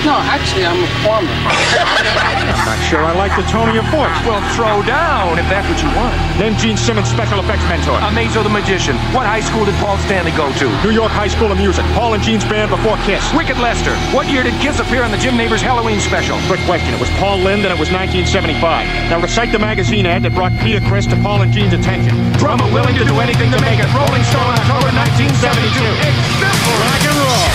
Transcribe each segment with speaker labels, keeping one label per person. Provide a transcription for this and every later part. Speaker 1: No, actually, I'm a plumber.
Speaker 2: I'm not sure I like the tone of your voice.
Speaker 3: Well, throw down if that's what you want.
Speaker 2: Name Gene Simmons' special effects mentor.
Speaker 3: Amazo the Magician. What high school did Paul Stanley go to?
Speaker 2: New York High School of Music. Paul and Gene's band before Kiss.
Speaker 3: Wicked Lester. What year did Kiss appear on the Jim Neighbors Halloween special?
Speaker 2: Quick question. It was Paul Lind and it was 1975. Now recite the magazine ad that brought Peter Chris to Paul and Gene's attention.
Speaker 3: Drummer willing to do anything to make it. Rolling Stone, October 1972. It's simple.
Speaker 2: Rock and roll.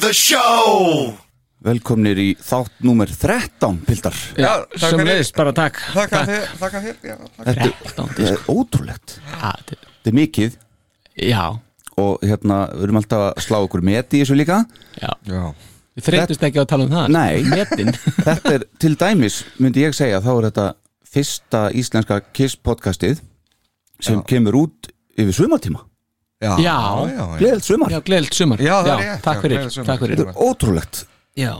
Speaker 4: the show Velkomnir í þátt númer 13, Pildar
Speaker 5: Já, takk
Speaker 6: sem
Speaker 5: fyrir.
Speaker 6: leiðist bara takk
Speaker 5: Takk að þér, takk að þér já, takk.
Speaker 4: Þetta þetta er ótrúlegt Þetta er mikið
Speaker 6: já,
Speaker 4: og hérna, við erum alltaf að slá okkur met í þessu líka
Speaker 6: já, við þreytist ekki á að tala um það
Speaker 4: Nei.
Speaker 6: metin
Speaker 4: Þetta er til dæmis, myndi ég segja þá er þetta fyrsta íslenska KISS podcastið sem kemur út yfir sumartíma
Speaker 5: Já, já,
Speaker 6: Já.
Speaker 5: já.
Speaker 4: Gleðild sumar,
Speaker 6: já, gleðilt sumar
Speaker 5: Já, það er rétt, já,
Speaker 6: takk fyrir,
Speaker 5: gleðilegt sumar.
Speaker 6: takk fyrir
Speaker 4: þetta er ótrúlegt
Speaker 6: já.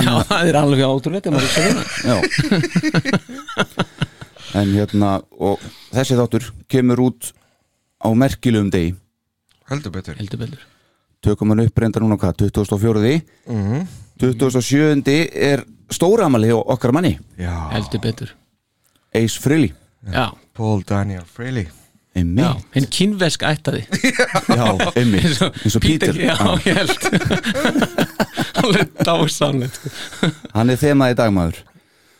Speaker 6: já, það er alveg ótrúlegt ef maður hugsar um það.
Speaker 4: Já En hérna, og þessi þáttur kemur út á merkilegum degi
Speaker 5: heldur betur
Speaker 6: heldur betur
Speaker 4: tökum hann upp reynda núna hvað, 2004 Mhm. 2007 er stóramali og okkar manni
Speaker 5: Já,
Speaker 6: heldur betur,
Speaker 4: Ace Frehley
Speaker 6: já,
Speaker 5: Paul Daniel Frehley
Speaker 4: Einmitt.
Speaker 6: já hinn kynvesk ættaði
Speaker 4: já, einmitt, eins og Ah. Peter
Speaker 6: já,
Speaker 4: hann,
Speaker 6: ég held alveg dásamlegt
Speaker 4: hann er þemað í dagmaður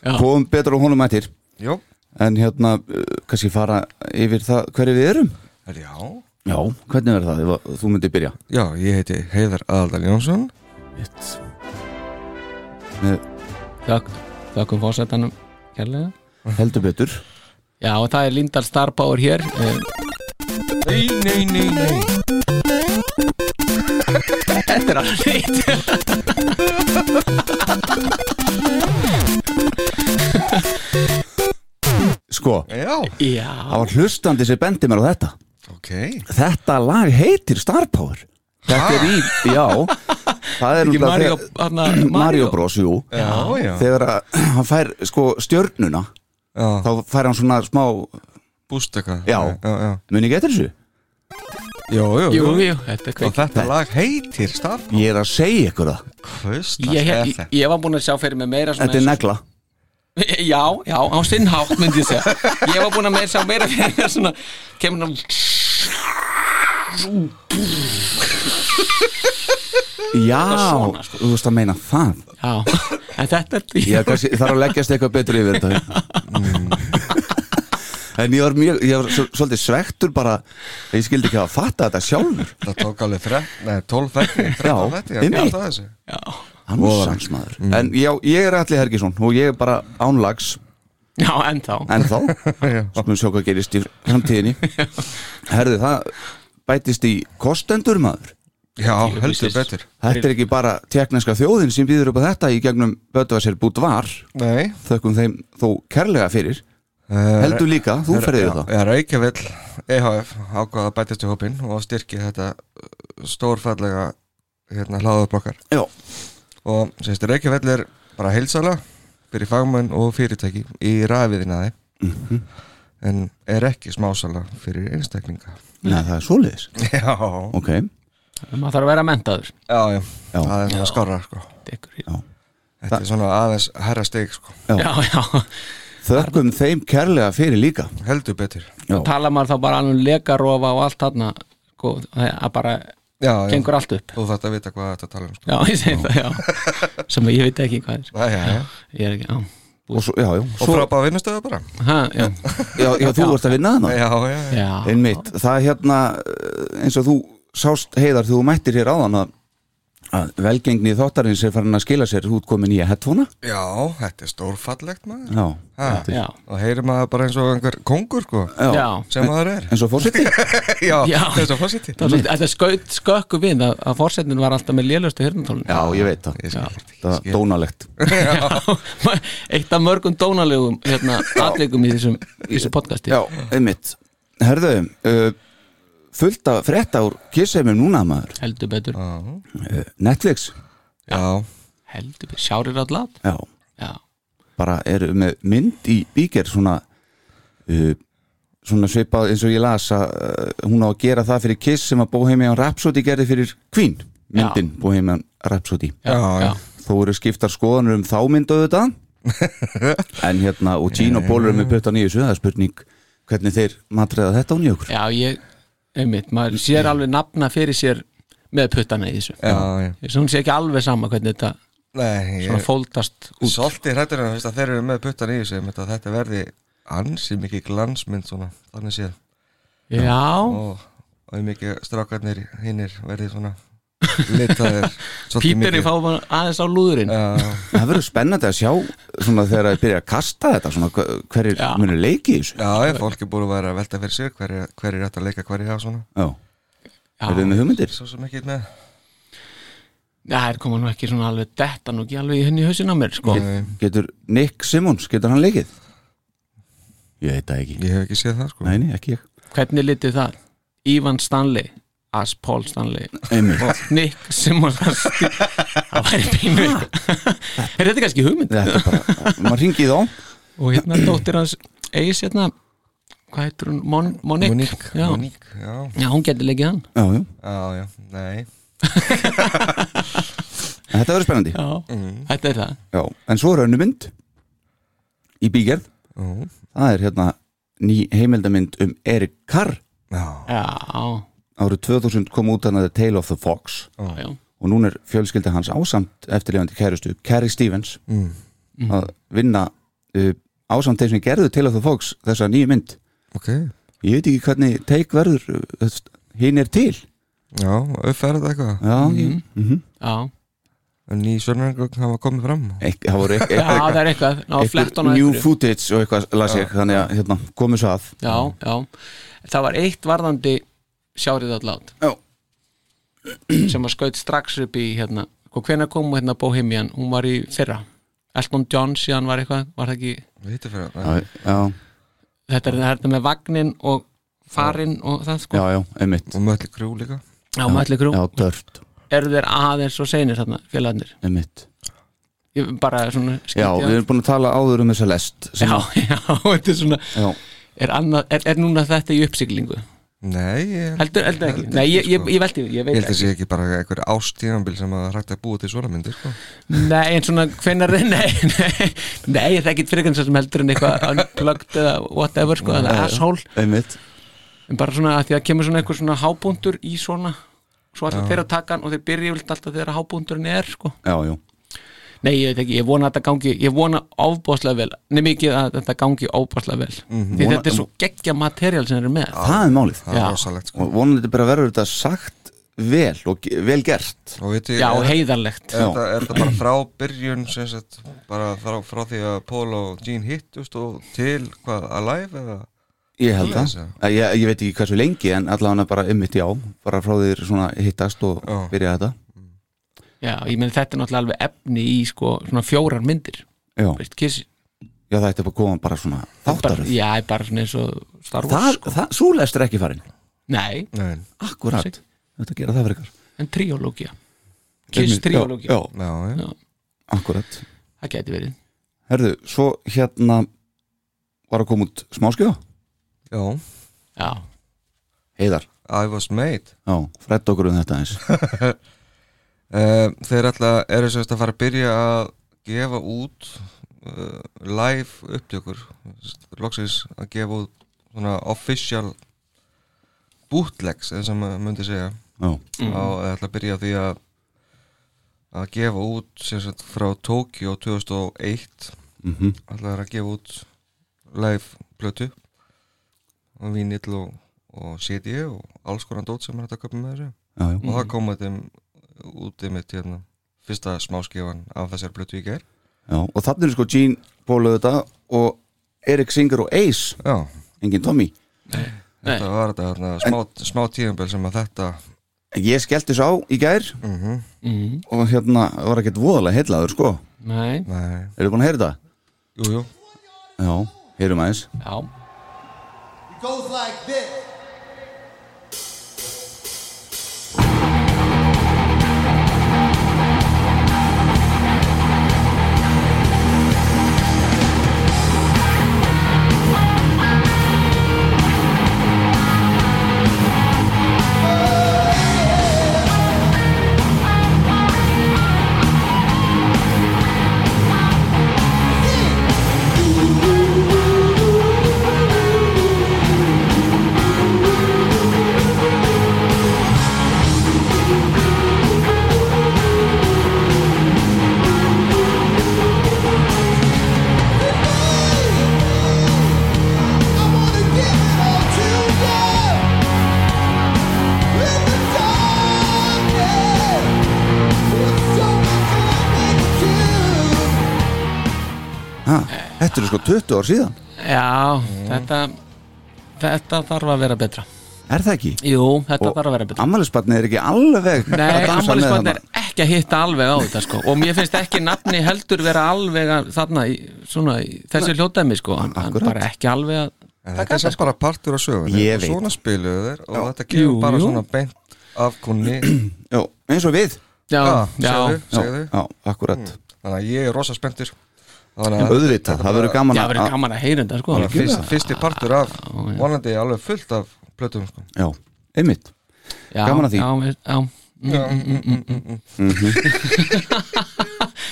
Speaker 6: Já.
Speaker 4: komum betur á honum ættir
Speaker 5: Jó,
Speaker 4: en hérna, uh, kannski fara yfir það hverju við erum
Speaker 5: er já
Speaker 4: já, hvernig verður það, ef að þú myndir byrja
Speaker 5: Já, ég heiti Heiðar Aðaldal Jónsson
Speaker 4: Mitt. með
Speaker 6: takk, takkum fórsetanum um kærlega
Speaker 4: heldur betur
Speaker 6: já, og það er Lindal Star Power hér eh,
Speaker 5: Nei, nei, nei, nei
Speaker 6: þetta er alveg neitt
Speaker 4: sko,
Speaker 5: Já,
Speaker 6: já,
Speaker 4: það var hlustandi sem bendi mér á þetta
Speaker 5: ok
Speaker 4: þetta lag heitir Star Power þetta er í, já það er náttúrulega
Speaker 6: ekki Mario,
Speaker 4: þegar-
Speaker 6: hana,
Speaker 4: Mario Bros, jú
Speaker 5: Já, já,
Speaker 4: þegar að, hann fær sko stjörnuna
Speaker 5: já.
Speaker 4: þá fær hann svona smá
Speaker 5: búst eitthvað
Speaker 4: Já.
Speaker 5: já, já
Speaker 4: muni ekki eftir þessu?
Speaker 5: Jó, jó,
Speaker 6: Jú, jú, þetta er
Speaker 5: Og
Speaker 6: kveik
Speaker 5: þetta lag heitir Star
Speaker 4: Ég er að segja ykkur það
Speaker 5: Kvöst
Speaker 6: ég, ég, ég var búin að sjá fyrir mig meira svona
Speaker 4: Þetta er negla
Speaker 6: Já, já, á sinn hátt myndi ég segja Ég var búin að meira sjá meira fyrir mér svona Kemur hann
Speaker 4: Já, þú veist að meina það
Speaker 6: Já, en þetta er
Speaker 4: Ég kannski, þarf að leggjast eitthvað betur yfir þetta Mm. En ég var mjög, ég var svo- svolítið svektur bara Ég skildi ekki að fatta þetta sjálfur
Speaker 5: Það tók alveg þre, nei, 12 þætti 13
Speaker 4: Já,
Speaker 5: þætti, ég
Speaker 4: einmitt.
Speaker 5: það þessu
Speaker 6: Já,
Speaker 4: Hansans maður En já, ég er Alli Hergisson og ég er bara ánlags
Speaker 6: já ennþá
Speaker 4: ennþá
Speaker 5: Já.
Speaker 4: Skulum sjá hvað gerist í framtíðinni Herðu, það bætist í kostendur maður
Speaker 5: Já, heldur betur
Speaker 4: Þetta er ekki bara tekneska þjóðin sem býður upp á þetta í gegnum Böðvarsir bútt var
Speaker 5: Nei
Speaker 4: þökkum þeim þó kærlega fyrir
Speaker 5: Eh,
Speaker 4: heldur líka, þú ferðið það
Speaker 5: Já, Reykjavík E EHF ákvaða að bætast í hópin og styrki þetta uh, stórfallega hérna hlaðup okkar
Speaker 4: Já,
Speaker 5: og sérst Reykjavík er bara heilsala fyrir fagmenn og fyrirtæki í rafiðinaði
Speaker 4: Mhm.
Speaker 5: en er ekki smásala fyrir einstaklinga
Speaker 4: Nei, það er svoleiðis
Speaker 5: Já,
Speaker 4: Ok,
Speaker 6: Maður þarf að vera mentaður
Speaker 5: já, já,
Speaker 4: Já.
Speaker 5: það er svona skorra sko
Speaker 6: Já,
Speaker 5: Þetta er svona aðeins herra steg sko
Speaker 6: já, já.
Speaker 4: þökkum þeim kærlega fyrir líka
Speaker 5: heldur betur
Speaker 4: Já,
Speaker 6: Tala maður þá bara alveg um lekarofa og allt þarna sko, að bara
Speaker 5: Já, já,
Speaker 6: gengur allt upp
Speaker 5: þú þarft að vita hvað þetta tala um sko
Speaker 6: Já, ég segi það, já Sem ég veit ekki hvað er
Speaker 5: Já, já, já
Speaker 6: Ég er ekki, já
Speaker 4: og svo, já, já,
Speaker 5: Og
Speaker 4: svo,
Speaker 5: frábæða vinnustöðu bara
Speaker 6: Ha, já,
Speaker 4: já, já þú
Speaker 6: Já.
Speaker 4: ert að vinna þarna
Speaker 5: Já, já, já
Speaker 6: já.
Speaker 4: Einmitt, það er hérna eh, eins og þú sást heiðar þú mættir hér áðan að, að velgengni þáttarins er farin að skila sér þú ert komin í að headphonea
Speaker 5: Já, þetta er stórfallegt maður
Speaker 4: Já,
Speaker 5: Ha,
Speaker 6: já.
Speaker 5: og heyrir maður bara eins og einhver kongur sko,
Speaker 6: já.
Speaker 5: sem maður er
Speaker 4: eins og fórseti
Speaker 5: já,
Speaker 6: Já.
Speaker 5: eins og fórseti
Speaker 6: Það var svolítið- Þetta skaut skökku við að, að fórsetin var alltaf með lélustu hirnatólun
Speaker 4: Já, ég veit það,
Speaker 5: skil.
Speaker 4: það er dónalegt
Speaker 6: Eitt af mörgum dónalegum hérna, atleikum í þessum, í þessum podcasti
Speaker 4: Já, einmitt herðu uh, fullt að frétta úr kisseimum núna maður
Speaker 6: heldur betur,
Speaker 4: uh, Netflix,
Speaker 5: Já,
Speaker 6: heldur betur Sjárir allat
Speaker 4: já,
Speaker 6: Já,
Speaker 4: bara eru með mynd í bíker svona uh, svona svipað eins og ég las að uh, hún á að gera það fyrir kiss sem að Bohemian Rhapsody gerði fyrir Queen myndin Bohemian Rhapsody
Speaker 6: já,
Speaker 5: Já,
Speaker 6: já,
Speaker 5: já.
Speaker 4: þó eru skiptar skoðanur um þá myndu þetta en hérna og Gene og Paul eru með pötta nýju það er spurning hvernig þeir matriða þetta á nýju okkur
Speaker 6: já ég, einmitt, maður sér alveg nafna fyrir sér með puttana í þessu
Speaker 5: já, já.
Speaker 6: Svo hún sé ekki alveg sama hvernig þetta
Speaker 5: Nei,
Speaker 6: svona
Speaker 5: ég
Speaker 6: fóldast út
Speaker 5: Solti hrættur hann, veist að þeir eru með puttan í þessu ég mynd að Þetta verði ansi mikið glansmynd svona, þannig séð
Speaker 6: Já,
Speaker 5: og, og mikið strákarnir hinnir verði svona litaðir svolítið
Speaker 6: pípirni
Speaker 5: mikið.
Speaker 6: fá maður aðeins á lúðurinn
Speaker 5: Já,
Speaker 4: það verður spennandi að sjá svona þegar þeir byrja að kasta þetta svona hver- hverjir
Speaker 6: Já.
Speaker 4: munu leiki í þessu
Speaker 5: já, ég, fólk er búin að vera að velta fyrir sig hverju hver er þetta að leika hverju hjá svona
Speaker 4: já. er þið með hugmyndir?
Speaker 5: Svo sem ekki með
Speaker 6: Já, það er koma nú ekki svona alveg detta nú ekki alveg í henni í hausin á mér sko.
Speaker 4: Getur Nick Simmons, getur hann leikið? Ég veit það ekki
Speaker 5: Ég hef ekki séð það sko
Speaker 4: Nei, nei, ekki ég
Speaker 6: Hvernig litið það? Ivan Stanley As Paul Stanley
Speaker 4: Einmitt.
Speaker 6: Nick Simmons Það væri pínu Er þetta kannski hugmynd?
Speaker 4: Þetta er bara, maður ringið á
Speaker 6: Og hérna dóttir hans Eis hérna Hvað heitir hún? Mon Monique,
Speaker 5: Monique,
Speaker 6: Já.
Speaker 5: Monique, já,
Speaker 6: Já, hún getur leikið hann
Speaker 4: Já, já,
Speaker 5: já, já, nei
Speaker 4: en þetta verður spennandi
Speaker 6: Já, þetta er það
Speaker 4: Já, en svo er önnu mynd Í bígerð
Speaker 5: Ú,
Speaker 4: Það er hérna ný heimildamynd um Erik Carr
Speaker 5: Já,
Speaker 6: Já,
Speaker 4: Árið 2000 kom út hann að The Tale of the Fox
Speaker 6: já, já
Speaker 4: Og núna er fjölskylda hans ásamt eftirlefandi kærustu Carrie Stevens
Speaker 5: Mm.
Speaker 4: Að vinna uh, ásamt þeir sem gerðu Tale of the Fox Þessa nýju mynd
Speaker 5: ok
Speaker 4: Ég veit ekki hvernig teik verður uh, Hinn er til
Speaker 5: Já, uppferða eitthvað
Speaker 4: Já,
Speaker 6: Mhm.
Speaker 4: mm.
Speaker 6: Já,
Speaker 5: En ný sörnargögn hafa komið fram
Speaker 4: ek, það voru ek,
Speaker 6: já það er eitthvað Ná, flett hann á
Speaker 4: New
Speaker 6: einhverju.
Speaker 4: footage og eitthvað las ég Þannig að hérna, komu svo að
Speaker 6: Já, já Það var eitt varðandi Sjárið allát
Speaker 4: Já.
Speaker 6: sem að skaut strax upp í hérna og hvenær kom hérna Bohemian, hún var í fyrra Elton John síðan var eitthvað var það ekki,
Speaker 5: Vítið fyrir það
Speaker 4: Já, já,
Speaker 6: þetta er þetta með vagnin og farinn og það sko
Speaker 4: já, já einmitt
Speaker 5: Og möllir krjú líka
Speaker 6: já, mætli grú,
Speaker 4: Já, dörft,
Speaker 6: eru þeir aðeins og seinir þarna félagarnir,
Speaker 4: einmitt
Speaker 6: ég bara svona skýt
Speaker 4: Já, við erum búin að tala áður um þessa lest sem
Speaker 6: já,
Speaker 4: að-
Speaker 6: já, þetta er svona
Speaker 4: já.
Speaker 6: er, annað, er, er núna þetta í uppsiglingu
Speaker 5: Nei, ég
Speaker 6: heldur, heldur ekki,
Speaker 5: Heldur
Speaker 6: nei, ég,
Speaker 5: ekki,
Speaker 6: ég,
Speaker 5: sko.
Speaker 6: ég velti ég
Speaker 5: Ég
Speaker 6: veit
Speaker 5: held að sé ekki bara einhver ástíðanbíl sem að hrætti að búa til svona myndir sko.
Speaker 6: Nei, en svona hvenar Nei, nei, nei ég þekkit fyrir kannski sem heldur en eitthvað unplugged eða whatever, sko, eða asshole
Speaker 4: Einmitt
Speaker 6: en bara svona að því að kemur svona eitthvað svona hábúndur í svona svo alltaf þeir að taka hann og þeir byrja vilt alltaf þegar hábúndurinn er, sko
Speaker 4: Já, já,
Speaker 6: Nei, ég veit ekki, ég vona að þetta gangi ég vona ábúðslega vel, nefnir ekki að þetta gangi ábúðslega vel því
Speaker 4: Mhm, Vona-
Speaker 6: þetta er svo geggja materiál sem þeir eru með
Speaker 4: það er málið
Speaker 5: Það
Speaker 6: Já.
Speaker 5: er rosalegt sko.
Speaker 4: Og vonandi bara verður þetta sagt vel og ge- vel gert
Speaker 5: Og veitu,
Speaker 6: Já,
Speaker 5: er, er,
Speaker 6: heiðarlegt
Speaker 5: þetta, er þetta bara frá byrjun sem sagt, bara frá, frá því að Paul og Gene hittust og til hvað, Alive eða
Speaker 4: Ég held það,
Speaker 5: Lesa.
Speaker 4: Að ég, ég veit ekki hversu lengi en allavega bara einmitt já bara frá þér svona hittast og
Speaker 5: Já.
Speaker 4: byrja þetta
Speaker 6: Já, ég meni þetta er náttúrulega alveg efni í sko, svona fjórar myndir
Speaker 4: Já,
Speaker 6: veist, kiss,
Speaker 4: já það ætti bara að koma bara svona
Speaker 6: bara,
Speaker 4: þáttaröð
Speaker 6: já, bara svona eins og Star
Speaker 4: Það,
Speaker 6: Wars sko.
Speaker 4: það, svo lest er ekki farin
Speaker 6: Nei,
Speaker 5: Nei,
Speaker 4: Akkurat,
Speaker 6: Sig.
Speaker 4: þetta gera það fyrir ykkar
Speaker 6: en tríólógia Kiss
Speaker 4: Einmitt, já,
Speaker 6: tríólógia
Speaker 4: Já,
Speaker 5: já, já.
Speaker 4: akkurat
Speaker 6: Það geti verið
Speaker 4: Herðu, svo hérna var að koma út smáskjöða
Speaker 5: já
Speaker 6: Já,
Speaker 4: Heiðar,
Speaker 5: I was made
Speaker 4: já, fredd okkur um þetta eins
Speaker 5: uh, Þeir alltaf eru sem sagt að fara að byrja að gefa út uh, live upptökur Sest, loksins að gefa út svona official bootlegs eins og maður myndi segja
Speaker 4: Já,
Speaker 5: á, eða ætla að byrja á því að að gefa út sem sagt, frá Tokyo 2001
Speaker 4: mhm,
Speaker 5: ætla þeir að gefa út live plötu og vínill og, og CD og alls konar dót sem er hægt að köpa með þessu
Speaker 4: já, já,
Speaker 5: og það kom þeim út í mitt hérna, fyrsta smáskifan af þessar plötu í ger
Speaker 4: já Og þannig er sko Gene bóluðu þetta og Erik Singer og Ace
Speaker 5: Já,
Speaker 4: enginn Tommy
Speaker 5: þetta var þetta hérna, smá, smá tíðanbel sem að þetta
Speaker 4: Ég skellti þessu á í gær
Speaker 5: mm
Speaker 6: mm,
Speaker 4: og hérna var ekkert voðalega heillaður sko
Speaker 6: nei,
Speaker 5: nei,
Speaker 4: Eru búin að heyra þetta?
Speaker 5: jú, jú
Speaker 4: Já, heyrum aðeins
Speaker 6: já
Speaker 7: Because goes like this.
Speaker 8: I wanna give it all to you in the darkness. With so much love in you.
Speaker 4: ha, Þetta eru sko 20 ár síðan
Speaker 6: Já, þetta þetta þarf að vera betra
Speaker 4: Er það ekki?
Speaker 6: Jú, þetta þarf að vera betra
Speaker 4: Ammælisbarnið er ekki alveg að
Speaker 6: Nei,
Speaker 4: dansa með
Speaker 6: ammælisbarn er
Speaker 4: þarna.
Speaker 6: ekki að hitta alveg á þetta sko. og mér finnst ekki nafni heldur vera alveg að, þarna, í, svona, í þessu hljótaðmi sko. hann, hann
Speaker 4: Akkurat.
Speaker 6: bara ekki alveg að
Speaker 5: En þetta er samt bara partur af sögunni
Speaker 4: Ég
Speaker 5: og
Speaker 4: veit.
Speaker 5: Svona spiluðu þeir og þetta
Speaker 6: Jú,
Speaker 5: kemur bara
Speaker 6: jú.
Speaker 5: svona beint af kunni
Speaker 4: Jó, eins og við
Speaker 6: Já,
Speaker 4: Ah,
Speaker 6: já,
Speaker 5: segðu,
Speaker 4: Já,
Speaker 5: segðu
Speaker 4: já, akkurat
Speaker 5: Þannig að ég er rosa spenntur Þannig að
Speaker 4: Auðvitað, það verður gaman
Speaker 6: já,
Speaker 4: að-
Speaker 6: verið gaman að heyra þetta sko.
Speaker 5: bara fyrst, fyrsti partur af vonandi alveg fullt af plötum sko.
Speaker 4: Já, einmitt
Speaker 6: já,
Speaker 4: gaman að því.
Speaker 6: Já, við- já Mm,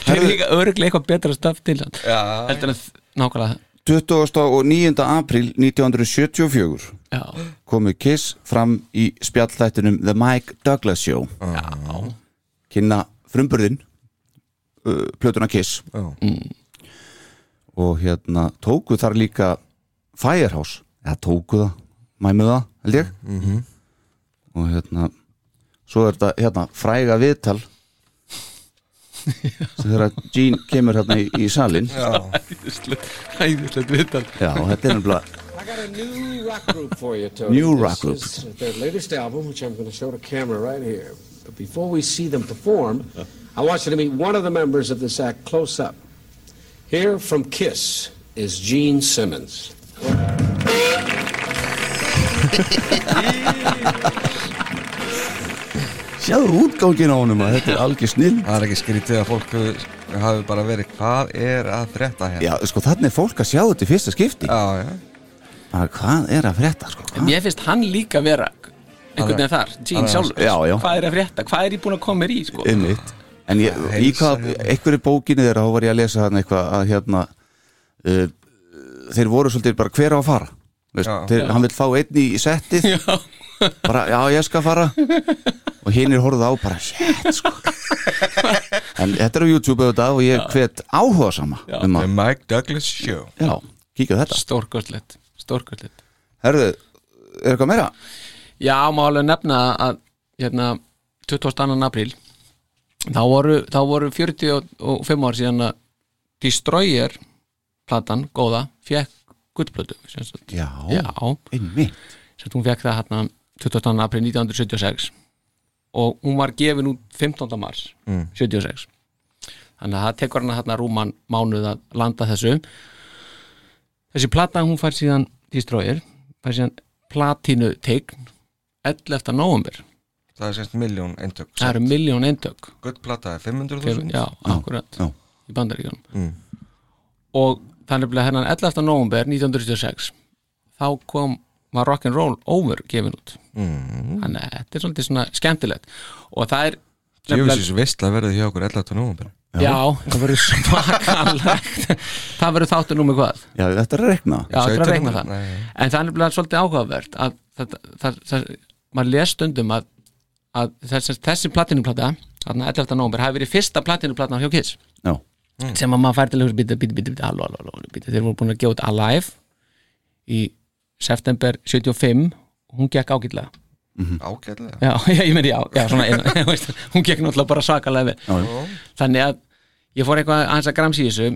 Speaker 6: Það er mm. líka örglega eitthvað betra stöf til
Speaker 5: Já.
Speaker 6: heldur en þ- nákvæmlega
Speaker 4: 29. apríl 1974
Speaker 6: Já,
Speaker 4: komu Kiss fram í spjallþættunum The Mike Douglas Show Já Kynna frumburðin uh, plötuna Kiss Mm.
Speaker 5: Já.
Speaker 4: og hérna tóku þar líka Firehouse, eða tóku það mæmið það, held ég -hmm. og hérna svo er þetta hérna fræga viðtal sem þegar Gene kemur hérna í, í salin Já,
Speaker 6: æðislegt viðtal
Speaker 4: þetta er
Speaker 9: I
Speaker 4: nefnilega
Speaker 9: got a new rock group for you, Tony.
Speaker 4: New
Speaker 9: This
Speaker 4: rock group.
Speaker 9: is their latest album, which I'm going to show to camera right here. But before we see them perform, I want you to meet one of the members of this act close up. Here from Kiss is Gene Simmons.
Speaker 4: sjáður útgangin á honum að þetta er algjör snill
Speaker 5: Það er ekki skrítið að fólk hafi bara verið hvað er að frétta hérna?" hér
Speaker 4: Já, sko, þannig er fólk að sjá þetta í fyrsta skipti
Speaker 5: já, já.
Speaker 4: bara hvað er að frétta, sko hvað?
Speaker 6: Mér finnst hann líka vera einhvern veginn þar, Gene sjálfur
Speaker 4: Já, já.
Speaker 6: Hvað er að frétta, hvað er ég búin að koma mér í sko?
Speaker 4: einmitt en ég, í hvað, einhverju bókinu þeirra þá var ég að lesa þarna eitthvað að hérna uh, þeir voru svolítið bara hver á að fara Veist,
Speaker 5: Já.
Speaker 4: þeir, hann vil fá einn í settið
Speaker 6: Já.
Speaker 4: bara já ég skal fara og hinn er horfð á bara shit sko en þetta er á YouTube auðvitað og ég hvet áhuga sama um
Speaker 5: The
Speaker 4: að,
Speaker 5: Mike Douglas Show
Speaker 4: já, kíkja á þetta
Speaker 6: Stórkostlegt, stórkostlegt
Speaker 4: herðu, er eitthvað meira?
Speaker 6: Já, má alveg nefna að hérna, 22. apríl þá voru, þá voru 45 ár síðan að Destroyer platan, góða, fekk guttplötu sem sagt.
Speaker 4: já,
Speaker 6: Já,
Speaker 4: einmitt
Speaker 6: sem sagt, hún fekk það hérna 22. apríl 1976 og hún var gefin út 15. mars 76 þannig að það tekur hana hérna rúman mánuð að landa þessu þessi plata hún fær síðan Destroyer, fær síðan platínu teikn 11. november
Speaker 5: Það er semst miljón eintök
Speaker 6: það eru miljón eintök
Speaker 5: Guttplata er
Speaker 6: Þegar-
Speaker 5: 500.000
Speaker 6: já, Mm. akkurat,
Speaker 4: já.
Speaker 6: í bandaríkjónum og þannig að hennan 11. november 1936 þá kom var rock'n'roll over gefin út mm. þannig að þetta er svolítið svona skemmtilegt og það er
Speaker 5: Jöfisins veistla verði hjá okkur 11. november
Speaker 6: já, það verður svakalegt það verður þáttur númer hvað
Speaker 4: já, þetta er að rekna
Speaker 6: já, það er
Speaker 5: 17.
Speaker 6: að regna það
Speaker 5: Nei.
Speaker 6: en það er nefnilega svolítið áhugavert að það, það, það, maður les stundum að, að þessi, þessi platinuplata þarna 11. november hafi verið fyrsta platinuplata hjá Kiss
Speaker 4: já,
Speaker 6: sem að maður fær til að hugsa bíti, bíti, bíti, bíti, halló, halló, halló, bíti þeir voru búin að gefa út Alive í september 75 hún gekk ágætlega
Speaker 5: Mm. Ágætlega
Speaker 6: já, já, ég meni, já, já, svona eina, þú veist, hún gekk náttúrulega bara svakalega vel
Speaker 4: já, já.
Speaker 6: þannig að ég fór eitthvað aðeins að gramsi í þessu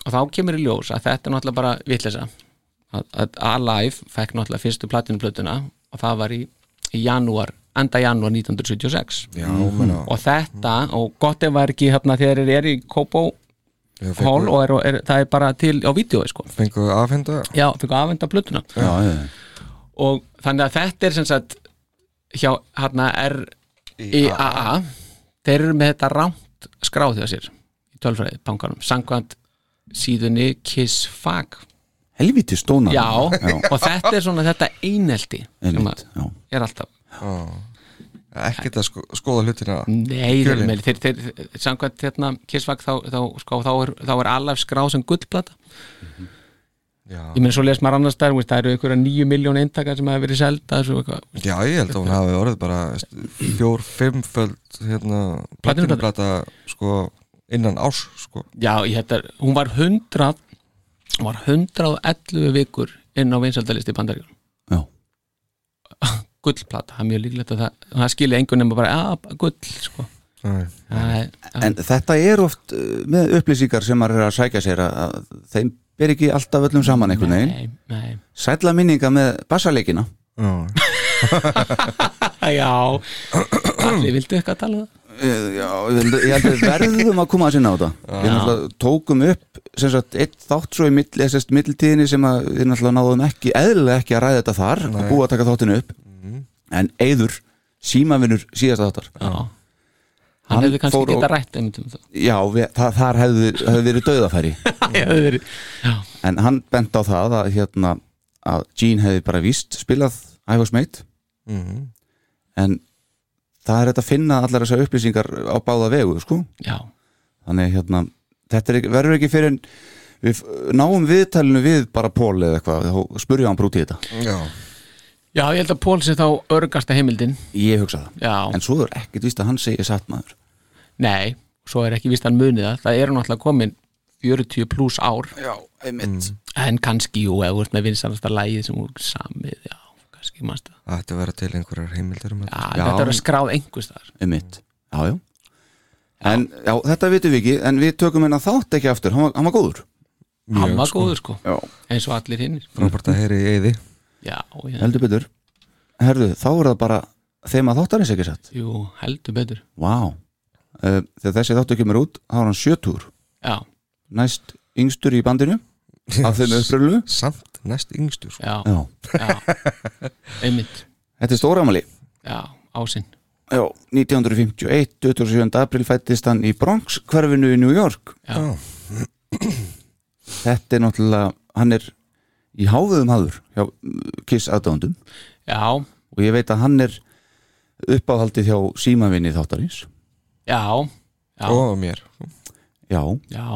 Speaker 6: og þá kemur í ljós að þetta er náttúrulega bara vitleysa að, að Alive fekk náttúrulega fyrstu platinuplötuna og það var í, í janúar, enda janúar 1976
Speaker 5: Já, menna
Speaker 6: og þetta, og gott ef það er ekki hérna þegar þeir eru í Kópó hall og er, er, það er bara til á vídeo sko.
Speaker 5: Fengu afhenda
Speaker 6: já, fyrir aðvenda plötuna
Speaker 4: já, já,
Speaker 6: og þannig að þetta er sem sagt hjá hérna RIAA þeir eru með þetta rámt skráð hjá sér í tölfræði bankanum sangvænt síðunni Kiss Fag
Speaker 4: helviti stóna
Speaker 6: já, og þetta er svona þetta einelti sem
Speaker 4: Einmitt,
Speaker 6: að
Speaker 4: já.
Speaker 6: er alltaf
Speaker 5: Ekkert að sko, skoða hlutina
Speaker 6: Nei, þeir,
Speaker 5: Kjölin.
Speaker 6: með, þeir, þeir, samkvæmt hérna Kissvag þá, þá, sko, þá er, þá er alveg skráð sem gullplata
Speaker 5: Já,
Speaker 6: Ég meina svo les maður annars stær, það eru einhverja nýju miljón eintakar sem hafa verið selda þessu eitthvað
Speaker 5: já ég held að hún hafi orðið bara veist, fjór, fimmföld hérna,
Speaker 6: Platínuplata.
Speaker 5: platinuplata sko, innan árs sko.
Speaker 6: Já, ég þetta, er- hún var 100 hún var 111 vikur inn á vinsaldalisti í bandaríkjum
Speaker 4: já.
Speaker 6: gullplata, það er mjög líklegt að það, það skilja engun nema bara, að gull sko.
Speaker 5: Nei.
Speaker 6: það er,
Speaker 4: en þetta er oft uh, með upplýsingar sem maður er að sækja sér að, að þeim ber ekki alltaf öllum saman einhvern veginn
Speaker 6: nei, nei
Speaker 4: sætla minninga með bassaleikina
Speaker 5: Já.
Speaker 6: Já, allir vildu eitthvað að tala um það
Speaker 4: Eh, já, ég held- ég held að við verðum að koma að sinna á þetta við náttúrulega tókum upp sem sagt, eitt þátt svo í mill, eh, sem sagt, milltíðinni sem að við náttúrulega náðum ekki eðlilega ekki að ræða þetta þar og búið að taka þáttinu upp en Eyður, símavinur síðasta þáttar
Speaker 6: Já, hann,
Speaker 4: Hann
Speaker 6: hefði kannski
Speaker 4: fór og-
Speaker 6: geta rætt einmitt um það
Speaker 4: já, við, það, þar hefði, hefði verið döðafæri
Speaker 6: Já, það er- já,
Speaker 4: en hann bent á það að, hérna, að Gene hefði bara víst spilað I was made
Speaker 5: Mhm.
Speaker 4: en það er hægt að finna allar þessar upplýsingar á báða vegu sko
Speaker 6: já,
Speaker 4: þannig hérna, þetta er, ekki- verður ekki fyrir en við f- náum viðtalinu við bara Pól eða eitthvað, þá spurjum hann brútið þetta
Speaker 5: já,
Speaker 6: já, ég held að Pól sé þá örgasta heimildin
Speaker 4: ég hugsa það,
Speaker 6: Já,
Speaker 4: en svo er ekkert víst að hann segi satt maður,
Speaker 6: nei, svo er ekki vist hann munið það Það eru náttúrulega komin 40 pluss ár
Speaker 4: já, einmitt mm.
Speaker 6: En kannski, jú, ef þú ert með vinsanasta lægið sem úr samið, já, kannski mannst það.
Speaker 5: það ætti að vera til einhverjar heimildir um þetta
Speaker 6: Já,
Speaker 4: Já.
Speaker 6: þetta er að skráð einhvers þar.
Speaker 4: einmitt, já, já en já, þetta vitum við ekki, en við tökum hennan þátt ekki aftur, hann var, hann var góður
Speaker 6: Hann var góður, sko,
Speaker 4: já,
Speaker 6: eins og allir hinnir.
Speaker 5: frábært að heyri í eyði
Speaker 6: Já, já,
Speaker 4: heldur betur herðu, þá er það bara þeim að þáttarins ekki satt,
Speaker 6: jú, heldur betur.
Speaker 4: vá wow. þegar þessi þáttu kemur út, þá er hann sjötúr
Speaker 6: Já,
Speaker 4: næst yngstur í bandinu af þeim upprölu
Speaker 5: samt næst yngstur sko.
Speaker 6: já,
Speaker 4: já,
Speaker 6: já, einmitt,
Speaker 4: þetta er stóramali
Speaker 6: já, ásinn.
Speaker 4: Já, 1951, 27. april fættist hann í Bronx hverfinu í New York
Speaker 6: Já.
Speaker 4: Þetta er náttúrulega, hann er í háðum hafður hjá mm, Kiss aðdándum
Speaker 6: Já,
Speaker 4: og ég veit að hann er uppáhaldið hjá símavinni þáttarins
Speaker 6: já, já,
Speaker 5: og mér
Speaker 4: Já,
Speaker 6: já.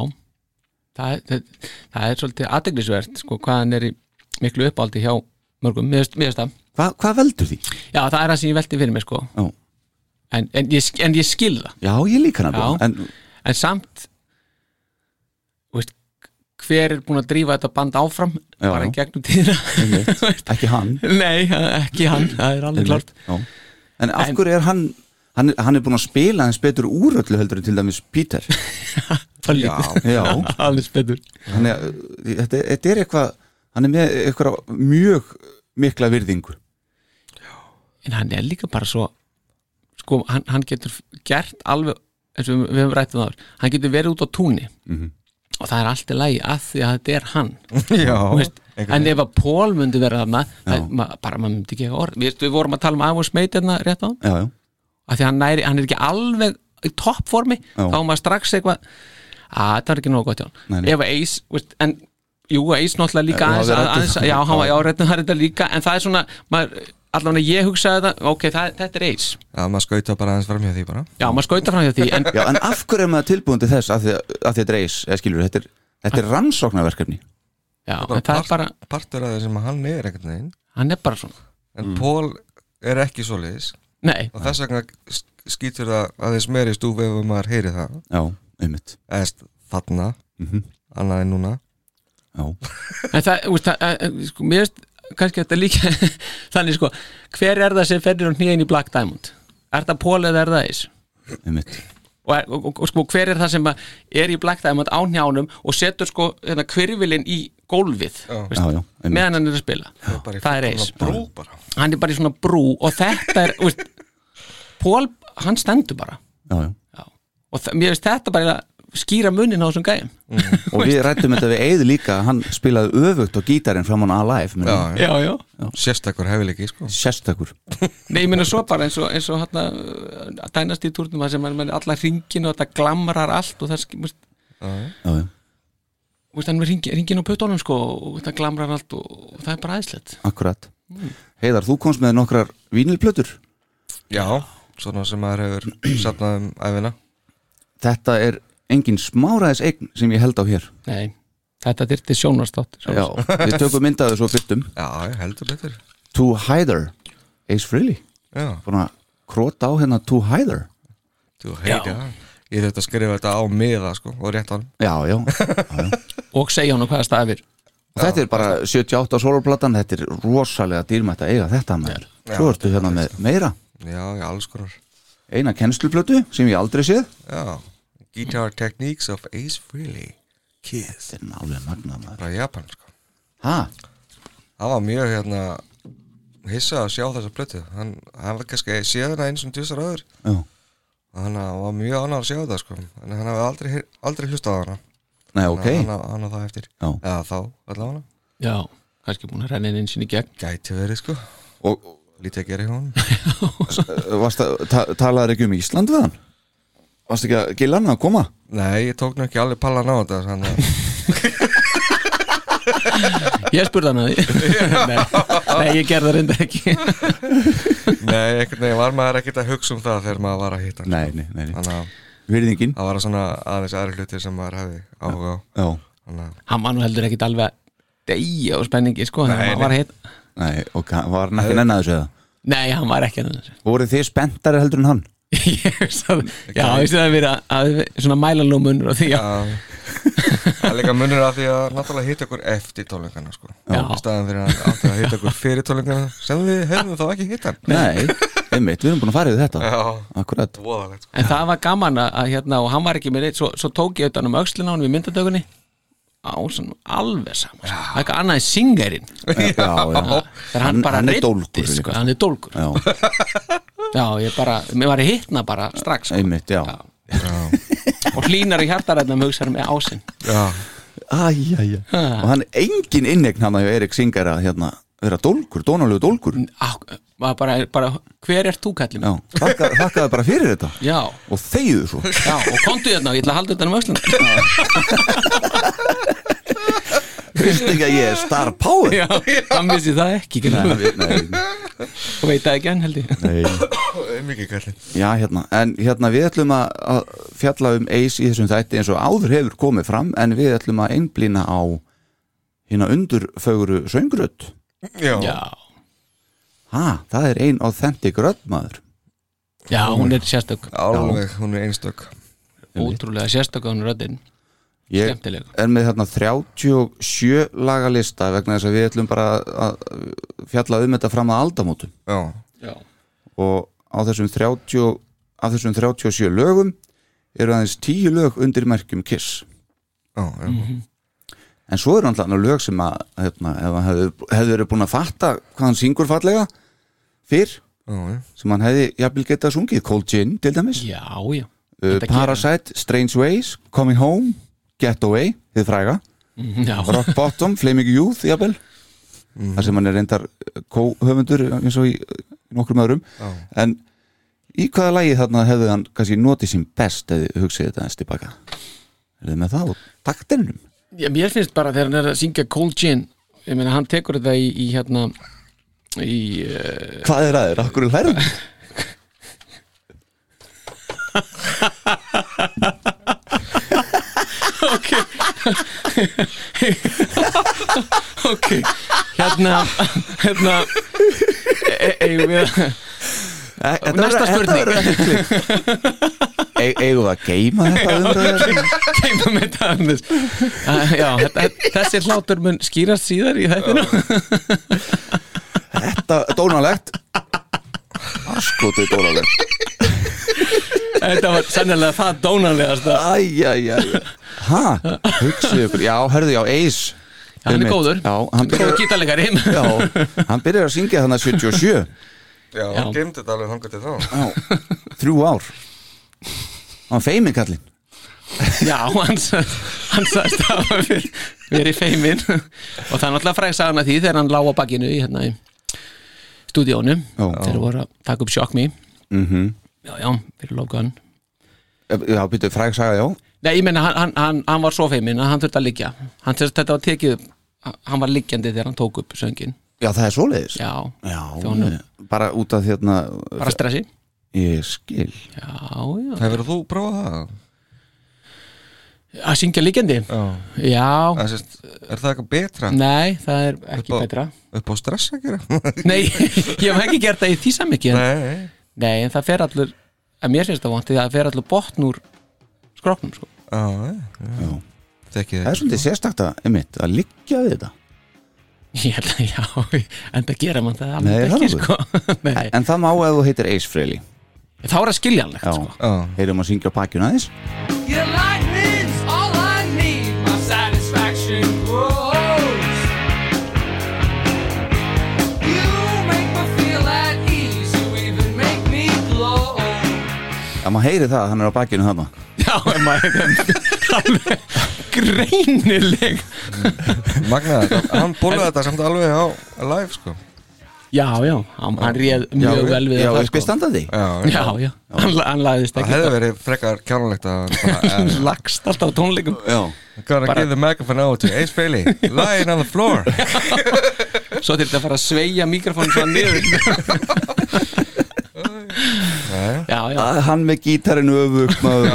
Speaker 6: Það, er- það, það er svolítið aðdeglisvert, sko, hvað hann er í miklu uppáldi hjá mörgum, mér finnst- mér finnst það.
Speaker 4: Hva, hvað veldur því?
Speaker 6: Já, það er það sem ég velti fyrir mig, sko,
Speaker 4: Já,
Speaker 6: en, en, ég, sk- en ég skil það.
Speaker 4: já ég líka hann
Speaker 6: Já.
Speaker 4: en,
Speaker 6: en samt þú veist, hver er búin að drífa þetta band áfram
Speaker 4: Já.
Speaker 6: bara í gegnum tíðina Þú veist,
Speaker 4: Ekki hann
Speaker 6: nei, ekki hann, það er alveg klart
Speaker 4: Já. En af
Speaker 6: En-
Speaker 4: hverju er hann Hann er, hann er búin að spila hans betur úr öllu heldur en til dæmis Peter
Speaker 6: já,
Speaker 4: Já.
Speaker 6: alveg spennur
Speaker 4: Þannig að uh, þetta, þetta er eitthvað Hann er með eitthvað mjög mikla virðingu
Speaker 6: en hann er líka bara svo sko, hann, hann getur gert alveg eins og við höfum rætt um það áður, hann getur verið út á túnni
Speaker 4: Mhm.
Speaker 6: og það er allt í lagi að því að þetta er hann
Speaker 5: já,
Speaker 6: Þú veist, en ef að Pól myndi vera þarna það,
Speaker 4: Já.
Speaker 6: ma, bara maður myndi ekki eiga orð við, við vorum að tala um Amos Meit hérna rétt á hann
Speaker 4: Já, já
Speaker 6: að því að hann, næri, hann er ekki alveg í toppformi,
Speaker 4: Já.
Speaker 6: þá er maður strax eitthvað að þetta var ekki nóg gott hjá
Speaker 4: Nei,
Speaker 6: hann
Speaker 4: nei.
Speaker 6: ef að Ace, veist, en jú, Ace náttúrulega líka
Speaker 4: Já,
Speaker 6: aðeins,
Speaker 4: við ræddum
Speaker 6: aðeins
Speaker 4: það.
Speaker 6: já, hann var áreitnum það þetta líka, en það er svona maður, allavega ég hugsaði þetta, ok, það, þetta er Ace
Speaker 5: að maður skauta bara aðeins fram hjá því bara
Speaker 6: já, maður skauta fram hjá því, en
Speaker 4: Já, en af hverju er maður tilbúin til þess að því að, að því að dreis, eða skilur, þetta er, þetta er rannsóknarverkefni
Speaker 6: já, en það er bara,
Speaker 5: partur af því sem hann er einhvern veginn
Speaker 6: hann er bara svona
Speaker 5: en Pól er ekki svoleiðis
Speaker 6: nei,
Speaker 5: og þess vegna sk- skýtur það aðeins meiri stúfi ef maður heyri það
Speaker 4: Já, einmitt
Speaker 5: eðst þarna annað en núna
Speaker 4: Já,
Speaker 6: en það, þú veist, það, eh, sko, mér veist kannski þetta líka, þannig sko hver er það sem ferðir á hnýðin í Black Diamond er það Pól eða er það Ace
Speaker 4: einmitt
Speaker 6: og, er- og, og, og sko, hver er það sem að er í Black Diamond á njánum og setur sko hérna, kvirfilinn í gólfið
Speaker 4: Já, já, einmitt
Speaker 6: meðan hann er að spila
Speaker 5: bara í
Speaker 6: það er
Speaker 5: fullkomna
Speaker 6: eis,
Speaker 5: brú bara
Speaker 6: hann er bara í svona brú og þetta er, veist, Pól hann stendur bara
Speaker 4: Já, já,
Speaker 6: Já. og þa- mér finnst þetta bara skýra munnin á þessum gæjum
Speaker 4: og við rættum þetta við Eið líka hann spilaði öfugt á gítarinn framan Alive meni,
Speaker 5: Já,
Speaker 6: Já, já
Speaker 5: sérstakur hefileiki sko.
Speaker 4: sérstakur
Speaker 6: Nei, ég meina svo bara eins og, eins og hérna dænast í turnum það sem mann er allar ringin og þetta glamrar allt og það sk- veist,
Speaker 4: já, já.
Speaker 6: veist, hann er með ringin, ringin á pötunum sko og þetta glamrar allt og, og það er bara æðislegt
Speaker 4: akkurat Heiðar, þú komst með nokkrar vínilplötur
Speaker 5: Já, svona sem maður hefur safnað um æfina
Speaker 4: þetta er engin smáraðis eign sem ég held á hér
Speaker 6: Nei, þetta dyrti sjónarstátt
Speaker 4: já, við tökum myndaðu svo fyrtum
Speaker 5: Já, ég heldur betur
Speaker 4: To Heider, Ace Frehley
Speaker 5: Já,
Speaker 4: búin að króta á hérna To Heider
Speaker 5: þú heiti það Ég þurfti að skrifa þetta á miða sko, og rétt á hann
Speaker 4: já, já, já, já.
Speaker 6: og segja hann hvaða stafir
Speaker 4: Og þetta er bara 78 soloplatan, þetta er rosalega dýrmætt að eiga þetta maður svo
Speaker 5: Já,
Speaker 4: ertu hérna með meira
Speaker 5: Já, já, alls konar
Speaker 4: eina kennsluplötu sem ég aldrei séð
Speaker 5: Já, Guitar Techniques of Ace Frehley Kiss
Speaker 4: þetta er nálega magnað maður
Speaker 5: Frá Japan sko
Speaker 4: ha,
Speaker 5: Það var mjög hérna hissa að sjá þessa plötu Hann, hann var kannski séðan að eins og tvisar öður
Speaker 4: já,
Speaker 5: Þannig að hann var mjög annað að sjá þetta sko En hann hafði aldrei, heyr- aldrei hlustað á hana
Speaker 4: nei ok
Speaker 5: Hann- Hann á- hann á það eftir
Speaker 4: Já.
Speaker 5: Eða þá allavega
Speaker 6: Já, kannski búin að renna inn eins og í gegn
Speaker 5: Gæti verið sko
Speaker 4: og
Speaker 5: Lítið að gera hjá hann
Speaker 4: uh, varst að, ta talaður ekki um Ísland við hann varst ekki að gila hann að koma
Speaker 5: Nei, ég tók nú ekki alveg pallan á þetta þannig að
Speaker 6: Ég spurði hann að því nei, nei, ég gerði það reyndar ekki
Speaker 5: Nei, einhvern veginn var maður ekkert að hugsa um það þegar maður var að hitta hann sko.
Speaker 4: nei, nei, nei, nei.
Speaker 5: Þannig að
Speaker 4: virðingin
Speaker 5: það var svona aðeins aðri hlutir sem maður hefði áhuga á
Speaker 4: já,
Speaker 5: Þannig að
Speaker 6: Hann var nú heldur ekkit alveg að deyja og spenningi sko nei,
Speaker 5: Nei,
Speaker 6: hann var heit...
Speaker 4: nei, ok, var hann ekki nennan þessu eða
Speaker 6: nei, hann var ekki að þessu
Speaker 4: voruð þið spenntari heldur en hann
Speaker 6: Ég veist að, já, ég veist að það verið að, að svona mælanló munur og því já,
Speaker 5: að- Það er líka munur að því að náttúrulega hitta okkur eftir tólingana sko
Speaker 6: Já.
Speaker 5: Í staðan fyrir að átti að hitta okkur fyrir tólingana sem við hefðum þá ekki hitt hann
Speaker 4: nei, einmitt, við erum búin að fara yfir þetta
Speaker 5: Já,
Speaker 4: akkurat,
Speaker 5: voðalegt sko
Speaker 6: En það var gaman að, að hérna og hann var ekki með neitt svo, svo tók ég auðvitað um öxlin á hann við myndadögunni á svona alveg saman sko. það er eitthvað annað en singerinn
Speaker 4: Eh, já, já
Speaker 6: þegar hann, bara
Speaker 4: hann er
Speaker 6: reiddist,
Speaker 4: dólgur
Speaker 6: sko,
Speaker 4: líka.
Speaker 6: hann er dólgur já.
Speaker 4: já,
Speaker 6: ég bara, mér var að hitna bara strax sko.
Speaker 4: einmitt, já
Speaker 6: og hlínar í hjartaræðnum hugsaður með ásinn
Speaker 5: Já,
Speaker 4: Æj, æj, æj Og hann er engin innegn hann að Erik Singer að hérna vera dólgur, dónalegu dólgur
Speaker 6: Á, var bara, bara, hver er þú kallið
Speaker 4: Já, þakka, þakkaði bara fyrir þetta
Speaker 6: já,
Speaker 4: Og þegiðu svo
Speaker 6: já, og komdu hérna ég ætla að halda utan um öxlin
Speaker 4: Veist ekki að ég er star power
Speaker 6: já, hann vissi það ekki
Speaker 4: Nei,
Speaker 6: greinilega.
Speaker 4: við- nei,
Speaker 6: og veit það ekki enn held ég
Speaker 4: nei
Speaker 5: mikið kallinn
Speaker 4: Já, hérna, en hérna við ætlum að- að fjalla um Ace í þessum þætti eins og áður hefur komið fram en við ætlum að einblýna á hérna undurföguru söngrödd
Speaker 5: Já,
Speaker 6: já,
Speaker 4: Ha, það er ein authentic rödd maður
Speaker 6: já hún er sérstök
Speaker 5: alveg, hún er einstök
Speaker 6: ótrúlega sérstök á hún röddinn
Speaker 4: Ég
Speaker 6: Skemmtileg.
Speaker 4: er með hérna þarna 37 lagalista vegna þess að við ætlum bara að fjalla um þetta fram að aldamótum
Speaker 5: Já,
Speaker 6: já,
Speaker 4: og á þessum 30 af þessum 37 lögum eru aðeins 10 lög undir merkjum Kiss
Speaker 5: já, já
Speaker 6: Mm.
Speaker 4: en svo eru alltaf lög sem að hérna, ef hann hefði, hefði verið búin að fatta hvað hann syngur fallega fyrr
Speaker 5: Já, já.
Speaker 4: sem hann hefði jafnvel getað sungið Cold Gin til dæmis,
Speaker 6: já, já.
Speaker 4: uh,
Speaker 6: Þetta gerir hann.
Speaker 4: Parasite, Strange Ways Coming Home, Get Away þið fræga
Speaker 6: Já,
Speaker 4: Rock Bottom, Flaming Youth, jafnvel þar sem hann er reyndar uh, kóhöfundur eins og í uh, nokkrum öðrum en í hvaða lagi þarna hefði hann kannski notið sín best eða hugsið þetta eins tilbaka er þið með það og taktinum
Speaker 6: já, mér finnst bara þegar hann er að syngja Cold Gin ég meina hann tekur þetta í, í hérna í, uh,
Speaker 4: hvað er aðeir, akkur er hærðum
Speaker 6: ok ok hérna hérna e- eigum við að- Næsta spurning.
Speaker 4: eigum við að geima þetta um umræðu?
Speaker 6: kemur með þetta aðeins. Æ, já, þetta- þetta- þessi hlátur mun skýrast síðar í þættinu
Speaker 4: þetta er dónalegt askotu dónalegt
Speaker 6: þetta var sennilega það dónalegasta
Speaker 4: æjæjæ ha, hugsið ykkur, já, hörðu, já, Ace
Speaker 6: Já, hann er
Speaker 4: Einmitt.
Speaker 6: góður.
Speaker 4: já, hann
Speaker 6: góð
Speaker 4: byrjar,
Speaker 6: gítalegari
Speaker 4: já, hann byrjar að syngja þannig 77
Speaker 5: Já,
Speaker 6: Já.
Speaker 5: hann gemdi þetta alveg þangar til þá
Speaker 4: já, þrjú ár hann feimir kallinn
Speaker 6: Já, hann, sa- hann sagðist hafa ver- verið feiminn og það er náttúrulega fræg sagan að því þegar hann lá á bakinu í hérna í stúdíónu þegar voru að taka upp Shock Me
Speaker 4: Mhm.
Speaker 6: Já, já, fyrir Logan
Speaker 4: Já, býttu, fræg saga, já
Speaker 6: Nei, ég meina, hann, hann, hann, hann var svo feiminn að hann þurfti að liggja hann þess að þetta var tekið upp, hann var liggjandi þegar hann tók upp söngin
Speaker 4: Já, það er svoleiðis
Speaker 6: Já,
Speaker 4: Já,
Speaker 6: Þjónum.
Speaker 4: bara út af því að
Speaker 6: bara stressi
Speaker 4: Ég skil
Speaker 6: Já, já,
Speaker 5: Hefur þú prófað það?
Speaker 6: að syngja liggjandi
Speaker 5: Já
Speaker 6: Já,
Speaker 5: Það sést, Er það eitthvað betra
Speaker 6: nei, það er ekki
Speaker 5: Upp á-
Speaker 6: betra
Speaker 5: upp á stress að gera?
Speaker 6: Nei, ég hef ekki gert það í því samvikið
Speaker 5: Nei,
Speaker 6: Nei, en það fer allur að mér finnst það vant því að það fer allur botn úr skrokknum sko.
Speaker 5: já, já, já. Þekki
Speaker 4: Það er
Speaker 5: þig
Speaker 4: svolítið sérstakt að, einmitt, að liggja við þetta
Speaker 6: Ég held að já, en það gera mann það
Speaker 4: Nei,
Speaker 6: alveg
Speaker 4: það
Speaker 6: ekki
Speaker 4: er
Speaker 6: sko. Nei,
Speaker 4: En það má ef þú heitir Ace Frehley
Speaker 6: þá er það skiljanlegt
Speaker 4: Já,
Speaker 6: sko.
Speaker 5: Já,
Speaker 4: heyrum að syngja pakkjun aðeins
Speaker 7: Your lightning's all I need. My satisfaction grows. You make me feel at ease. You even make me glow.
Speaker 4: Það maður heyri það, hann er á bakkinu þarna
Speaker 6: Já, en maður alveg greinileg
Speaker 5: Magna, hann bólaði þetta samt alveg á live sko
Speaker 6: Já, já, hann, hann réð
Speaker 4: Já,
Speaker 6: mjög vel við sko.
Speaker 4: já,
Speaker 6: það
Speaker 4: uppi standandi
Speaker 5: Já,
Speaker 6: Já, já, hann, la- hann lagðist
Speaker 5: Það
Speaker 6: ekki
Speaker 5: hefði verið frekar kjánulegt að bara,
Speaker 6: Hann lagst alltaf á tónleikum
Speaker 4: Já,
Speaker 5: eh, Gonna give the microphone out to Ace Bailey Lying on the floor
Speaker 6: Svo þurfti að fara að sveigja mikrofónum svo niður
Speaker 5: Nei,
Speaker 6: Já, já,
Speaker 4: Að hann með gítarinn öfugt maður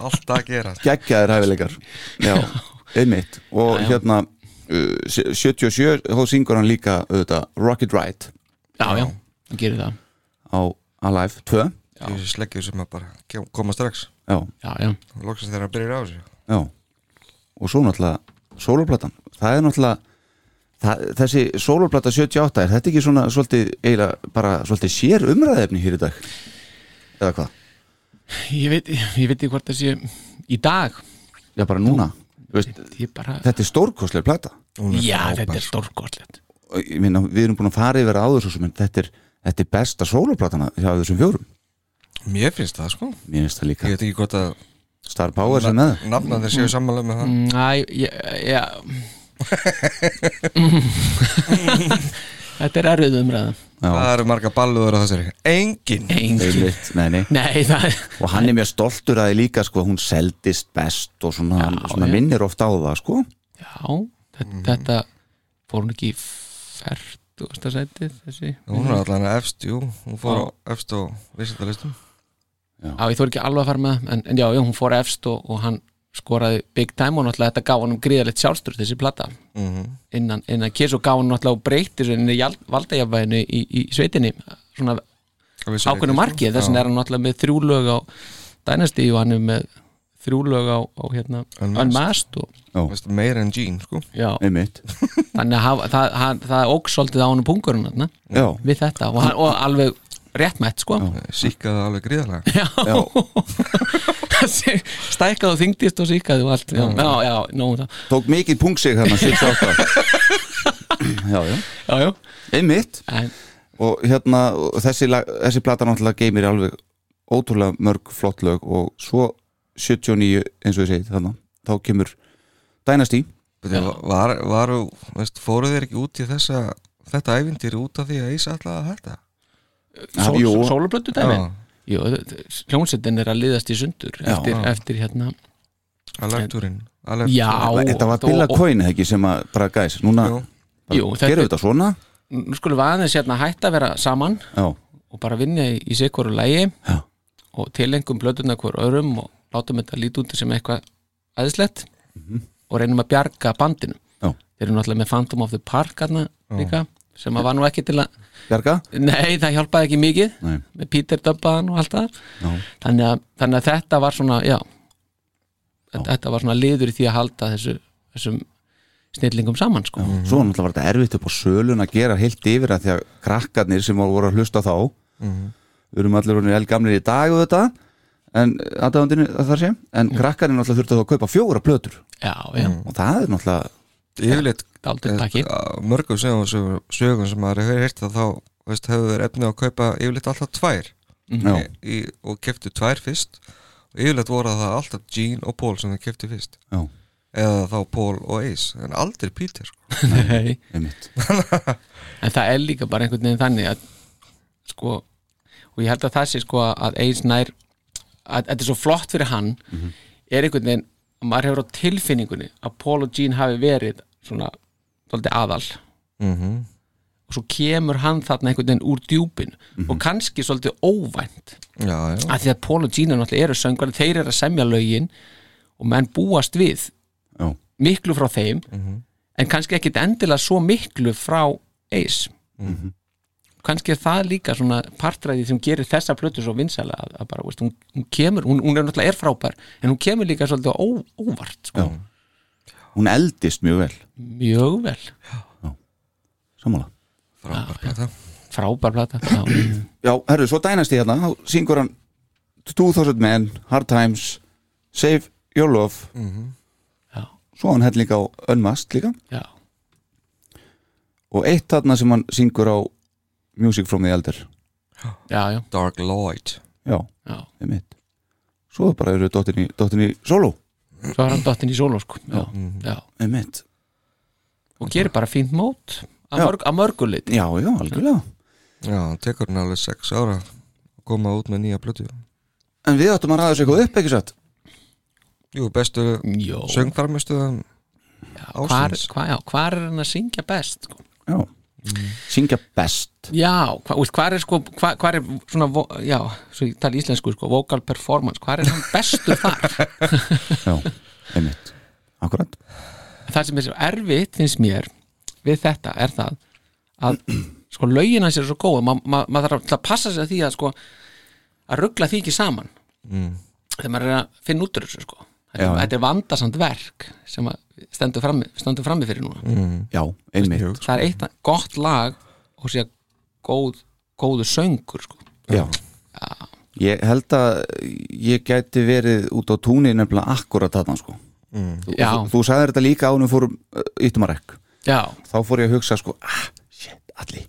Speaker 5: Allt að gera
Speaker 4: Geggjaðir hæfileikar Já, einmitt Og
Speaker 6: Já, já.
Speaker 4: hérna, uh, 77 þá syngur hann líka, auðvitað, Rocket Ride
Speaker 6: já, já, hann gerir það
Speaker 4: á Alive 2
Speaker 5: Þessi sleggjur sem að bara kem- koma strax
Speaker 4: Já,
Speaker 6: Já, já,
Speaker 5: Loksins þegar hann byrjar á þessu
Speaker 4: já Og svo náttúrulega sóloplatan Það er náttúrulega það, Þessi sóloplata 78 er þetta ekki svona svolítið, eiginlega bara svolítið sér umræðefni hér í dag Eða hvað?
Speaker 6: ég veit, ég veit ekki hvort það sé í dag
Speaker 4: Já, bara núna Þú veist,
Speaker 6: Ég bara,
Speaker 4: Þetta er stórkostlega plata
Speaker 6: já, þetta er stórkostlegt
Speaker 4: Og ég meina, Við erum búin að fara yfir áður svo sem en þetta er, þetta er besta sóloplatana hjá þessum fjórum
Speaker 5: Mér finnst það sko
Speaker 4: Mér finnst það líka
Speaker 5: Ég veit ekki hvort að
Speaker 4: Star Power sem með það
Speaker 5: nafnandir
Speaker 6: Mm.
Speaker 5: séu sammála með það
Speaker 6: Næ, já Þetta er erfið umræða
Speaker 5: Það eru marga balluður á þessari Engin
Speaker 6: Engin
Speaker 4: Einmitt, nei, nei.
Speaker 6: Nei, það er
Speaker 4: Og hann er mjög stoltur að þið líka sko, hún seldist best og svona,
Speaker 6: Já,
Speaker 4: svona
Speaker 6: já.
Speaker 4: minnir oft á það sko.
Speaker 6: Já, þetta, þetta fór hún ekki í fertugasta sætið þessi
Speaker 5: Hún er allan efst, jú Hún fór á efst og vísindalistum
Speaker 6: Já, ég þór ekki alveg að fara með það, en, en já, já, hún fór efst og, og hann skoraði big time og náttúrulega þetta gaf hann um gríðalegt sjálfstur þessi plata innan, innan kiss og gaf hann náttúrulega og breyti valdajafvæðinu í, í sveitinni svona ákveðnu marki þess vegna er hann náttúrulega með þrjú lög á Dynasty og hann er með þrjú lög á, á hérna
Speaker 5: Unmasked.
Speaker 6: Unmasked og,
Speaker 5: Veist, meira en Jean sko
Speaker 6: já,
Speaker 4: Einmitt.
Speaker 6: þannig að hafa, það, það, það óg svolítið á hann pungurinn hérna,
Speaker 4: Já,
Speaker 6: við þetta og, hann, og alveg réttmætt sko
Speaker 5: Sýkkaði alveg gríðarlega
Speaker 6: já, stækkað og þyngdist og síkað og allt já, já, já, nóg um það.
Speaker 4: tók mikið pungsig hérna 68 Já, já,
Speaker 6: já, já.
Speaker 4: einmitt
Speaker 6: En,
Speaker 4: og hérna, og þessi, lag, þessi plata náttúrulega geymir alveg ótrúlega mörg flott lög og svo 79 eins og ég segi þannig, þá kemur Dynasty
Speaker 5: Var, var, varu, veist, fóru þeir ekki út í þessa þetta ævindir út af því að Ís alltaf að hætta
Speaker 4: Ah,
Speaker 6: sól,
Speaker 4: jú.
Speaker 6: sólublöndu dæmi Jú, hljónsettin er að liðast í sundur eftir,
Speaker 5: já.
Speaker 6: eftir hérna
Speaker 5: Alerturinn
Speaker 6: Já,
Speaker 4: Þetta var
Speaker 6: og-
Speaker 4: Billa
Speaker 6: og-
Speaker 4: Coyne ekki sem að bara gæs, núna
Speaker 5: Jú.
Speaker 4: bara
Speaker 6: Jú, þetta-
Speaker 4: gerum við þetta svona
Speaker 6: nú skulum við aðeins hérna hætta að vera saman
Speaker 4: Já,
Speaker 6: og bara vinna í, í sig hverju lægi
Speaker 4: Já.
Speaker 6: og tilengum blöðuna hver öðrum og látum þetta líti út sem eitthvað aðeinslegt og reynum að bjarga bandinu
Speaker 4: Mhm. Já.
Speaker 6: þeir eru náttúrulega með Phantom of the Park hérna líka sem að var nú ekki til að
Speaker 4: Bjarga?
Speaker 6: nei það hjálpaði ekki mikið
Speaker 4: Nei,
Speaker 6: með Peter Dubban og allt það
Speaker 4: já,
Speaker 6: þannig að, þannig að þetta var svona já, þetta, þetta var svona liður í því að halda þessu, þessum snillingum saman sko
Speaker 4: já. Svo var náttúrulega var þetta erfitt upp á sölun að gera heilt yfir að því að krakkarnir sem voru að hlusta þá við erum allir orðinir elgamlir í dag og þetta en aðdáðandinu þar sé en krakkarnir náttúrulega þurftu þá að kaupa fjóra plötur
Speaker 6: já, já,
Speaker 4: og það er náttúrulega
Speaker 5: Yfirleitt
Speaker 6: dálítið takki
Speaker 5: eh, mörgum sögum, sögum, sögum sem maður hefur heyrt að þá veist, hefur þeir efni á að kaupa yfirleitt alltaf tvær
Speaker 4: já,
Speaker 5: í, og keftu tvær fyrst yfirleitt voru það alltaf Gene og Paul sem þeir kefti fyrst
Speaker 4: já,
Speaker 5: eða þá Paul og Ace, en aldrei Peter sko.
Speaker 6: Nei,
Speaker 4: einmitt
Speaker 6: en það er líka bara einhvern veginn þannig að sko, og ég held að það sé sko að Ace nær að þetta er svo flott fyrir hann er einhvern veginn að maður hefur á tilfinningunni að Paul og Gene hafi verið svona, þóldi aðal
Speaker 5: Mhm.
Speaker 6: og svo kemur hann þarna einhvern veginn úr djúpin og kannski svolítið óvænt
Speaker 5: já, já,
Speaker 6: að því að Paul og Gina náttúrulega eru söngvar þeir eru að semja lögin og menn búast við
Speaker 4: já, Mhm.
Speaker 6: miklu frá þeim en kannski ekkit endilega svo miklu frá Ace
Speaker 4: Mhm.
Speaker 6: kannski er það líka svona partræði sem gerir þessa plötu svo vinsæla að, að bara, veist, hún, hún kemur, hún, hún er náttúrulega er frábær en hún kemur líka svolítið á ó, óvart sko.
Speaker 4: hún eldist mjög vel
Speaker 6: mjög vel,
Speaker 4: sammála
Speaker 5: frábær plata
Speaker 6: frábær plata já,
Speaker 4: já, herru, svo dænast ég hérna, þá syngur hann 2000 men, hard times save your love
Speaker 6: já,
Speaker 4: svo hann hellinga á Unmast líka
Speaker 6: já,
Speaker 4: og eitt þarna sem hann syngur á Music from the Elder
Speaker 6: já, já,
Speaker 5: Dark Lloyd
Speaker 4: já,
Speaker 6: já.
Speaker 4: einmitt svo bara eru dottin í, dottin í solo
Speaker 6: svo er hann dottinn í solo sko. já,
Speaker 4: Mhm.
Speaker 6: já.
Speaker 4: einmitt,
Speaker 6: og gerir bara fínt mót að,
Speaker 4: Já.
Speaker 6: mörg, að mörgulit
Speaker 4: já, já, algjörlega
Speaker 5: já, hann tekur hann alveg 6 ára að koma út með nýja plötu
Speaker 4: en við áttum að ræða þessu eitthvað upp, ekki satt
Speaker 5: jú, bestu
Speaker 6: Jó,
Speaker 5: söngfarmistuðan
Speaker 6: hvar,
Speaker 5: ársins.
Speaker 6: hvar, já, hvar er hann að syngja best sko?
Speaker 4: já, syngja best
Speaker 6: Já, hva, úst, hvar er sko hvar, hvar er svona, vo- já, svo ég tala íslensku sko, vocal performance, hvar er hann bestur þar?
Speaker 4: já, einmitt, akkurat
Speaker 6: Það sem er svo erfitt finnst mér við þetta er það að sko lögin hans er svo góð ma, ma, maður þarf að passa sig að því að sko að ruggla því ekki saman mm. þegar maður er að finna út úr þessu sko þetta,
Speaker 4: Já.
Speaker 6: þetta er vandasamt verk sem að stendur frammi, stendur frammi fyrir núna mm.
Speaker 4: já, einmitt,
Speaker 6: það er eitt gott lag og sé að góð, góðu söngur sko
Speaker 4: já ég held að ég gæti verið út á túni nefnilega akkurat þarna sko þú,
Speaker 6: Já.
Speaker 4: þú, þú sagðir þetta líka ánum fórum uh, yttum að rekk
Speaker 6: Já,
Speaker 4: þá fór ég að hugsa sko ah, shit, allir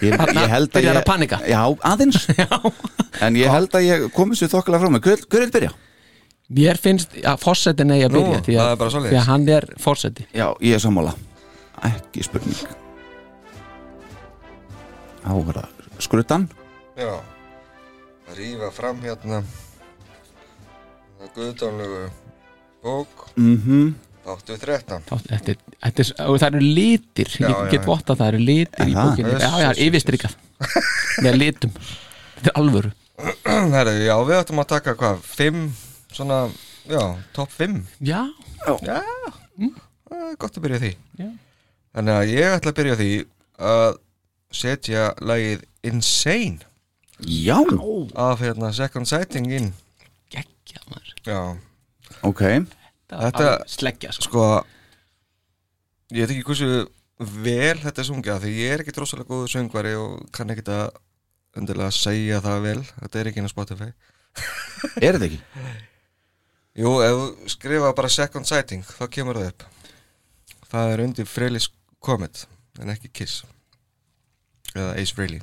Speaker 4: ég,
Speaker 6: Þarna byrjar að panika.
Speaker 4: já, aðeins en ég held að ég komið sér þokkilega frá mig hver, hver vil byrja?
Speaker 6: Mér finnst að fórsetin eigi að
Speaker 5: Nú,
Speaker 6: byrja því,
Speaker 5: það er
Speaker 6: að,
Speaker 5: bara svoleiðis.
Speaker 6: því að hann er fórseti
Speaker 4: já, ég er sammála ekki spurning þá verða skrutan
Speaker 5: já rífa fram hérna það guðdánlegu bók mm -hmm. 813
Speaker 6: Þá- þetta, er- þetta, er- og það eru litir
Speaker 5: Já,
Speaker 6: ég
Speaker 5: já,
Speaker 6: get
Speaker 5: já.
Speaker 6: votta það eru litir í
Speaker 4: það?
Speaker 6: bókinni já, já, yfirstrykað með litum, þetta er alvöru
Speaker 5: Herru, já, við ættum að taka hvað, fimm, svona, já, topp fimm.
Speaker 6: já,
Speaker 5: Já, mm. gott að byrja á því.
Speaker 6: Já.
Speaker 5: Þannig að ég ætla að byrja á því að setja lagið Insane
Speaker 4: já,
Speaker 5: af hérna Second Sighting inn.
Speaker 6: geggja maður
Speaker 5: Já,
Speaker 4: ok
Speaker 6: þetta
Speaker 5: Þetta-
Speaker 6: er sleggja sko.
Speaker 5: sko, ég veit ekki hversu vel þetta er sungja, því ég er ekki drossalega góðu söngvari og kann ekki að undirlega segja það vel, þetta er ekki inn á Spotify.
Speaker 4: er þetta ekki?
Speaker 5: Jú, ef þú skrifa bara second sighting, þá kemur það upp. Það er undir Freylis Comet, en ekki Kiss. Eða Ace Frehley.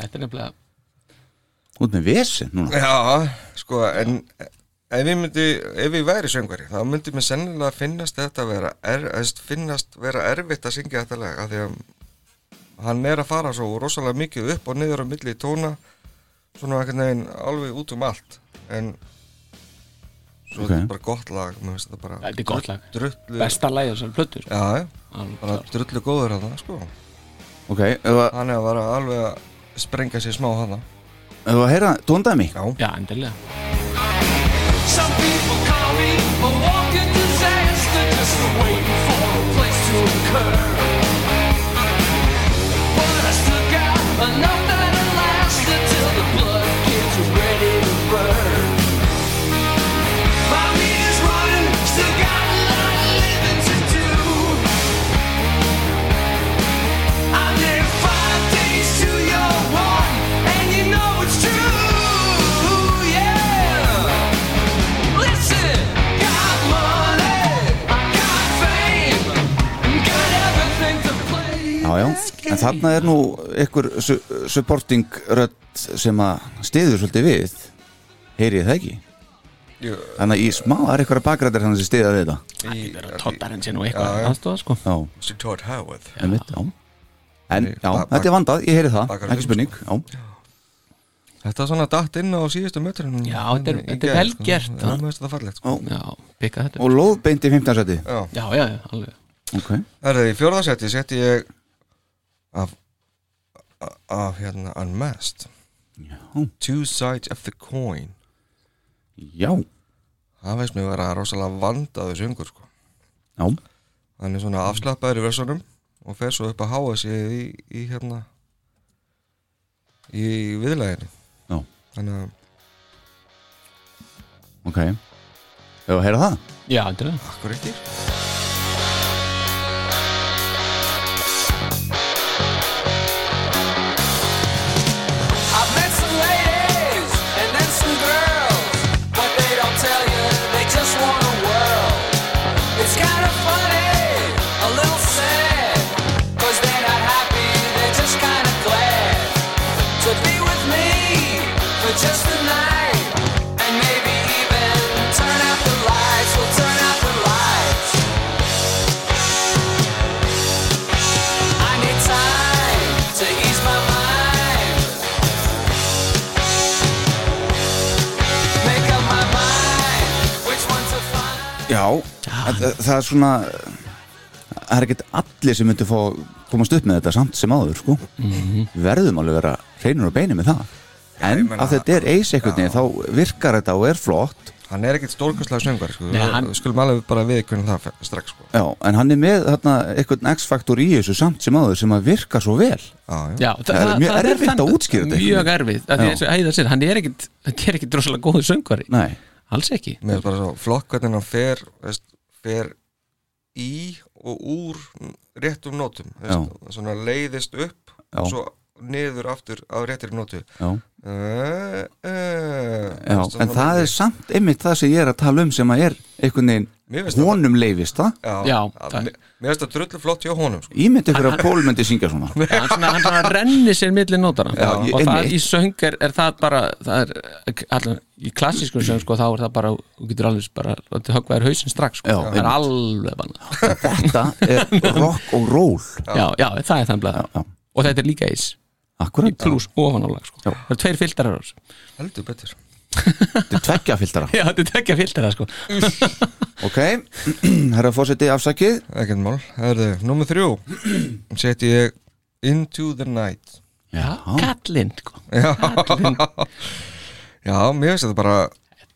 Speaker 6: þetta er nefnilega,
Speaker 4: út með vesen núna
Speaker 5: Já, sko, en ef ég myndi, ef ég væri söngvari, þá myndi mér sennilega finnast þetta vera, er, eðst, finnast vera erfitt að syngja þetta lag, af því að hann er að fara svo rosalega mikið upp og niður á milli tóna, svona einhvern veginn alveg út um allt, en svo
Speaker 4: Ok.
Speaker 5: þetta er bara gott lag, mér finnst þetta bara
Speaker 6: þetta er gott lag
Speaker 5: drullu
Speaker 6: besta lagi þessar plötu sko.
Speaker 5: Já, já,
Speaker 6: Alveg
Speaker 5: bara
Speaker 6: klárt.
Speaker 5: drullu góður hana, sko
Speaker 4: ok, ef að-
Speaker 5: Hann er að vera alveg að sprengja sér smá hana
Speaker 4: ef að heyra tóndæmi
Speaker 6: já, endilega
Speaker 7: Some people call me a walking disaster, just waiting for a place to occur. But I stuck out enough that it lasted till the blood gets ready to burn. My meter's running, still got a lot of living to do. I live five days to your one, and you know it's true, yeah. Listen, got money, got fame, got everything to play.
Speaker 4: já, já, en þarna er nú ykkur su supporting rödd sem að stiður svolítið við heyri ég það ekki Þannig að í smá, það er eitthvað bakrættir hann sem stiða við þetta
Speaker 5: í,
Speaker 6: vera tottarinn sinn og eitthvað aðstofa sko
Speaker 4: Já,
Speaker 5: Sir Todd Howard
Speaker 4: en já En
Speaker 5: Nei,
Speaker 4: já,
Speaker 5: bak-
Speaker 4: þetta er vandað, ég heyri það,
Speaker 5: bakaragrunn,
Speaker 4: ekki spurning Já,
Speaker 5: Þetta er svona datt inn á síðustu mötrunum
Speaker 6: Já, þetta er- þetta er vel gert,
Speaker 5: Það
Speaker 6: það.
Speaker 5: er mjög þetta fallegt sko.
Speaker 6: já, pikka þetta upp.
Speaker 4: og lóðbeint í 15 seti
Speaker 5: Já,
Speaker 6: já, já, já, alveg
Speaker 4: Ok,
Speaker 5: það er í fjórðasetti setti ég af af- af hérna Unmasked
Speaker 4: já,
Speaker 5: Two Sides of the Coin
Speaker 4: já,
Speaker 5: Það veist mér vera rosalega vandaðu söngur sko.
Speaker 4: já
Speaker 5: Hann er svona afslappaður í versunum og fer svo upp að háa sig í, í hérna í viðlæðinni
Speaker 4: Já.
Speaker 5: Þannig að
Speaker 4: Ok Hefur að heyra það?
Speaker 6: já, endilega,
Speaker 5: akkur ekki
Speaker 1: I've met some ladies and then some girls, but they don't tell you they just want a world. It's kind of funny, a little sad, cause they're not happy, they're just kind of glad to be with me for just the night, and maybe even turn out the lights. We'll turn out the lights. I need time to ease my mind. Make up my mind which one to find.
Speaker 4: Já, það, það er svona Það er ekkert allir sem myndi fá að komast upp með þetta samt sem áður sko. verðum alveg vera hreinur og beinu með það en
Speaker 5: ég meina-
Speaker 4: að þetta er eis einhvern veginn þá virkar þetta og er flott
Speaker 5: Hann er ekkert stórkastlega söngar sko.
Speaker 6: Nei, hann-
Speaker 5: Við skulum alveg bara viðkunna það fe- strax sko.
Speaker 4: já, en hann er með þarna, einhvern X-faktor í þessu samt sem áður sem að virka svo vel
Speaker 5: Já, já.
Speaker 6: já,
Speaker 4: Það er mjög erfitt að
Speaker 6: þannig-
Speaker 4: útskýra þetta einhvern
Speaker 6: mjög
Speaker 4: veginn.
Speaker 6: erfitt, af því
Speaker 4: Já.
Speaker 6: eins og Heiðar sér, hann er ekkit hann er ekkit rosalega góðu söngvari,
Speaker 4: Nei,
Speaker 6: alls ekki
Speaker 5: Mér er bara svo flott hvernig hann fer veist, fer í og úr réttum nótum veist, svona leiðist upp
Speaker 4: Já.
Speaker 5: og svo niður aftur á réttir nótu
Speaker 4: já,
Speaker 5: uh, uh,
Speaker 4: já. en það er samt einmitt það sem ég er að tala um sem að er einhvern
Speaker 5: Mér
Speaker 4: veginn
Speaker 5: finnst það-
Speaker 4: honum leifist það
Speaker 5: Já,
Speaker 6: Já,
Speaker 5: að-
Speaker 6: það-
Speaker 5: mér mér finnst það drullu flott hjá honum sko.
Speaker 4: ímynd ykkur að Pól myndi syngja svona
Speaker 6: Já, hann svona, hann svona renni sér milli nótana
Speaker 4: Já,
Speaker 6: og
Speaker 4: ég-
Speaker 6: það
Speaker 4: einmitt.
Speaker 6: í söng er, er það bara það er, allan, í klassískum söng sko, þá er það bara, þú getur alveg bara látið höggva þér hausinn strax, sko.
Speaker 4: Já,
Speaker 6: það er alveg bannað,
Speaker 4: þetta er rock og roll
Speaker 6: já, já, það er þannig
Speaker 4: já.
Speaker 6: og þetta er líka eins í
Speaker 4: akkurat,
Speaker 6: pluss ofanálag sko. það eru tveir filtarar á þessu
Speaker 5: heldur betur
Speaker 4: þetta er tveggjafiltara
Speaker 6: já, þetta er ekki að filtera sko
Speaker 4: Ok, herra fórseti afsakið
Speaker 5: ekkert mál, herðu, nummer þrjú seti ég Into the Night
Speaker 4: Já,
Speaker 6: kallinn, sko
Speaker 5: Já, já mér finnst þetta bara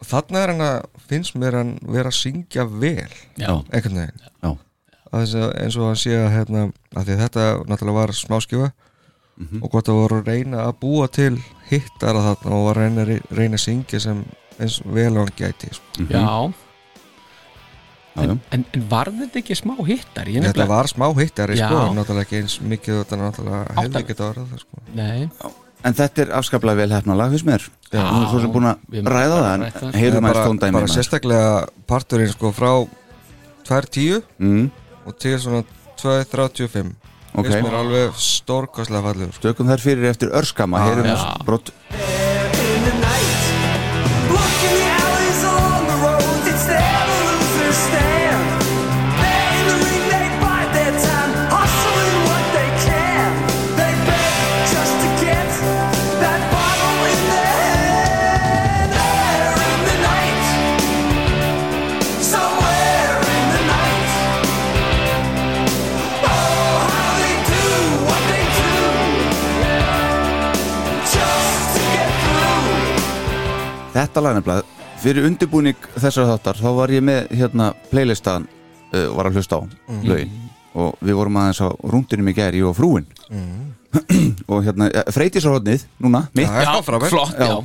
Speaker 5: þarna er hann að finnst mér hann vera að syngja vel
Speaker 6: já,
Speaker 5: einhvern veginn
Speaker 4: já,
Speaker 5: Að þess að- eins og hann sé að, hérna, að því að þetta náttúrulega var smáskjöfa
Speaker 4: Mhm.
Speaker 5: og gott að voru að reyna að búa til hittara þarna og að reyna, reyna að syngja sem eins vel og hann gæti sko.
Speaker 6: já.
Speaker 4: já, já.
Speaker 6: En, en var þetta ekki smá hittar ég
Speaker 5: þetta var smá hittari
Speaker 6: Já.
Speaker 5: sko, en náttúrulega ekki eins mikið og þetta náttúrulega hefði
Speaker 6: Áttalega.
Speaker 5: getað orðað það sko.
Speaker 6: nei,
Speaker 4: En þetta er afskaplega vel hefna lag, finnst mér Nú er svo sem búin að
Speaker 6: Við erum
Speaker 4: ræða það
Speaker 6: bara að ræða það.
Speaker 4: en heyrum
Speaker 5: bara,
Speaker 4: aðeins tóndæmi
Speaker 5: bara sérstaklega parturinn sko, frá 2.10
Speaker 4: mm,
Speaker 5: og til svona 2.35
Speaker 4: Ok,
Speaker 5: finnst mér alveg stórkostlega fallur sko.
Speaker 4: stökum þær fyrir eftir örskama ah, Heyrum
Speaker 6: já.
Speaker 4: þess brott
Speaker 1: in the night. Blocking the alleys along the roads, it's there the losers stand. They're in the ring, they bide their time, hustling what they can. They beg just to get that bottle in their hand. There in the night, somewhere in the night. Oh, how they do what they do, just to get through.
Speaker 4: Þetta lag nefnilega, fyrir undirbúning þessar þáttar þá var ég með hérna playlistan uh, var að hlusta á
Speaker 5: Mhm.
Speaker 4: lögin og við vorum aðeins á rúndinum í gær ég og frúin
Speaker 5: Mhm.
Speaker 4: og hérna, ja, freytisarhóðnið núna, mitt
Speaker 5: Já, frábært.
Speaker 6: flott, já,
Speaker 4: Já.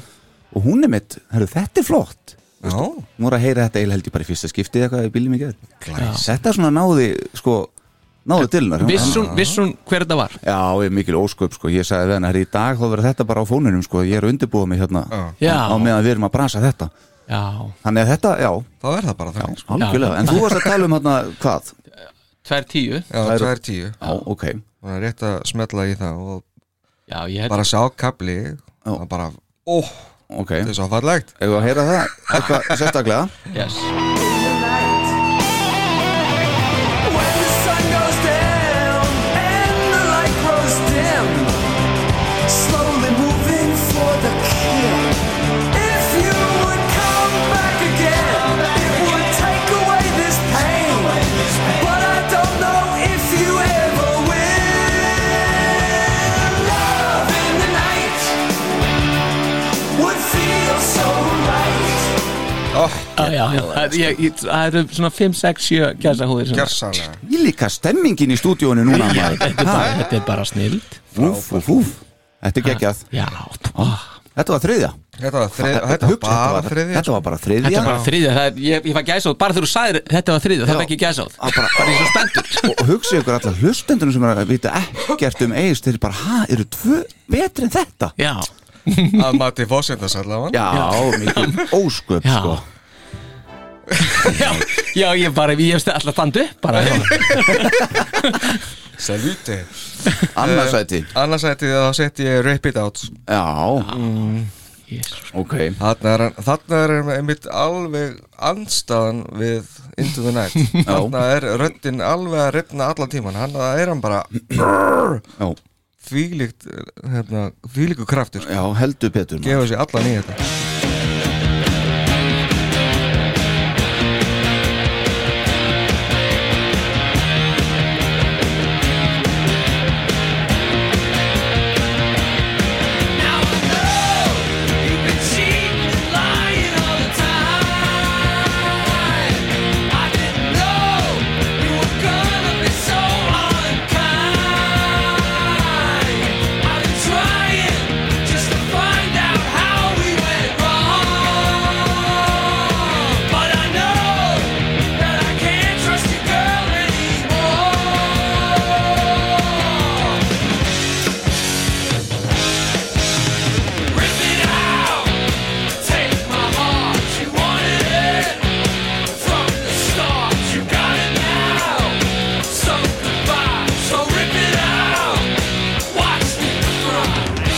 Speaker 4: og hún er mitt, herru, þetta er flott
Speaker 5: Já,
Speaker 4: Nú er að heyra þetta eiginlega held ég bara í fyrsta skipti eitthvað í bílum í gerð
Speaker 5: Glæs.
Speaker 4: Þetta svona náði, sko, náði til hennar
Speaker 6: Viss hún, viss hún hver þetta var
Speaker 4: Já, ég er mikil ósköp, sko, ég sagði við hennar í dag þá verður þetta bara á fónunum, sko, ég er að undirbúa mig hérna
Speaker 6: Já.
Speaker 4: á meðan við erum að brasa þetta
Speaker 6: já,
Speaker 4: Þannig að þetta, já,
Speaker 5: þá er það bara þannig sko.
Speaker 4: algjörlega En þú varst að tala um hérna, hvað?
Speaker 6: tvær tíu
Speaker 5: Já,
Speaker 4: Það eru-
Speaker 5: 2.10
Speaker 4: Já, ok,
Speaker 5: Hún er rétt að smetla í það og
Speaker 6: já, ég held
Speaker 5: bara sá kapli og bara, ó,
Speaker 4: ok
Speaker 5: þetta er svo fallegt
Speaker 4: Ef við að heyra það, eitthvað sérstaklega
Speaker 6: yes.
Speaker 1: When the sun goes down and the light grows dim, slowly moving for the kill. If you would come back again, it would take away this pain. But I don't know if you ever will. Love in the night would feel so right.
Speaker 6: ah, já, já, það, ég, ég, það eru svona 5-6-7 gæsa húðir
Speaker 5: gersanlega
Speaker 4: Ég líka stemmingin í stúdíónu núna maður.
Speaker 6: þetta er bara snild
Speaker 4: Úff, úff, úff Þetta er geggjað
Speaker 6: já, ah.
Speaker 4: Þetta var þriðja
Speaker 5: þetta var þrið- þetta var
Speaker 4: hugsa, þetta
Speaker 5: bara
Speaker 4: var-
Speaker 5: þriðja
Speaker 4: Þetta var bara
Speaker 6: þetta
Speaker 4: þriðja
Speaker 6: er bara þriðja það er, ég, ég fæ gæsa bara þegar þú sagðir þetta var þriðja, það
Speaker 4: Já. Ah.
Speaker 6: er ekki gæsa
Speaker 4: Á, bara-
Speaker 6: bara eins og stendur
Speaker 4: Og hugsið ykkur allar hlustendunum sem er að vita ekkert um eigist Þeir eru bara, ha, eru tvö betri en þetta?
Speaker 6: já,
Speaker 5: að mati fósendas allavega
Speaker 4: Já, mikið ósköp
Speaker 6: Já.
Speaker 4: sko
Speaker 6: já, já, ég bara ég hef alltaf standu bara,
Speaker 5: Salute
Speaker 4: Annarsæti
Speaker 5: annars ætti það þá setti ég Rape It Out
Speaker 4: Já,
Speaker 6: Mm, Jesus.
Speaker 4: ok
Speaker 5: Þarna er, hann- þarna er hann einmitt alveg andstaðan við Into the Night Þarna er röddin alveg að reyna allan tíman Hann það er hann bara
Speaker 4: Já,
Speaker 5: þvílíkt hérna, þvílíku kraftur
Speaker 4: já heldur betur maður.
Speaker 5: gefa sér allan í þetta
Speaker 1: Rip it out! Take my heart, you wanted it From the start, you got it now So goodbye, so rip it out Watch me cry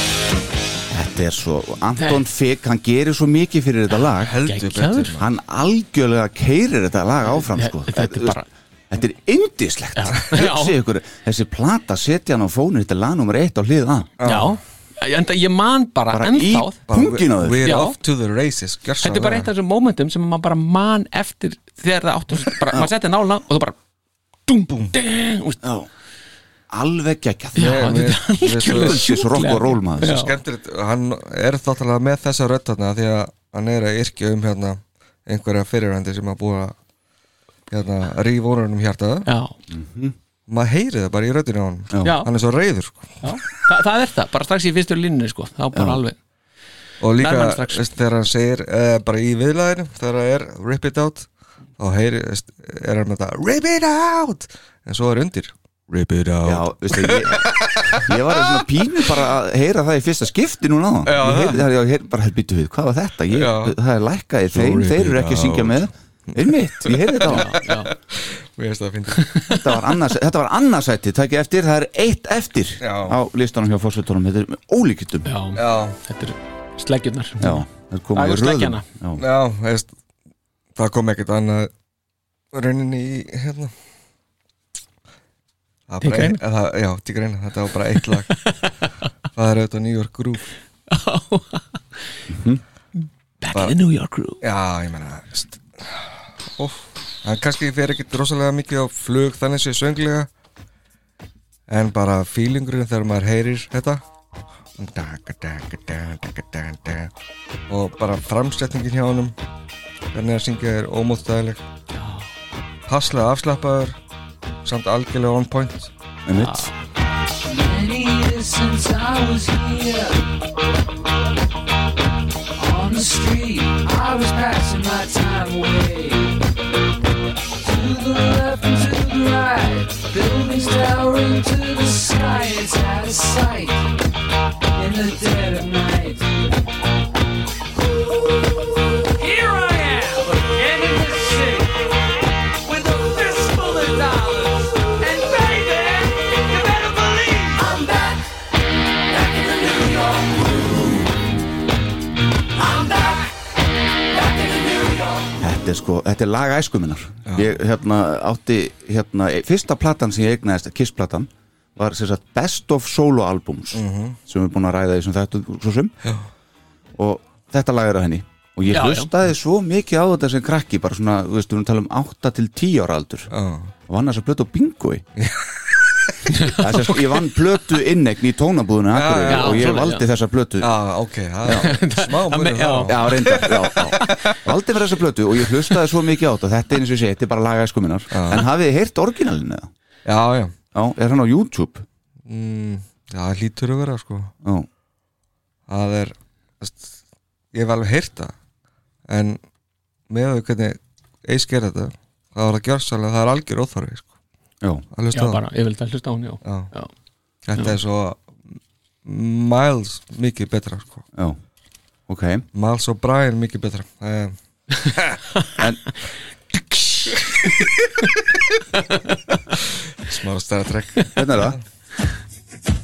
Speaker 4: Þetta er svo, Anton Figg, hann gerir svo mikið fyrir þetta lag
Speaker 5: Heldur
Speaker 6: Geggjaður.
Speaker 5: betur
Speaker 4: Hann algjörlega keirir þetta lag áfram sko.
Speaker 6: Þetta er bara-
Speaker 4: Þetta er indislegt
Speaker 6: Já.
Speaker 4: Hugsið ykkur, þessi plata setja hann á fónu Þetta er lag nummer eitt á hlið að
Speaker 6: já, en það ég man bara,
Speaker 4: Bara í
Speaker 6: ennþá
Speaker 4: pungin á þér
Speaker 5: We're
Speaker 6: Já.
Speaker 5: off to the races
Speaker 6: þetta er bara eitt af þessum momentum sem maður bara man eftir þegar það áttu bara, maður setja nálna og þú bara dum, bum, ding, úst,
Speaker 4: Já. Alveg geggjað
Speaker 6: já,
Speaker 5: Ég-
Speaker 6: þetta
Speaker 5: við-
Speaker 6: er
Speaker 5: við-
Speaker 6: algjörlega
Speaker 4: Þessi svo rock og roll maður
Speaker 6: Já.
Speaker 5: skemmtilegt Hann er þáttalega með þessa rödd þarna Því að hann er að yrkja um hérna einhverja fyrirhandi sem að búa að hérna, rífa úr hann um hjartaða
Speaker 6: já,
Speaker 5: maður heyri það bara í röddinu á hann
Speaker 6: já,
Speaker 5: hann er svo reyður sko.
Speaker 6: já. Þa, það er það, bara strax í fyrstu línunni sko, þá bara alveg
Speaker 5: og
Speaker 6: Nærmann
Speaker 5: líka
Speaker 6: strax.
Speaker 5: veist, þegar hann segir uh, bara í viðlæðinu þegar það er rip it out þá heyri, veist, er hann með það rip it out en svo er undir rip it out
Speaker 4: Já, veistu, ég, ég var svona pínu bara að heyra það í fyrsta skipti núna á
Speaker 5: Já,
Speaker 4: Ég
Speaker 5: það.
Speaker 4: heyrði það, já, ég heyrði bara, "Hey, býttu við, hvað var þetta? Ég,
Speaker 5: Já.
Speaker 4: það er lækkað í þeim,
Speaker 5: Sorry,
Speaker 4: þeir eru ekki að syngja
Speaker 5: out.
Speaker 4: með Einmitt, ég heyrði þetta á
Speaker 5: Mér finnst það fyndið.
Speaker 4: þetta var, annars, þetta var annarsæti, takk ég eftir, það er eitt eftir
Speaker 5: Já.
Speaker 4: á listanum hjá fórsveitunum, þetta er með ólíkittum
Speaker 6: já,
Speaker 5: já,
Speaker 6: þetta er sleggjurnar
Speaker 4: Já, það kom
Speaker 6: Dagur
Speaker 4: í röðum
Speaker 6: sleggjanna.
Speaker 4: Já,
Speaker 5: já veist, það kom ekkert annað rauninni í hérna Það er
Speaker 6: Til
Speaker 5: bara
Speaker 6: greina.
Speaker 5: ein- það- já, til greina, þetta var bara eitt lag það er auðvitað New York Groove
Speaker 4: Mhm.
Speaker 6: back in the New York crew
Speaker 5: Já, ég meina st- óff, Það kannski fer ekkit rosalega mikið á flug þannig sé sönglega En bara feelingurinn þegar maður heyrir þetta Og bara framsetningin hjá honum Hvernig að syngja er ómóttæðileg Passlega afslappaður Samt algjörlega on point
Speaker 4: einmitt
Speaker 1: Many years since I was here. On the street, I was passing my time away. To the left and to the right, buildings towering to the sky. It's out of sight in the dead of night. Here I am again in the city with a fistful of dollars. And baby, you better believe I'm back, back in the New York.
Speaker 4: þetta er sko, þetta er lag æskuminnar ég hérna átti hérna, e- fyrsta platan sem ég eignaðist, Kiss-platan var sem sagt Best of Solo Albums
Speaker 5: Mhm.
Speaker 4: sem við erum búin að ræða í sem þetta svo sem já. og þetta lag er á henni og ég
Speaker 6: Já, já.
Speaker 4: hlustaði svo mikið á þetta sem krakki bara svona, þú veist, við erum að tala um 8 til 10 ára aldur og vann þess að plötu á bingoi Það er sem sagt, ég vann plötu innegn í tónabúðinu í Akureyri
Speaker 5: Já, já,
Speaker 4: og ég
Speaker 6: svoleiðis,
Speaker 4: valdi þessa plötu
Speaker 5: Já, ok, það er smá munur
Speaker 6: já.
Speaker 5: þá.
Speaker 4: Já, reyndar, já, já. Valdi fyrir þessa plötu og ég hlustaði svo mikið á þetta Þetta er eins og ég segi, þetta er bara laga sko minnar En hafið þið heyrt orginalinu eða?
Speaker 5: Já, já,
Speaker 4: Já, er hann á YouTube?
Speaker 5: mm, já, það hlýtur að vera sko
Speaker 4: Já,
Speaker 5: Það er, þess, ég hef alveg heyrt það En með þau hvernig eis gerir þetta Það var að gjörsalega, það er algjör óþarfi sko
Speaker 4: já,
Speaker 5: Að
Speaker 6: já,
Speaker 5: hlusta á það.
Speaker 6: bara, ég vil það hlusta á hún, já,
Speaker 5: Já.
Speaker 6: já.
Speaker 5: Þetta er svo miles mikið betra sko
Speaker 4: já Ok,
Speaker 5: Miles og Brian mikið betra Það er Smára stæða trekk
Speaker 4: hvernig hérna er það?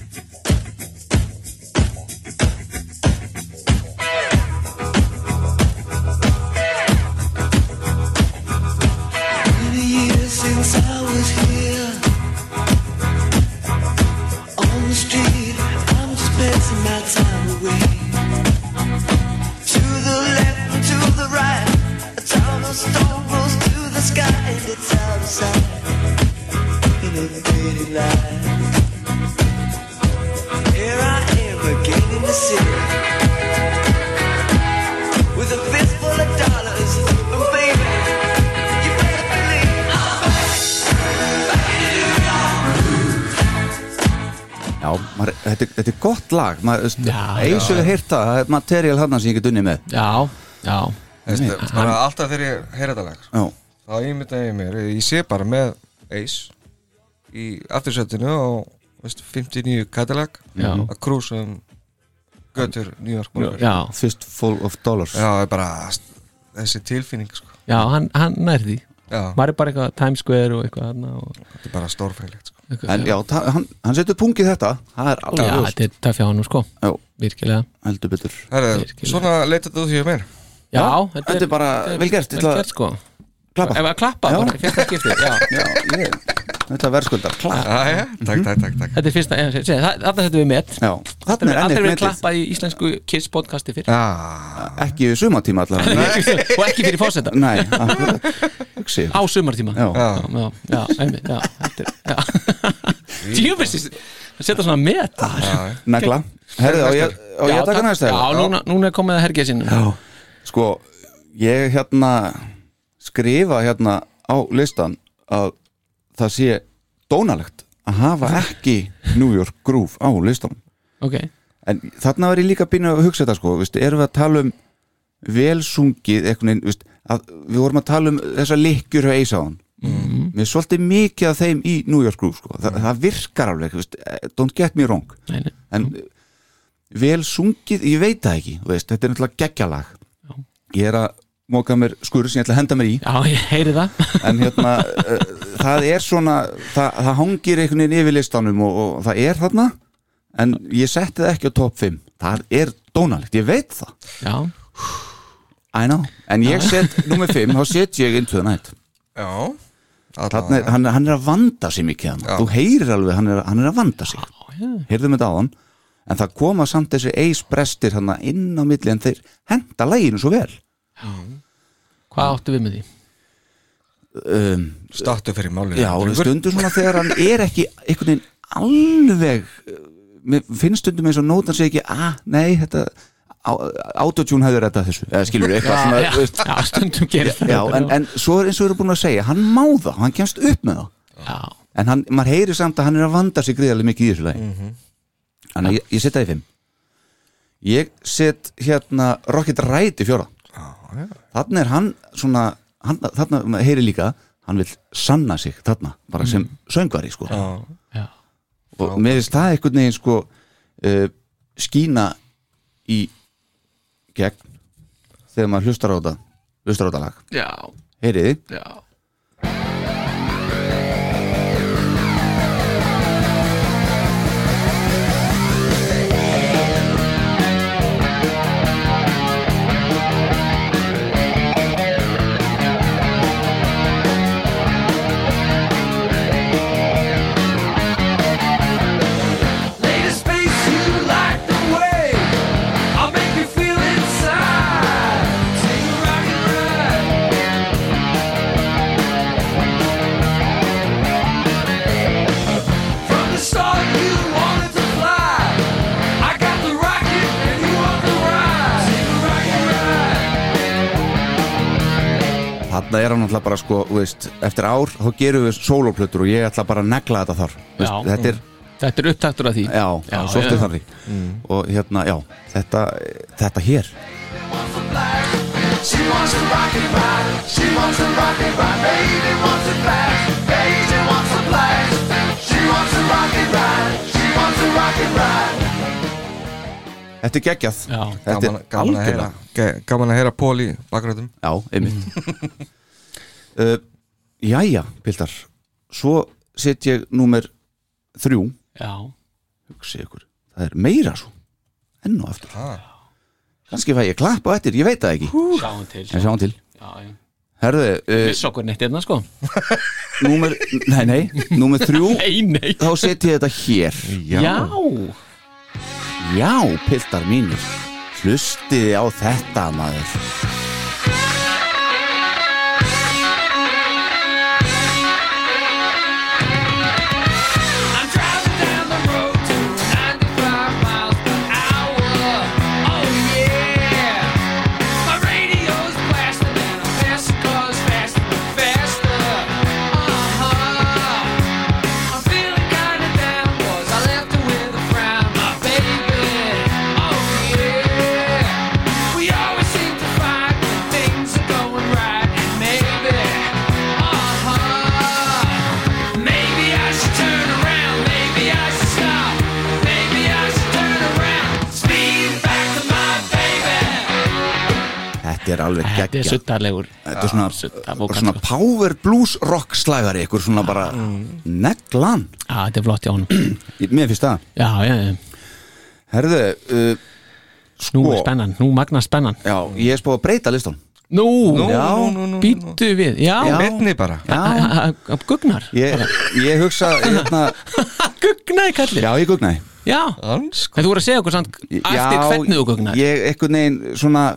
Speaker 7: With a fistful of dollars, oh baby, you better believe I'm
Speaker 4: Já, maður, þetta, er- þetta er gott lag maður, þú
Speaker 6: Já,
Speaker 4: veist, Eins og við heyrt það, það er material hann sem ég get unni með
Speaker 6: já, já,
Speaker 5: Veist, bara alltaf þegar ég heyra þetta lag
Speaker 4: Já,
Speaker 5: þá ímynda ég mér, ég sé bara með Ace í aftursættinu á veist, 59 Cadillac
Speaker 6: Já.
Speaker 5: að krúsa um götur New York Morgan
Speaker 6: já,
Speaker 4: Fistful of Dollars
Speaker 5: já, ég bara þessi tilfinning sko.
Speaker 6: já hann, hann nærði
Speaker 5: já,
Speaker 6: maður er bara eitthvað Times Square og eitthvað þarna og
Speaker 5: þetta er bara stórfælilegt sko.
Speaker 6: eitthvað,
Speaker 4: En já, ta- hann, hann setur pungið þetta Það er
Speaker 6: já,
Speaker 4: alveg ljóst
Speaker 6: þetta er töff hjá hann sko,
Speaker 4: Já,
Speaker 6: virkilega
Speaker 4: heldur betur
Speaker 5: Herra,
Speaker 6: Virkilega.
Speaker 5: svona leita þetta út því að mér
Speaker 6: já,
Speaker 4: þetta er bara vel gert,
Speaker 6: vel
Speaker 4: þetta-
Speaker 6: gert sko
Speaker 4: Klappa
Speaker 6: ef að klappa,
Speaker 4: Já.
Speaker 6: bara í fyrsta skipti já.
Speaker 4: Já, ég, þetta verðskuldar Klappa
Speaker 5: já, já,
Speaker 6: Mhm.
Speaker 5: takk, takk, takk, takk.
Speaker 6: þetta er fyrsta, eh, segi, það- þarna þetta við met
Speaker 4: Já,
Speaker 6: þetta
Speaker 4: þarna
Speaker 6: er
Speaker 4: er
Speaker 6: aldrei
Speaker 4: ennir
Speaker 6: verið
Speaker 4: metið
Speaker 6: klappað í íslensku Kiss podcasti fyrr
Speaker 5: Já,
Speaker 4: Ekki við sumatíma allavega
Speaker 6: og ekki fyrir fósetta
Speaker 4: Nei, akkurat Hugsi
Speaker 6: á sumartíma
Speaker 4: Já.
Speaker 6: já, já, já, einmitt, já, þetta er- já. djöfisist setja svona met
Speaker 5: já,
Speaker 4: Negla Herðu, á ég, á ég að taka
Speaker 6: takk-
Speaker 4: næsta hérna.
Speaker 6: já,
Speaker 4: eða?
Speaker 6: núna, núna er komið að hergja sinni
Speaker 4: Sko, ég hérna skrifa hérna á listan að það sé dónalegt að hafa ekki New York Groove á listanum
Speaker 6: ok,
Speaker 4: En þarna var ég líka býin að hugsa þetta sko, veist, erum við að tala um velsungið einhvern veginn, veist, að við vorum að tala um þessa lykkjur og eisaðan mm. Mér er svolítið mikið af þeim í New York Groove sko, Þa, það virkar alveg, veist, eh, don't get me wrong
Speaker 6: nei, nei,
Speaker 4: en mm. vel sungið, ég veit það ekki þú veist, þetta er náttúrulega geggjalag ég er að móka mér skurð sem ég ætla að henda mér í
Speaker 6: já, ég heyri það
Speaker 4: en hérna, uh, það er svona það, það hangir einhvern veginn yfir listanum og, og það er þarna en ég setti það ekki á topp 5 það er dónalegt, ég veit það
Speaker 6: já,
Speaker 4: I know, en ég set nummer 5 þá set ég into the night
Speaker 5: já.
Speaker 4: Þarna, er- hann, hann er að vanda sig mikið hann. þú heyrir alveg, hann er, hann er að vanda sig heyrðum þetta á hann en það koma samt þessi eis brestir hann inn á milli en þeir henda læginu svo vel
Speaker 6: hvað áttu við með því?
Speaker 4: um,
Speaker 5: Stattu fyrir málið
Speaker 4: já,
Speaker 5: drengur.
Speaker 4: stundu svona þegar hann er ekki einhvern veginn alveg uh, mér finnst stundum eins og nótan sé ekki ah, nei, þetta á- autotune hefur þetta þessu, eða skilur eitthvað svona,
Speaker 6: já,
Speaker 4: þú veist,
Speaker 6: já, stundum gerist
Speaker 4: já, en, en svo er eins og við erum búin að segja, hann má það hann kemst upp með það
Speaker 6: já,
Speaker 4: en hann, maður heyri samt að hann er að vanda sig gríðarlega mikið í þessu lagi þannig að ég, ég setja það í fimm ég set hérna Rocket Ride í fjóra þannig er hann svona hann, þarna maður heyri líka hann vil sanna sig þarna bara sem söngvari sko
Speaker 5: Já.
Speaker 6: já,
Speaker 4: og mér finnst það einhvern veginn sko uh, skína í gegn þegar maður hlustar á þetta hlustar á þetta lag
Speaker 6: já,
Speaker 4: heyriði
Speaker 6: já.
Speaker 7: Thank
Speaker 4: þarna er hann alltaf bara sko, þú veist, eftir ár þá gerum við sólóplötur og ég ætla bara að negla þetta þar Þú veist,
Speaker 6: Já.
Speaker 4: þetta er,
Speaker 6: Þetta er upptaktur af því
Speaker 4: já, já
Speaker 6: Já,
Speaker 4: svolítið
Speaker 6: já. Mm.
Speaker 4: þannig og hérna, já, þetta þetta hér
Speaker 7: She wants to rock and ride. She wants to rock and ride. Baby wants to flash. Baby wants to flash. She wants to rock and ride. She wants to rock and ride.
Speaker 4: þetta er geggjað
Speaker 6: Já.
Speaker 4: þetta
Speaker 5: gaman, gaman að heyra
Speaker 4: algjörlega-
Speaker 5: ge- gaman að heyra Pól í bakgröndum
Speaker 4: já, einmitt uh, jæja, Pildar svo set ég númer þrjú
Speaker 6: Já,
Speaker 4: hugsi ykkur, það er meira svo enn og aftur kannski fæ ég klapp á eftir, ég veit það ekki
Speaker 6: sjáum til
Speaker 4: en sjáum til
Speaker 6: Já, já.
Speaker 4: herðu, uh,
Speaker 6: Viss okkur neitt einna sko
Speaker 4: númer, nei, nei, númer þrjú
Speaker 6: Nei, nei
Speaker 4: þá set ég þetta hér
Speaker 6: Já,
Speaker 4: já, piltar mínir hlustiði á þetta maður
Speaker 7: I'm driving down the road to 95 miles per hour. Oh yeah. My radio's blasting and the faster cars faster and faster. Uh-huh. I'm feeling kinda down 'cause I left her with a frown, my baby. Oh yeah. We always seem to find when things are going right and maybe. Uh-huh. Maybe I should turn around, maybe I should stop. Maybe I should turn around, speed back to my baby.
Speaker 4: þetta er alveg
Speaker 6: þetta er Ah,
Speaker 4: geggjað
Speaker 6: suttarlegur
Speaker 4: þetta er svona,
Speaker 6: Suttabókan,
Speaker 4: svona
Speaker 6: sko.
Speaker 4: power blues rock slagari ykkur svona bara neglan
Speaker 6: Já, þetta er flott hjá honum
Speaker 4: mér finnst það
Speaker 6: Já, já, já
Speaker 4: herðu, uh,
Speaker 6: Nú
Speaker 4: sko
Speaker 6: er spennan, nú magna spennan
Speaker 4: já, ég er spáð að breyta listan
Speaker 6: Nú,
Speaker 5: Nú,
Speaker 4: Já.
Speaker 5: nú, nú, nú, nú.
Speaker 6: býttu við Já,
Speaker 4: Já.
Speaker 5: Midni bara
Speaker 4: já,
Speaker 6: já. gugnar
Speaker 4: ég, ég hugsa hérna,
Speaker 6: Gugnaði kallir
Speaker 4: já, ég gugnaði
Speaker 6: Já,
Speaker 5: Ansk
Speaker 6: en þú voru að segja okkur samt Eftir hvernig þú gugnaði
Speaker 4: ég eitthvað neginn svona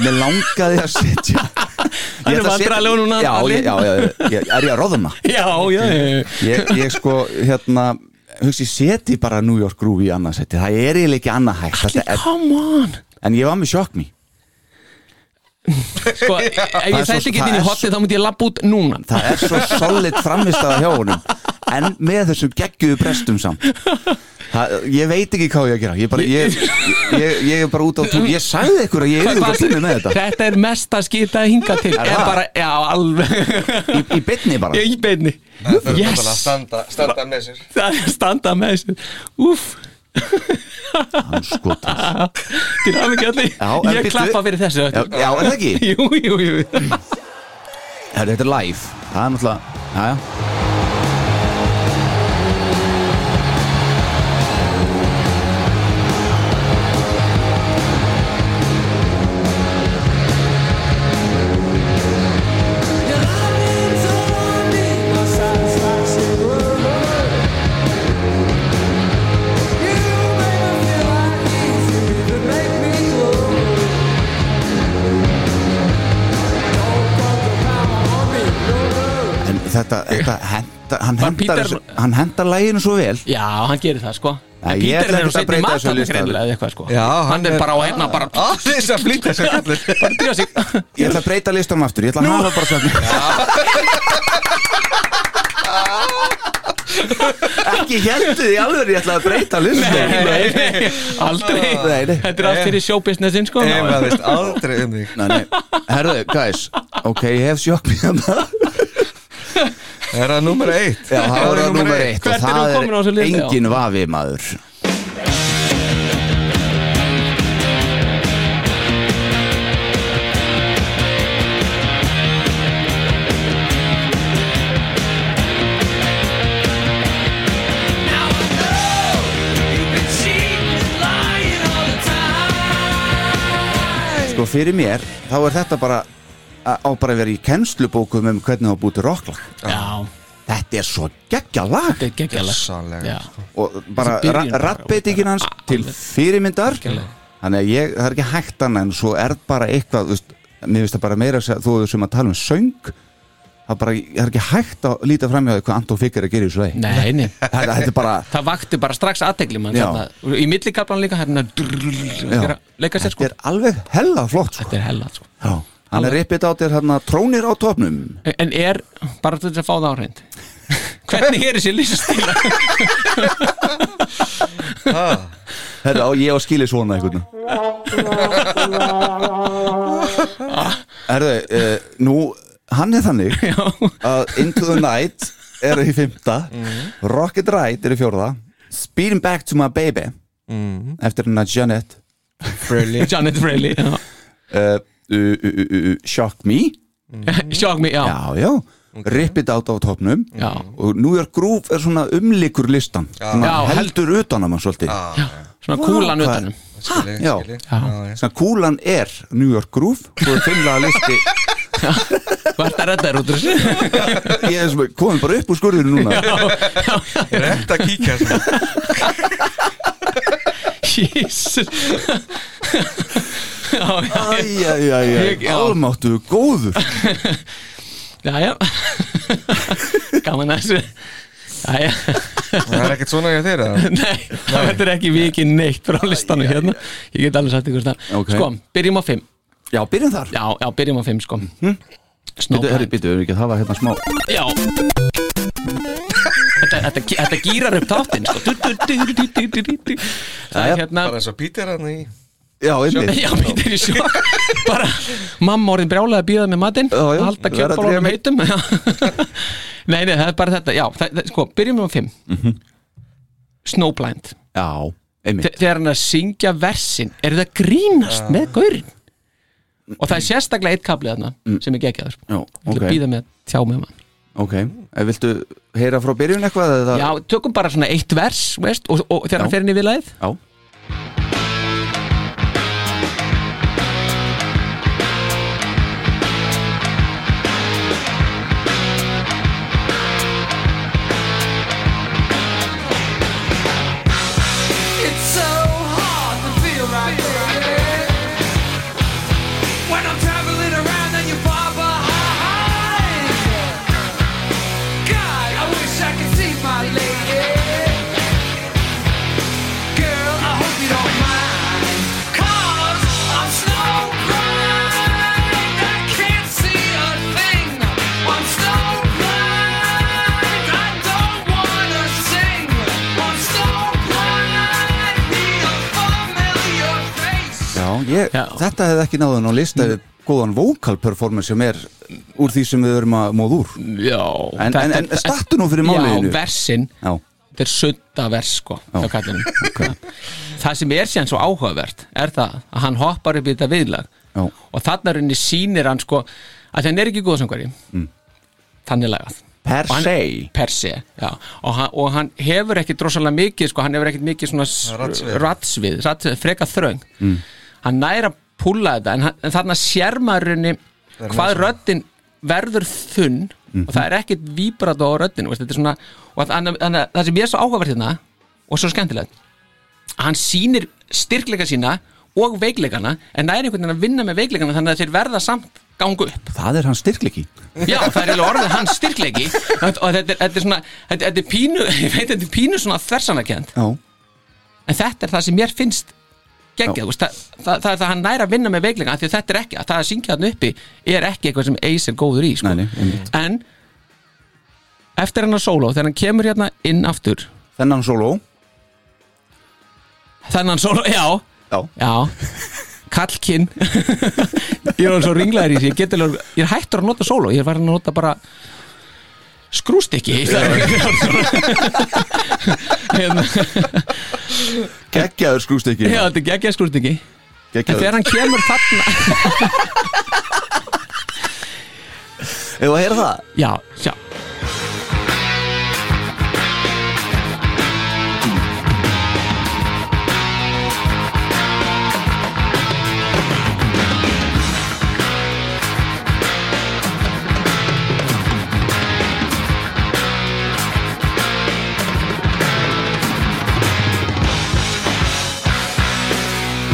Speaker 4: með langaði að setja Ég
Speaker 6: Hann er
Speaker 4: ætla að setja-
Speaker 6: vandræðalegur núna,
Speaker 4: já, ég,
Speaker 6: Alli.
Speaker 4: já, já, ég, er ég að roðna
Speaker 6: Já, já, já, já
Speaker 4: ég, ég sko, hérna hugsi, ég seti bara New York Groove í annað seti það er eiginlega ekki annað hægt Þetta er,
Speaker 6: Come on
Speaker 4: en ég var með Shock Me
Speaker 6: Sko,
Speaker 4: Það er
Speaker 6: ef ég
Speaker 4: svo-
Speaker 6: sætti ekki
Speaker 4: það er
Speaker 6: inn í hotið þá myndi ég labba út núna
Speaker 4: það er svo solid framistæða hjá honum en með þessum gegguðu brestum samt það, ég veit ekki hvað ég að gera ég, bara, ég, ég, ég er bara út á túr ég sagði ykkur að ég er út á túnni með þetta
Speaker 6: Þetta er mest að skita hinga til
Speaker 4: Er
Speaker 6: Er
Speaker 4: það?
Speaker 6: bara, já, alveg
Speaker 4: í, í bytni bara
Speaker 6: Ég í beinni
Speaker 5: Það er yes.
Speaker 6: Yes,
Speaker 5: að standa, standa með sko. sér
Speaker 6: það er standa með þessu Úf,
Speaker 4: Hann sko- skotar.
Speaker 6: til hafa ekki allir
Speaker 4: Já, en
Speaker 6: Ég
Speaker 4: bíddu-
Speaker 6: klappa fyrir þessu
Speaker 4: já,
Speaker 6: öllu.
Speaker 4: já, er það ekki?
Speaker 6: Jú, jú, jú
Speaker 4: Herru, Þetta er live Það er náttúrulega Já, já En þetta, þetta henda, hann,
Speaker 6: Var
Speaker 4: hendar,
Speaker 6: Peter-
Speaker 4: þessu- hann hendar læginu svo vel
Speaker 6: Já, hann gerir það, sko
Speaker 4: Nei,
Speaker 6: En
Speaker 4: ég ætla
Speaker 6: Peter er
Speaker 4: ekkert að
Speaker 6: á seinni
Speaker 4: breyta þessu
Speaker 6: matan
Speaker 4: listanum.
Speaker 6: greinilega eða eitthvað, sko
Speaker 5: Já, hann
Speaker 6: Hann
Speaker 5: er-
Speaker 6: er bara á hérna, bara
Speaker 5: Aðeins að flýta sér kallir
Speaker 6: Bara drífa sig
Speaker 4: Ég ætla að breyta listanum aftur Ég ætla að hafa bara sjálf Ekki heldu því alveg Ég ætla að breyta listanum
Speaker 6: Nei, nei, nei, aldrei
Speaker 4: Nei, nei.
Speaker 6: Þetta er allt fyrir showbusinessin, sko
Speaker 5: Ef að veist aldrei um þig
Speaker 4: Nei, nei, herðu, guys Ok, ég hef hérna. sjokk mér það
Speaker 5: Er það nummer eitt?
Speaker 4: Já, það var nummer eitt
Speaker 6: Hvert
Speaker 4: Og
Speaker 6: er hún komin á
Speaker 4: það
Speaker 6: þessu
Speaker 4: er
Speaker 6: listi, já?
Speaker 4: engin vafi, maður
Speaker 7: Now I know you've been cheating and lying all the time.
Speaker 4: Sko, fyrir mér Þá er þetta bara Á á bara að vera í kennslubókum Um hvernig það búti rocklag
Speaker 6: Já,
Speaker 4: Þetta er svo geggja lag
Speaker 6: þetta er geggjala
Speaker 5: Gjörsamlega.
Speaker 6: Já,
Speaker 4: og bara
Speaker 6: Þessi byrjun bara,
Speaker 4: rappbyttingin hans til fyrirmyndar þannig að ég, það er ekki hægt annað en svo er bara eitthvað þú veist, mér finnst það bara meira að segja- þú sem að tala um söng það, bara, það er ekki hægt að líta fram í það hvað Anton Fikker er að gera í svo leið
Speaker 6: nei, nei
Speaker 4: þetta þetta er bara
Speaker 6: það vakti bara strax aðtegli mann
Speaker 4: Já.
Speaker 6: þarna. í millikablan líka hérna
Speaker 4: já,
Speaker 6: drrrr, gera- leika sér sko
Speaker 4: þetta er alveg hella flott sko.
Speaker 6: þetta er hella sko.
Speaker 4: Já. Hann er rippið á þér hann trónir á topnum
Speaker 6: En er, bara til þess að fá það á hreint Hvernig er þessi lýsastíla?
Speaker 4: Herra, á, ég á skilið svona einhvern Herra, uh, nú Hann er þannig að Into the Night er í fymta
Speaker 6: Mhm.
Speaker 4: Rocket Ride er í fjórða Speeding Back to My Baby
Speaker 6: Mhm.
Speaker 4: eftir hennar Janet
Speaker 5: Brilliant
Speaker 6: Janet Fraley já.
Speaker 4: uh, uh, uh, uh, uh, Shock Me
Speaker 6: Shock me, já,
Speaker 4: Já, já, Rip It Out á topnum
Speaker 6: já.
Speaker 4: og New York Groove er svona umlikur listan svona
Speaker 6: Já,
Speaker 4: heldur utan að mann svolítið
Speaker 6: Svona kúlan um. utanum
Speaker 5: Skilji,
Speaker 4: Já.
Speaker 5: skilji. Já, já.
Speaker 4: svona kúlan er New York Groove svo er fimmlega listi
Speaker 6: Vart að redda þér út úr þessu
Speaker 4: ég er svona komin bara upp úr skurðinu núna
Speaker 5: Ég er eftir að kíkja svona.
Speaker 6: Jesus Já, já, Ég-
Speaker 4: æjæjæjæ
Speaker 6: já.
Speaker 4: almáttu góður
Speaker 6: já, já Gaman að þessu Já, já,
Speaker 5: Það er ekkert svona hjá þér eða?
Speaker 6: nei, þetta er ekki vikið neitt frá listanum hérna Ég get alveg sagt ykkur það
Speaker 4: Ok.
Speaker 6: Sko, byrjum á fimm
Speaker 4: já, byrjum þar
Speaker 6: Já, já, byrjum á fimm, sko
Speaker 4: Mhm. Bíddu, herri,
Speaker 6: Snowblind
Speaker 4: bíddu, erum við ekki að hafa hérna smá
Speaker 6: Já Þetta, þetta, þetta gýrar upp þáttinn sko. Du- du- du- du- du- du- du- du. Það
Speaker 4: Jæja,
Speaker 6: er hérna
Speaker 5: Bara eins og Peter hann í
Speaker 4: já, einmitt
Speaker 6: Já, Peter í sjó Bara mamma orðin brjálega að býða með matinn
Speaker 4: Já, já,
Speaker 6: Halda
Speaker 4: verða að
Speaker 6: kjöpbólunum
Speaker 4: drífa
Speaker 6: heitum Nei, nei, það er bara þetta Já, það, það, sko, byrjum við á fimm
Speaker 4: Mhm.
Speaker 6: Snowblind
Speaker 4: já, einmitt
Speaker 6: Þe- Þegar hann er að syngja versin Er það grínast með gaurin Og það er sérstaklega eitt kaplið þarna Sem er geggjaður
Speaker 4: Mm. Já,
Speaker 6: Ég ætla
Speaker 4: ok.
Speaker 6: að býða með að tjá um með mann
Speaker 4: ok, Eh, viltu heyra frá byrjun eitthvað eða
Speaker 6: Já, tökum bara svona eitt vers veist, og, og þegar
Speaker 4: Já.
Speaker 6: hann fer inn í vilaðið
Speaker 4: já,
Speaker 7: It's so hard to feel right baby. When I'm traveling around and you're far behind. God, I wish I could see my lady. Girl, I hope you don't mind. Cause I'm snow blind. I can't see a thing. I'm snow blind. I don't wanna sing. I'm snow blind. Need a familiar face.
Speaker 4: já, Mm. ég,
Speaker 6: Já.
Speaker 4: þetta hefði ekki náðun á lista yfir góðan vocal performance sem er úr því sem við erum að móða úr
Speaker 6: Já
Speaker 4: en, en, en startu nú fyrir
Speaker 6: Já,
Speaker 4: máliðinu
Speaker 6: versin
Speaker 4: já,
Speaker 6: þetta er sunda vers sko hjá kallinum. það sem er síðan svo áhugavert er það að hann hoppar upp í þetta viðlag
Speaker 4: Já.
Speaker 6: og þarna rauninni sýnir hann sko að hann er ekki góðsangvari mm. þannig lagað
Speaker 4: Per
Speaker 6: Og hann-
Speaker 4: se.
Speaker 6: per se, já og hann, og hann hefur ekki drossalega mikið sko, hann hefur ekkit mikið svona s-
Speaker 5: Ratsvið.
Speaker 6: ratsvið, ratsvið freka þröng mm. hann næra að púlla þetta en, hann, en þarna sérmaðurinni hvað röddin verður þunn
Speaker 4: Mhm.
Speaker 6: og það er ekkit víbrat á röddin veist, þetta er svona, og að, að, að, það sem ég er svo áhugavert hérna og svo skemmtilegt að hann sýnir styrkleika sína og veikleikana en næri einhvern veginn að vinna með veikleikana þannig að þeir verða samt gangu upp
Speaker 4: það er hans styrkliki
Speaker 6: Já, það er alveg orðið hans styrkleiki og þetta er, þetta er svona þetta, þetta er pínu, ég veit þetta er pínu svona þversanarkend
Speaker 4: já,
Speaker 6: en þetta er það sem mér finnst
Speaker 4: Já.
Speaker 6: geggjað, þú veist, það, það, það er það að hann næra að vinna með veiklinga af því að þetta er ekki, að það að syngja hann uppi er ekki eitthvað sem Ace er góður í sko.
Speaker 4: Nei, nei, einmitt.
Speaker 6: en eftir hennar sóló, þegar hann kemur hérna inn aftur,
Speaker 4: þennan solo
Speaker 6: þennan sóló, já
Speaker 4: já,
Speaker 6: Já Kallkinn Ég er alveg svo ringlaður í þessu Ég, get alveg- ég er hættur að nota solo Ég er farin að nota bara skrústikki í staðinn fyrir- Hérna,
Speaker 4: geggjaður skrústykki
Speaker 6: Já, þetta er geggja skrústikki En
Speaker 4: geggjaður
Speaker 6: þegar hann kemur þarna
Speaker 4: Ef að heyra það
Speaker 6: Já, sjá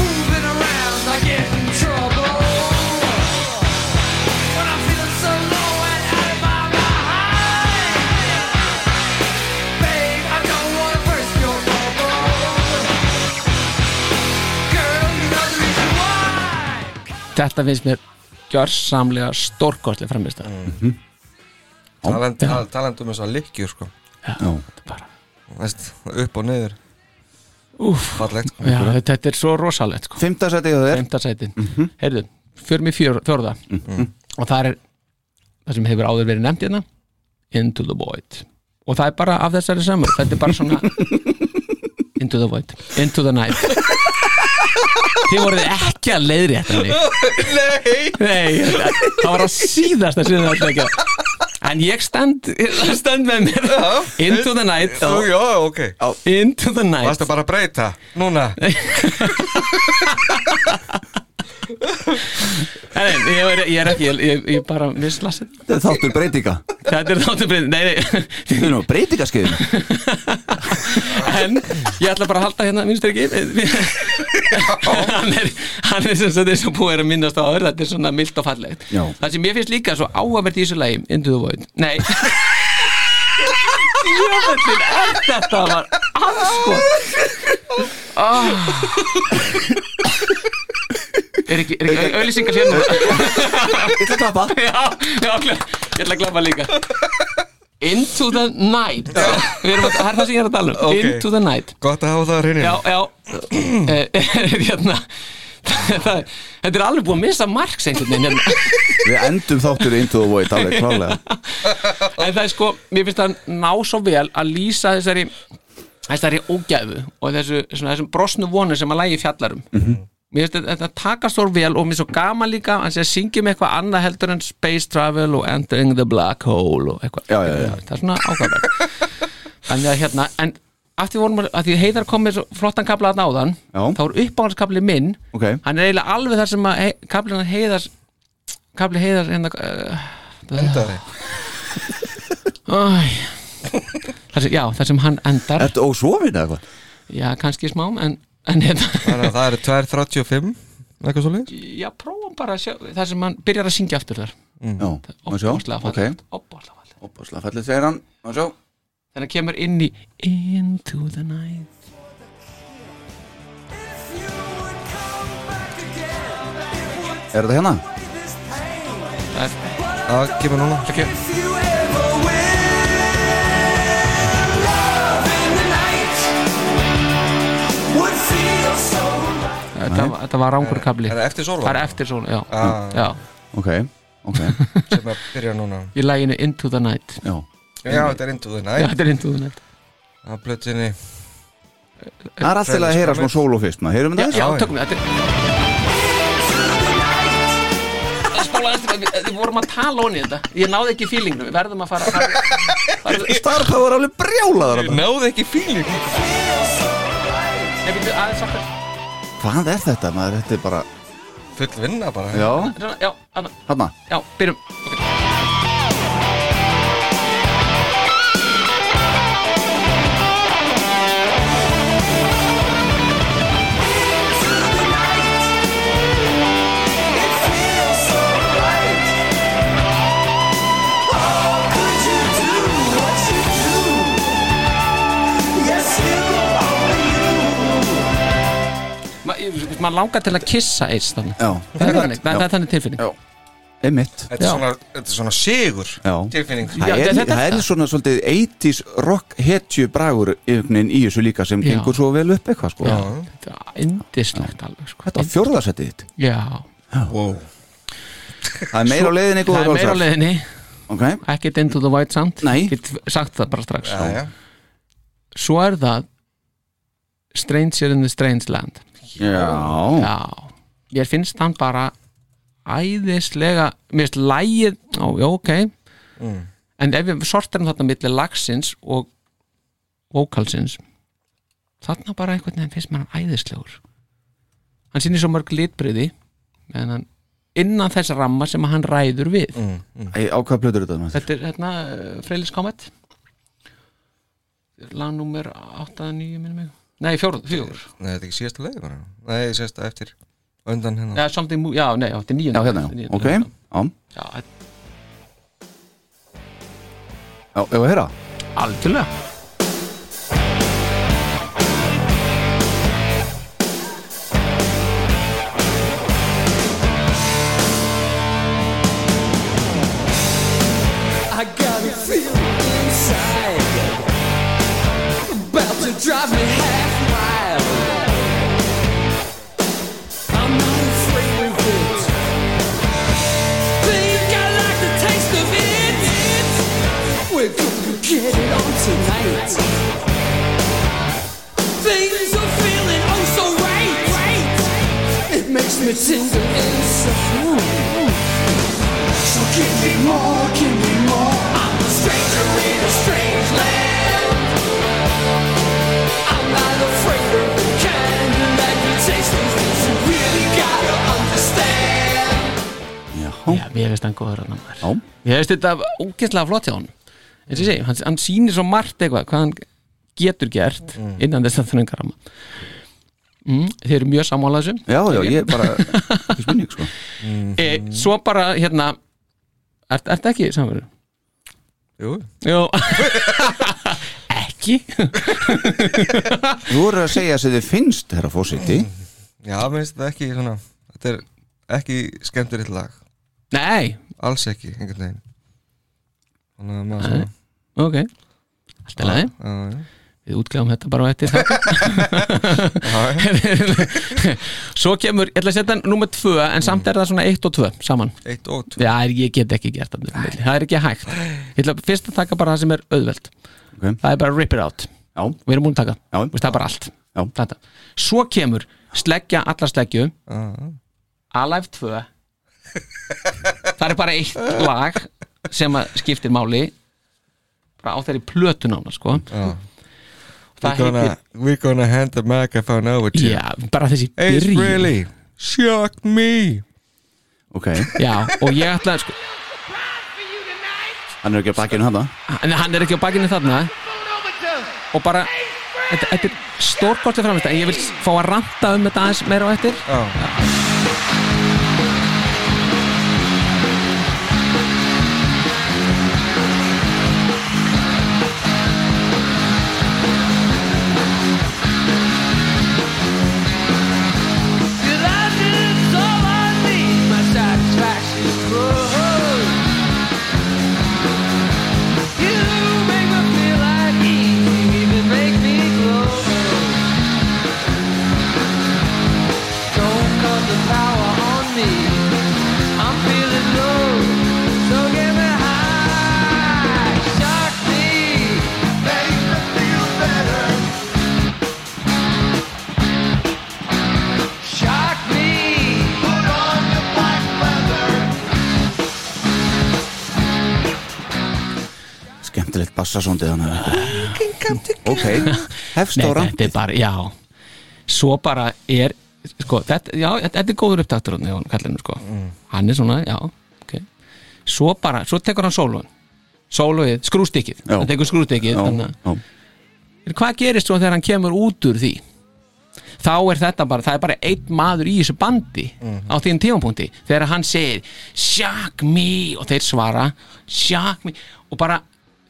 Speaker 7: Moving around, I get in trouble. When I'm feeling so low and out of my mind, babe, I don't wanna burst your bubble. Girl, you know the reason why.
Speaker 6: Þetta finnst mér gjörsamlega stórkostlega framist mm.
Speaker 5: Taland, tal, talandum þess að lykkjur sko
Speaker 6: bara,
Speaker 5: Veist, upp og niður
Speaker 6: úf,
Speaker 5: fallegt sko.
Speaker 6: já, þetta, þetta er svo rosalegt sko.
Speaker 4: Fymtasæti hjá þér
Speaker 6: femtasætin, mm
Speaker 5: Mhm.
Speaker 6: -hmm. heyrðu fjörum í fjör, fjörða og það er það sem hefur áður verið nefnt hérna Into the Void og það er bara af þessari samur þetta er bara svona Into the Void, Into the Night þið voruð ekki að leiðri þetta mig
Speaker 5: Nei,
Speaker 6: Nei, það var á síðasta sem það ætlaði að gera En ég stend, stend með mér Into the night
Speaker 5: Ó,
Speaker 6: og
Speaker 5: já, ok
Speaker 6: Into the night
Speaker 5: Varstu bara að breyta, núna
Speaker 6: Nei, nei, ég er, ég er ekki, ég, ég, ég bara mislasin
Speaker 4: Þetta er þáttur breytinga
Speaker 6: Þetta er þáttu breynd, nei, nei
Speaker 4: Þetta er nú breytingaskeiðin
Speaker 6: En ég ætla bara að halda hérna, minnst ekki hann, er, hann er sem sagt eins og búið er að minnast á áður Þetta er svona milt og fallegt
Speaker 4: Já.
Speaker 6: Það sem mér finnst líka svo áhafvert í þessu lagi Into the void, nei Jöfnvöldin er þetta var anskot Er ekki, er ekki auðlýsingar hérna?
Speaker 4: Ég ætla að klappa
Speaker 6: já, já, klá- ég ætla að klappa líka Into the night Við erum að, það er það sem ég er að tala um
Speaker 5: Ok.
Speaker 6: Into the night
Speaker 5: Gott að hafa það á hreinu
Speaker 6: Já, já Eh, eh, Hérna það, Þetta er alveg búið að missa marks einhvern veginn hérna.
Speaker 4: Við endum þáttur into the void alveg klálega
Speaker 6: En það er sko, mér finnst það ná svo vel að lýsa þessari þessari ógæfu og þessu, svona, þessum brosnu vonu sem að lægi fjallarum mm
Speaker 4: Mhm.
Speaker 6: -hmm. Mér finnst þetta þetta takast svo vel og mér er svo gaman líka að sé að syngjum eitthvað annað heldur en space travel og entering the black hole og eitthvað
Speaker 4: Já, já, já.
Speaker 6: Það er svona ákvæmlega Þannig að hérna, en að því, vorum, að að því heiðar komið svo flottan kabla að náðan
Speaker 4: Já.
Speaker 6: þá er uppáhaldskabli minn
Speaker 4: Ok.
Speaker 6: hann er eiginlega alveg þar sem að hei, kablin heiðars kabli heiðars hérna, uh,
Speaker 5: Endaði.
Speaker 6: Æ, það sem, já, það sem hann endar
Speaker 4: Ertu ósofin eða eitthvað?
Speaker 6: Já, kannski smá, en, en hérna,
Speaker 5: Þannig að það eru 2.35 eitthvað svo leið
Speaker 6: Já, prófum bara að sjá Það sem hann byrjar að syngja aftur þar
Speaker 4: Já, má sjá
Speaker 6: Óbáslega
Speaker 4: Ok,
Speaker 6: fallegt Óbáslega fallegt
Speaker 4: óbáslega fallið segir hann Má sjá
Speaker 6: Þannig að kemur inn í Into the night
Speaker 4: Er þetta hérna?
Speaker 6: Það er,
Speaker 5: Það kemur núna
Speaker 6: það kemur Þetta, var- þetta var rángur kabli
Speaker 5: Er það eftir sóla?
Speaker 6: Það er eftir svona, já,
Speaker 5: Ah.
Speaker 6: já
Speaker 4: Ok, ok
Speaker 5: Sem að byrja núna
Speaker 6: Í læginu Into the night
Speaker 4: Já
Speaker 5: Já, þetta er Into the
Speaker 6: Já,
Speaker 5: Night
Speaker 6: þetta er Into the night
Speaker 5: Það plötsinni
Speaker 4: Það er alltaf að heyra smá solo fyrst maður Heyrum
Speaker 6: Já,
Speaker 4: þetta
Speaker 6: já,
Speaker 5: já.
Speaker 6: tökum við þetta er- Spóla aðeins tilbaka, við- Við vorum að tala honi þetta Ég náði ekki fílingnum, við verðum að fara
Speaker 4: þess? Star Power alveg brjálaður þarna.
Speaker 5: Náðu ekki fíling
Speaker 6: Nefnir aðeins aftur
Speaker 4: Hvað er þetta maður? Þetta er bara
Speaker 5: Full vinna bara
Speaker 4: Já,
Speaker 6: Svona, Já, annað,
Speaker 4: hann
Speaker 6: já, byrjum Ok. Ma- ég- þú veist, Maður langar til að kissa eins þannig
Speaker 4: Já,
Speaker 6: Það er þannig, það það er þannig tilfinning
Speaker 4: Já. einmitt
Speaker 5: Þetta
Speaker 6: Já.
Speaker 5: er svona, þetta er svona sigur
Speaker 4: Já.
Speaker 5: Tilfinning
Speaker 6: Já,
Speaker 4: Það er,
Speaker 6: þetta-
Speaker 4: það er svona svolítið 80s rock hetju bragur einhvern veginn í þessu líka sem
Speaker 6: Já.
Speaker 4: gengur svo vel upp eitthvað sko.
Speaker 6: Þetta er indislegt alveg sko.
Speaker 4: Þetta er fjórðarsettið þitt
Speaker 6: Já,
Speaker 5: wow.
Speaker 4: Það er meira á leiðinni
Speaker 6: það
Speaker 4: góður
Speaker 6: er meira á leiðinni
Speaker 4: okay.
Speaker 6: Ekkert into the white sand
Speaker 4: Nei.
Speaker 6: Get sagt það bara strax
Speaker 5: Já, já.
Speaker 6: Svo er það Stranger in the Strange Land
Speaker 4: Já,
Speaker 6: Já, ég finnst hann bara æðislega, mér finnst lægið, á, já, ok en ef við sortirum þarna milli lagsins og vokalsins þarna bara einhvern veginn finnst mér hann æðislegur hann sýnir svo mörg litbriði en hann innan þess ramma sem hann ræður við
Speaker 4: Æ, á hvað plötur þetta maður?
Speaker 6: þetta er hérna Freilis Comet lagnúmer 8-9 minnum mig nei, fjóruð, fjóruð
Speaker 5: Nei, þetta er ekki síðasta leið bara Nei, síðasta eftir Undan hérna
Speaker 6: Já, something move, já, nei, já, þetta
Speaker 4: Já,
Speaker 6: er nýjönda
Speaker 4: hérna, já, ok Já,
Speaker 6: Já, þetta
Speaker 4: já ef að heyra
Speaker 6: er algjörlega
Speaker 7: So give me more, give me more. I'm a stranger in a strange land. I'm not afraid of the candle that you taste the things you really gotta understand.
Speaker 6: Já, mér finnst hann góður hann maður
Speaker 4: Já.
Speaker 6: Mér finnst þetta ógeðslega flott hjá hann En sem ég segi, hann, hann sýnir svo margt eitthvað hvað hann getur gert innan þess að þröngar hann mm, Þeir eru mjög sammála þessu
Speaker 4: já, já, ég er bara ekki spurning sko
Speaker 6: e, Svo bara, hérna Ert, ert ekki samverður?
Speaker 5: Jú,
Speaker 6: Jó Ekki?
Speaker 4: Þú voru að segja sem þið finnst, herra fósiti
Speaker 5: já, mér finnst þetta ekki svona Þetta er ekki skemmtilegt lag
Speaker 6: Nei,
Speaker 5: Alls ekki, einhvern veginn Þannig að maður svona
Speaker 6: ok Allt er leið,
Speaker 5: já, já.
Speaker 6: við útgjáum þetta bara á eftir það Svo kemur, ég ætla að setja nummer tvö en
Speaker 5: Mm.
Speaker 6: samt er það svona eitt og tvö saman
Speaker 5: Eitt og tvö
Speaker 6: Já, ég get ekki gert það milli. Það er ekki hægt Ég ætla fyrst að taka bara það sem er auðvelt
Speaker 4: Ok.
Speaker 6: Það er bara rip it out
Speaker 4: Já,
Speaker 6: Við erum búin að taka,
Speaker 4: Já.
Speaker 6: Þú veist, það er bara allt
Speaker 4: Já.
Speaker 6: Þetta. Svo kemur sleggja alla sleggju
Speaker 4: Ah.
Speaker 6: Alive 2 Það er bara eitt lag sem að skiptir máli bara á þeirri plötu nána sko.
Speaker 5: We're
Speaker 6: Það
Speaker 5: gonna,
Speaker 6: heitir
Speaker 5: we're gonna hand the microphone over to you
Speaker 6: Já, bara þessi
Speaker 5: Ace
Speaker 6: byrjun.
Speaker 5: really shocked me
Speaker 4: ok,
Speaker 6: Já, og ég ætla sko,
Speaker 4: hann er ekki að bakkinu hann
Speaker 6: En hann er ekki á bakinu þarna Og bara Þetta, þetta er stórkortið framist En ég vil fá að ranta um þetta aðeins meira á eftir
Speaker 5: Já,
Speaker 7: Shock me! Put on your black leather!
Speaker 4: Skemmtilegt bassasóndið hann Ok, hefst á
Speaker 6: Nei,
Speaker 4: rand
Speaker 6: þetta er bara, já Svo bara er sko, þetta, Já, þetta þetta er góður upptaktur hann, kallinu, sko.
Speaker 4: Mm.
Speaker 6: Hann er svona, já ok. Svo bara, svo tekur hann sólun Sóluið, skrústikkið
Speaker 4: Já.
Speaker 6: Hann tekur skrústikkið
Speaker 4: já,
Speaker 6: þannig að-
Speaker 4: já.
Speaker 6: En Hvað gerist svo þegar hann kemur út úr því? Þá er þetta bara, það er bara einn maður í þessu bandi á þín tímapunkti þegar hann segir shock me og þeir svara shock me og bara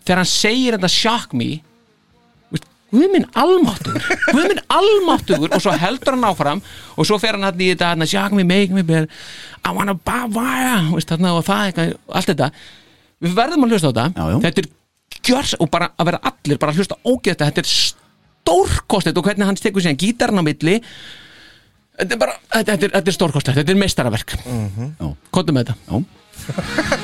Speaker 6: þegar hann segir þetta shock me veist, Guð minn almáttur Guð minn almáttur og svo heldur hann áfram og svo fer hann hann í þetta hann, shock me, make me better I wanna buy wire veist, þarna, og það, eitthvað, allt þetta við verðum að hlusta á þetta
Speaker 4: Já, já.
Speaker 6: þetta er gjörs og bara að vera allir bara að hlusta ógeðslega þetta er stórkostið og hvernig hann tekur síðan gítarinn á milli þetta er bara þetta, þetta, er, þetta er stórkostið, þetta er meistaraverk mm
Speaker 4: Já.
Speaker 6: komdu með þetta
Speaker 4: Já.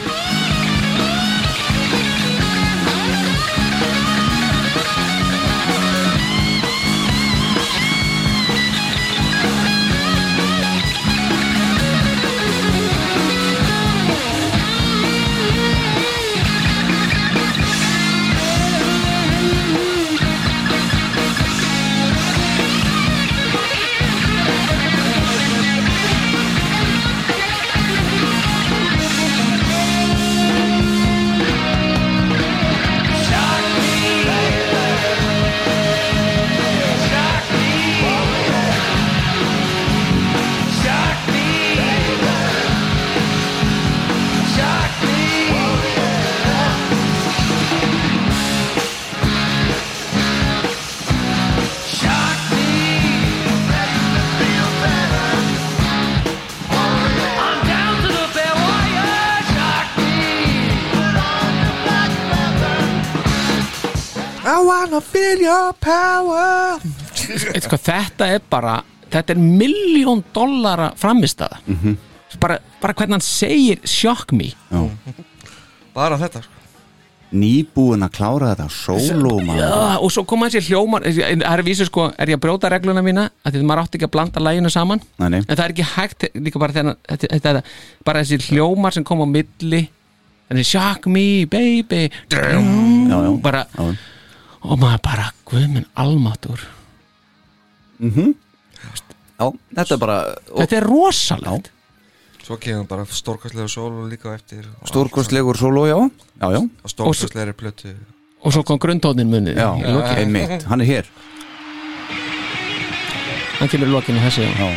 Speaker 5: I wanna feel your power
Speaker 6: sko, þetta er bara þetta er miljón dollara framistada
Speaker 4: Mhm.
Speaker 6: bara, bara hvernig hann segir shock me
Speaker 5: Bara þetta sko
Speaker 4: nýbúin að klára þetta sóló maður
Speaker 6: Ah, og svo koma þessi hljómar það er vísu sko, er ég að brjóta regluna mína að því að maður átti ekki að blanda læginu saman
Speaker 4: Nei, nei.
Speaker 6: en það er ekki hægt líka bara, þegar, þetta, þetta, bara þessi hljómar sem kom á milli þannig shock me baby drum,
Speaker 4: Já, já.
Speaker 6: bara
Speaker 4: Já.
Speaker 6: og maður bara, guðminn almatur
Speaker 4: Já, þetta er bara
Speaker 6: þetta er rosalegt
Speaker 5: Svo kemur bara stórkastlega sól líka á eftir og
Speaker 4: stórkostlegur sóló, já Já, já,
Speaker 5: allt- og stórkastlega plötu
Speaker 6: og svo kom grundtónin munið
Speaker 4: já,
Speaker 6: í lokin.
Speaker 4: einmitt, hann er hér
Speaker 6: hann kemur í lokinu þessi já.
Speaker 4: Já,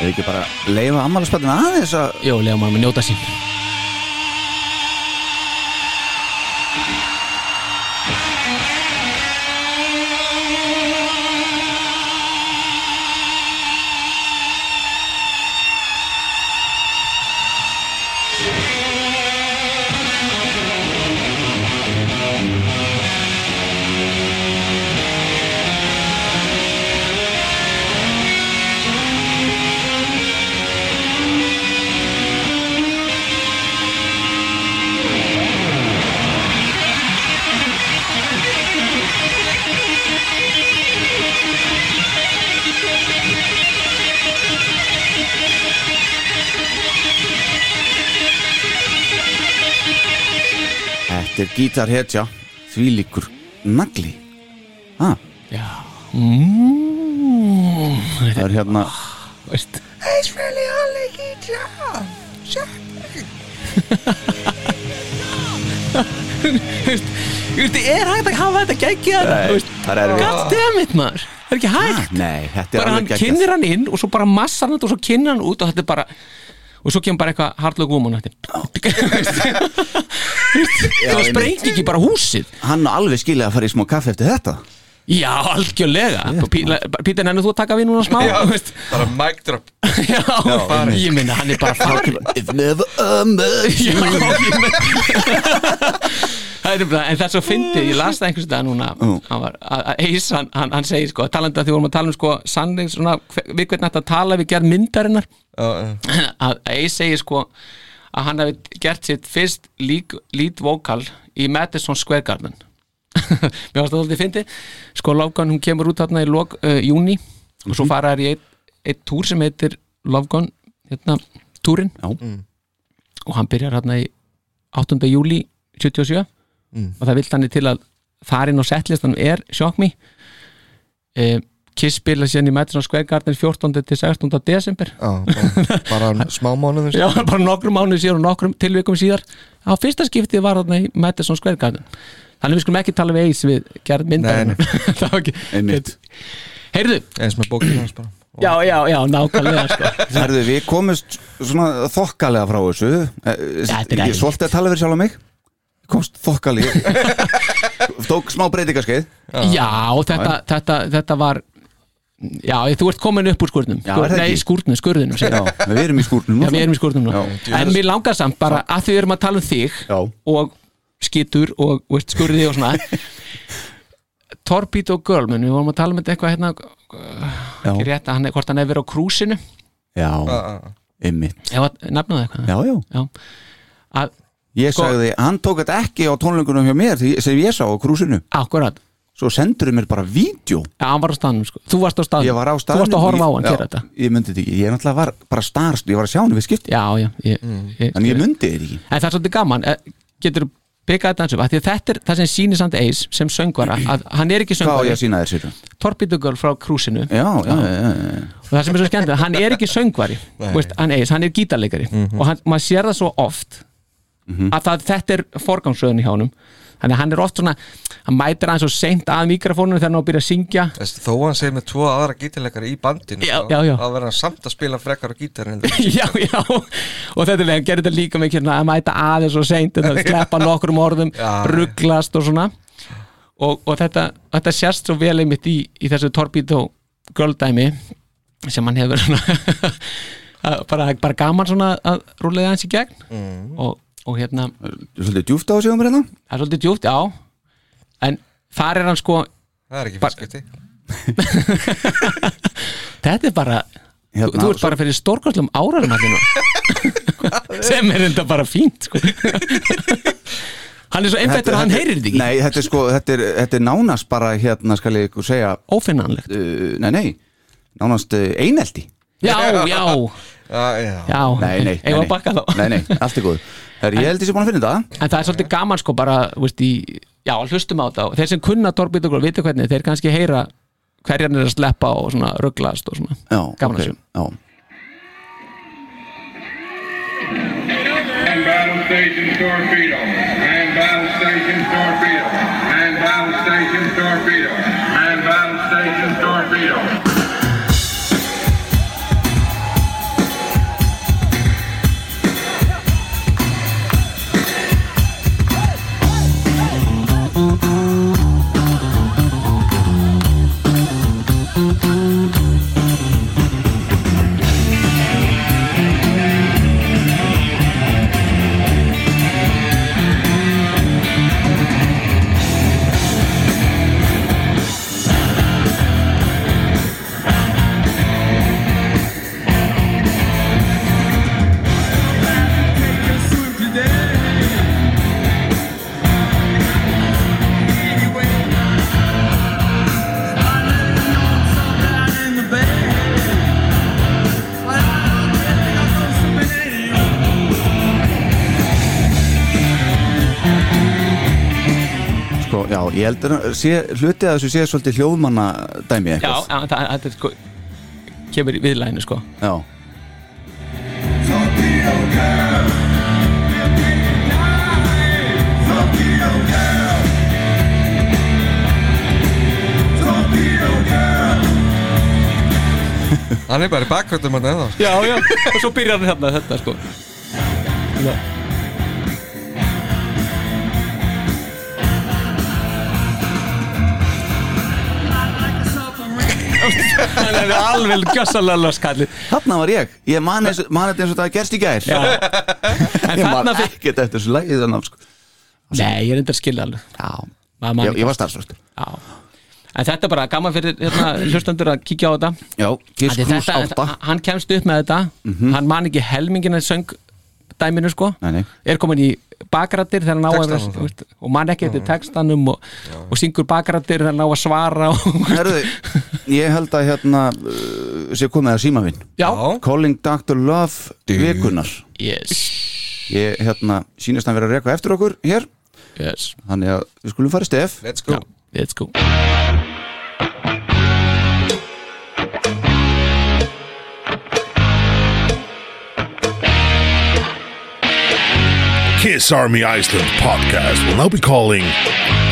Speaker 4: eða ekki bara leifa ammálaspatin aðeins að
Speaker 6: Jó, lega maður með njóta sín
Speaker 4: Þetta er gítarhetja Því líkur nagli ha,
Speaker 6: Já mm,
Speaker 4: Það er hérna
Speaker 6: veist. Veist, Þetta er hægt að hafa þetta geggja
Speaker 4: Nei, það er erfitt.
Speaker 6: Goddammit maður Það er ekki
Speaker 4: ha,
Speaker 6: hægt
Speaker 4: Nei, þetta er
Speaker 6: Bara hann
Speaker 4: alveg geggjast
Speaker 6: kynir hann inn og svo bara massar hann þetta og svo kynir hann út og þetta er bara og svo kemur bara eitthvað hardlög woman eftir Það
Speaker 4: einmitt.
Speaker 6: sprengi ekki bara húsið
Speaker 4: Hann á alveg skilja að fara í smá kaffi eftir þetta
Speaker 6: Já, algjörlega Pítur, nennir þú að taka við núna smá?
Speaker 5: Já,
Speaker 6: Þú veist,
Speaker 5: bara mic drop
Speaker 6: Já,
Speaker 5: einmitt.
Speaker 6: ég minna, hann er bara farin
Speaker 4: If never a mercy
Speaker 6: Já, ég meina Það er bara, en það er svo fyndið, ég las það einhvers dag núna hann var, að að Eys, hann, hann, hann segir sko, talandi að því vorum að tala um sko sannleik, svona, hve- við hvernig þetta tala við gerð myndarinnar að Eys segir sko að hann hafi gert sitt fyrst lík, lít vokal í Madison Square Garden Mér varst það alltaf fyndið sko Lofgan, hún kemur út þarna í lok, uh, júni og svo fara þær í eitt, eitt túr sem heitir Lofgan hérna, túrin
Speaker 4: Já,
Speaker 6: og hann byrjar hérna í 8. júli 77 og það vill hann til að þarinn og settlistan er Shock Me eh, Kiss spila síðan í Madison Square Garden 14. til 16. desember
Speaker 5: Já, bara- bara smá mánuðum
Speaker 6: Já, bara nokkrum mánuð síðar og nokkrum tilvikum síðar á fyrsta skiptið var þarna í Madison Square Garden þannig við skulum ekki tala við eis við gerð myndar
Speaker 5: Nei, nei.
Speaker 6: það var ekki
Speaker 4: einmitt
Speaker 6: Heyrðu,
Speaker 5: eins með bókinu hans bara
Speaker 6: já, já, já, nákvæmlega sko.
Speaker 4: Herðu, við komumst svona þokkalega frá þessu Eh,
Speaker 6: Þetta er
Speaker 4: Ég
Speaker 6: erfitt.
Speaker 4: svolítið að tala fyrir sjálf á mig Komst þokkalega Tók smá breytingaskeið
Speaker 6: Já, þetta, þetta, þetta var Já, þú ert komin upp úr skurnum
Speaker 4: Já, er það
Speaker 6: Nei,
Speaker 4: ekki?
Speaker 6: skurnum, skurðunum segir
Speaker 4: Já, við erum í skúrnum
Speaker 6: Já, við erum í skórnum núna
Speaker 4: Já.
Speaker 6: En mér langar samt bara að því við erum að tala um þig
Speaker 4: Já.
Speaker 6: og skítur og veist, skurði og svona Torpedo Girl, menn við vorum að tala um þetta eitthvað hérna
Speaker 4: Já.
Speaker 6: ekki rétt að hann, hvort hann hefur verið á krúsinu
Speaker 4: Já, einmitt
Speaker 6: ef að nefna það eitthvað
Speaker 4: Já, já
Speaker 6: Að,
Speaker 4: Ég
Speaker 6: Sko-
Speaker 4: sagði, hann tók þetta ekki á tónleikunum hjá mér því- sem ég sá á krúsinu
Speaker 6: Akkurat,
Speaker 4: svo sendur mér bara vídeo
Speaker 6: já, hann var á staðnum sko. Þú varst á staðnum,
Speaker 4: ég var á staðnum
Speaker 6: þú varst að horfa
Speaker 4: ég-
Speaker 6: á
Speaker 4: já,
Speaker 6: hann gera þetta
Speaker 4: ég myndi þetta ekki, ég náttúrulega var bara starst ég var að sjá hann við skipti,
Speaker 6: Já, já, ég, ég,
Speaker 4: Mm. en ég myndi þetta ekki
Speaker 6: en það er svolítið gaman eh, getur byggað þetta eins og af því að þetta er það sem sýnir samt eis sem söngvara að hann er ekki
Speaker 4: hvað á ég að
Speaker 6: söngvari,
Speaker 4: sína þér sér já,
Speaker 6: Torpedo Girl frá krúsinu
Speaker 4: já, já, já, já.
Speaker 6: og það sem er svo skemmtilegt, hann er ekki söngvari Þú veist, hann, eis, hann er gítarleikari og hann, maður sér það svo oft að það, þetta er forgangsröðun í hjánum þannig að hann er oft svona hann mætir aðeins og seint að mikrofónunum þegar hann á að byrja að syngja
Speaker 5: Þessi, þó hann segir með tvo aðra gítarleikari í bandinu
Speaker 6: Já,
Speaker 5: þá-
Speaker 6: já, já.
Speaker 5: þá verður hann samt að spila frekar á gítarinn
Speaker 6: já, já, og þetta er hann gerir þetta líka mikið hérna, að mæta aðeins og seint þetta, sleppa nokkrum orðum,
Speaker 5: Já.
Speaker 6: rugglast og svona og, og þetta, þetta sérst svo vel einmitt í, í þessu Torpedo Girl-dæmi sem hann hefur svona, að bara, bara gaman svona að rúlega hans í
Speaker 5: Mhm.
Speaker 6: gegn og, og hérna,
Speaker 4: svolítið djúft á sig um hérna
Speaker 6: það er svolítið djúpt, já en þar er hann sko
Speaker 5: það er ekki
Speaker 6: Bara-
Speaker 5: fyrst skipti
Speaker 6: þetta er bara,
Speaker 4: Hérna,
Speaker 6: þú ert bara fyrir stórkostlum áraðumallinu sem er enda bara fínt sko. hann er svo einbættur að hann heyrir þetta ekki
Speaker 4: Nei, þetta er sko, þetta er, þetta er nánast bara hérna skal ég ykkur segja
Speaker 6: ófinnanlegt,
Speaker 4: uh, Nei, nei, nánast uh, einelti
Speaker 6: já, já
Speaker 5: Já, já.
Speaker 6: já,
Speaker 4: Nei, nei, nei,
Speaker 6: eigum
Speaker 4: nei.
Speaker 6: að bakka þá
Speaker 4: nei, nei allt er góð Her, Ég held ég sé búin að finna þetta
Speaker 6: en það er svolítið gaman sko bara þú veist, í, já, hlustum á þetta og þeir sem kunna Torbjörn og vita hvernig, þeir kannski heyra hverjan er að sleppa og svona rugglast og svona,
Speaker 4: Já, ok,
Speaker 6: gaman að sjá
Speaker 4: já.
Speaker 10: Man battle station torpedo. Man battle station torpedo. Man battle station torpedo. Man battle station torpedo.
Speaker 4: Sko, já, ég held að sé, hluti að þessu sé svolítið hljóðmanna dæmi
Speaker 6: já,
Speaker 4: eitthvað
Speaker 6: en það, þetta er sko kemur í viðlæðinu sko
Speaker 4: Já,
Speaker 5: Hann er bara í hérna bakgröndum hann eða
Speaker 6: já, já, og svo byrjar hann hérna þetta sko hann er alveg gjössalega skallið
Speaker 4: þarna var ég Ég man eins- man þetta eins og það gerst í gær
Speaker 6: Já. en
Speaker 4: Ég man
Speaker 6: þarna fyrir
Speaker 4: ekkert eftir þessu lægið þannig sko.
Speaker 6: Nei, ég er enda að skilja alveg
Speaker 4: Já,
Speaker 6: Maður man
Speaker 4: ég, ég var starfsvöld
Speaker 6: Já. En þetta er bara gaman fyrir hérna, hlustendur að kíkja á þetta
Speaker 4: Já, Kiss
Speaker 6: Af því
Speaker 4: Cruise
Speaker 6: þetta-
Speaker 4: 8
Speaker 6: þetta- Hann kemst upp með þetta Hann man ekki helmingina söng dæminu sko
Speaker 4: Mhm. Nei, nei.
Speaker 6: Er komin í bakrættir þegar hann á að
Speaker 5: Textanum þá.
Speaker 6: veist, og man ekki eftir textanum og, og syngur bakrættir þegar hann á að svara og,
Speaker 4: Herðu, ég held að hérna uh, sé komið að síma minn
Speaker 6: Já,
Speaker 4: Calling Dr. Love vikunar
Speaker 6: Yes.
Speaker 4: Ég hérna sýnist hann vera að reka eftir okkur hér
Speaker 6: yes
Speaker 4: Þannig að við skulum fara í stef
Speaker 5: Let's go
Speaker 6: Let's go
Speaker 11: Kiss Army Iceland podcast will now be calling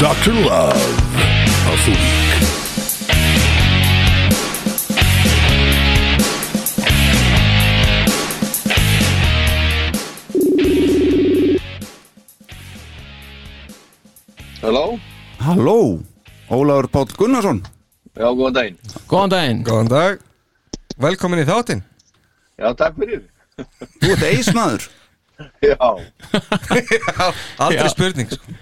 Speaker 11: Dr. Love of the Week.
Speaker 1: Halló?
Speaker 4: Halló, Ólafur Páll Gunnarsson
Speaker 1: Já, góðan daginn.
Speaker 6: Góðan daginn
Speaker 5: Góðan dag Velkomin í þáttinn
Speaker 1: Já, takk fyrir.
Speaker 4: Þú ert eismaður
Speaker 1: Já.
Speaker 5: Aldrei spurning sko.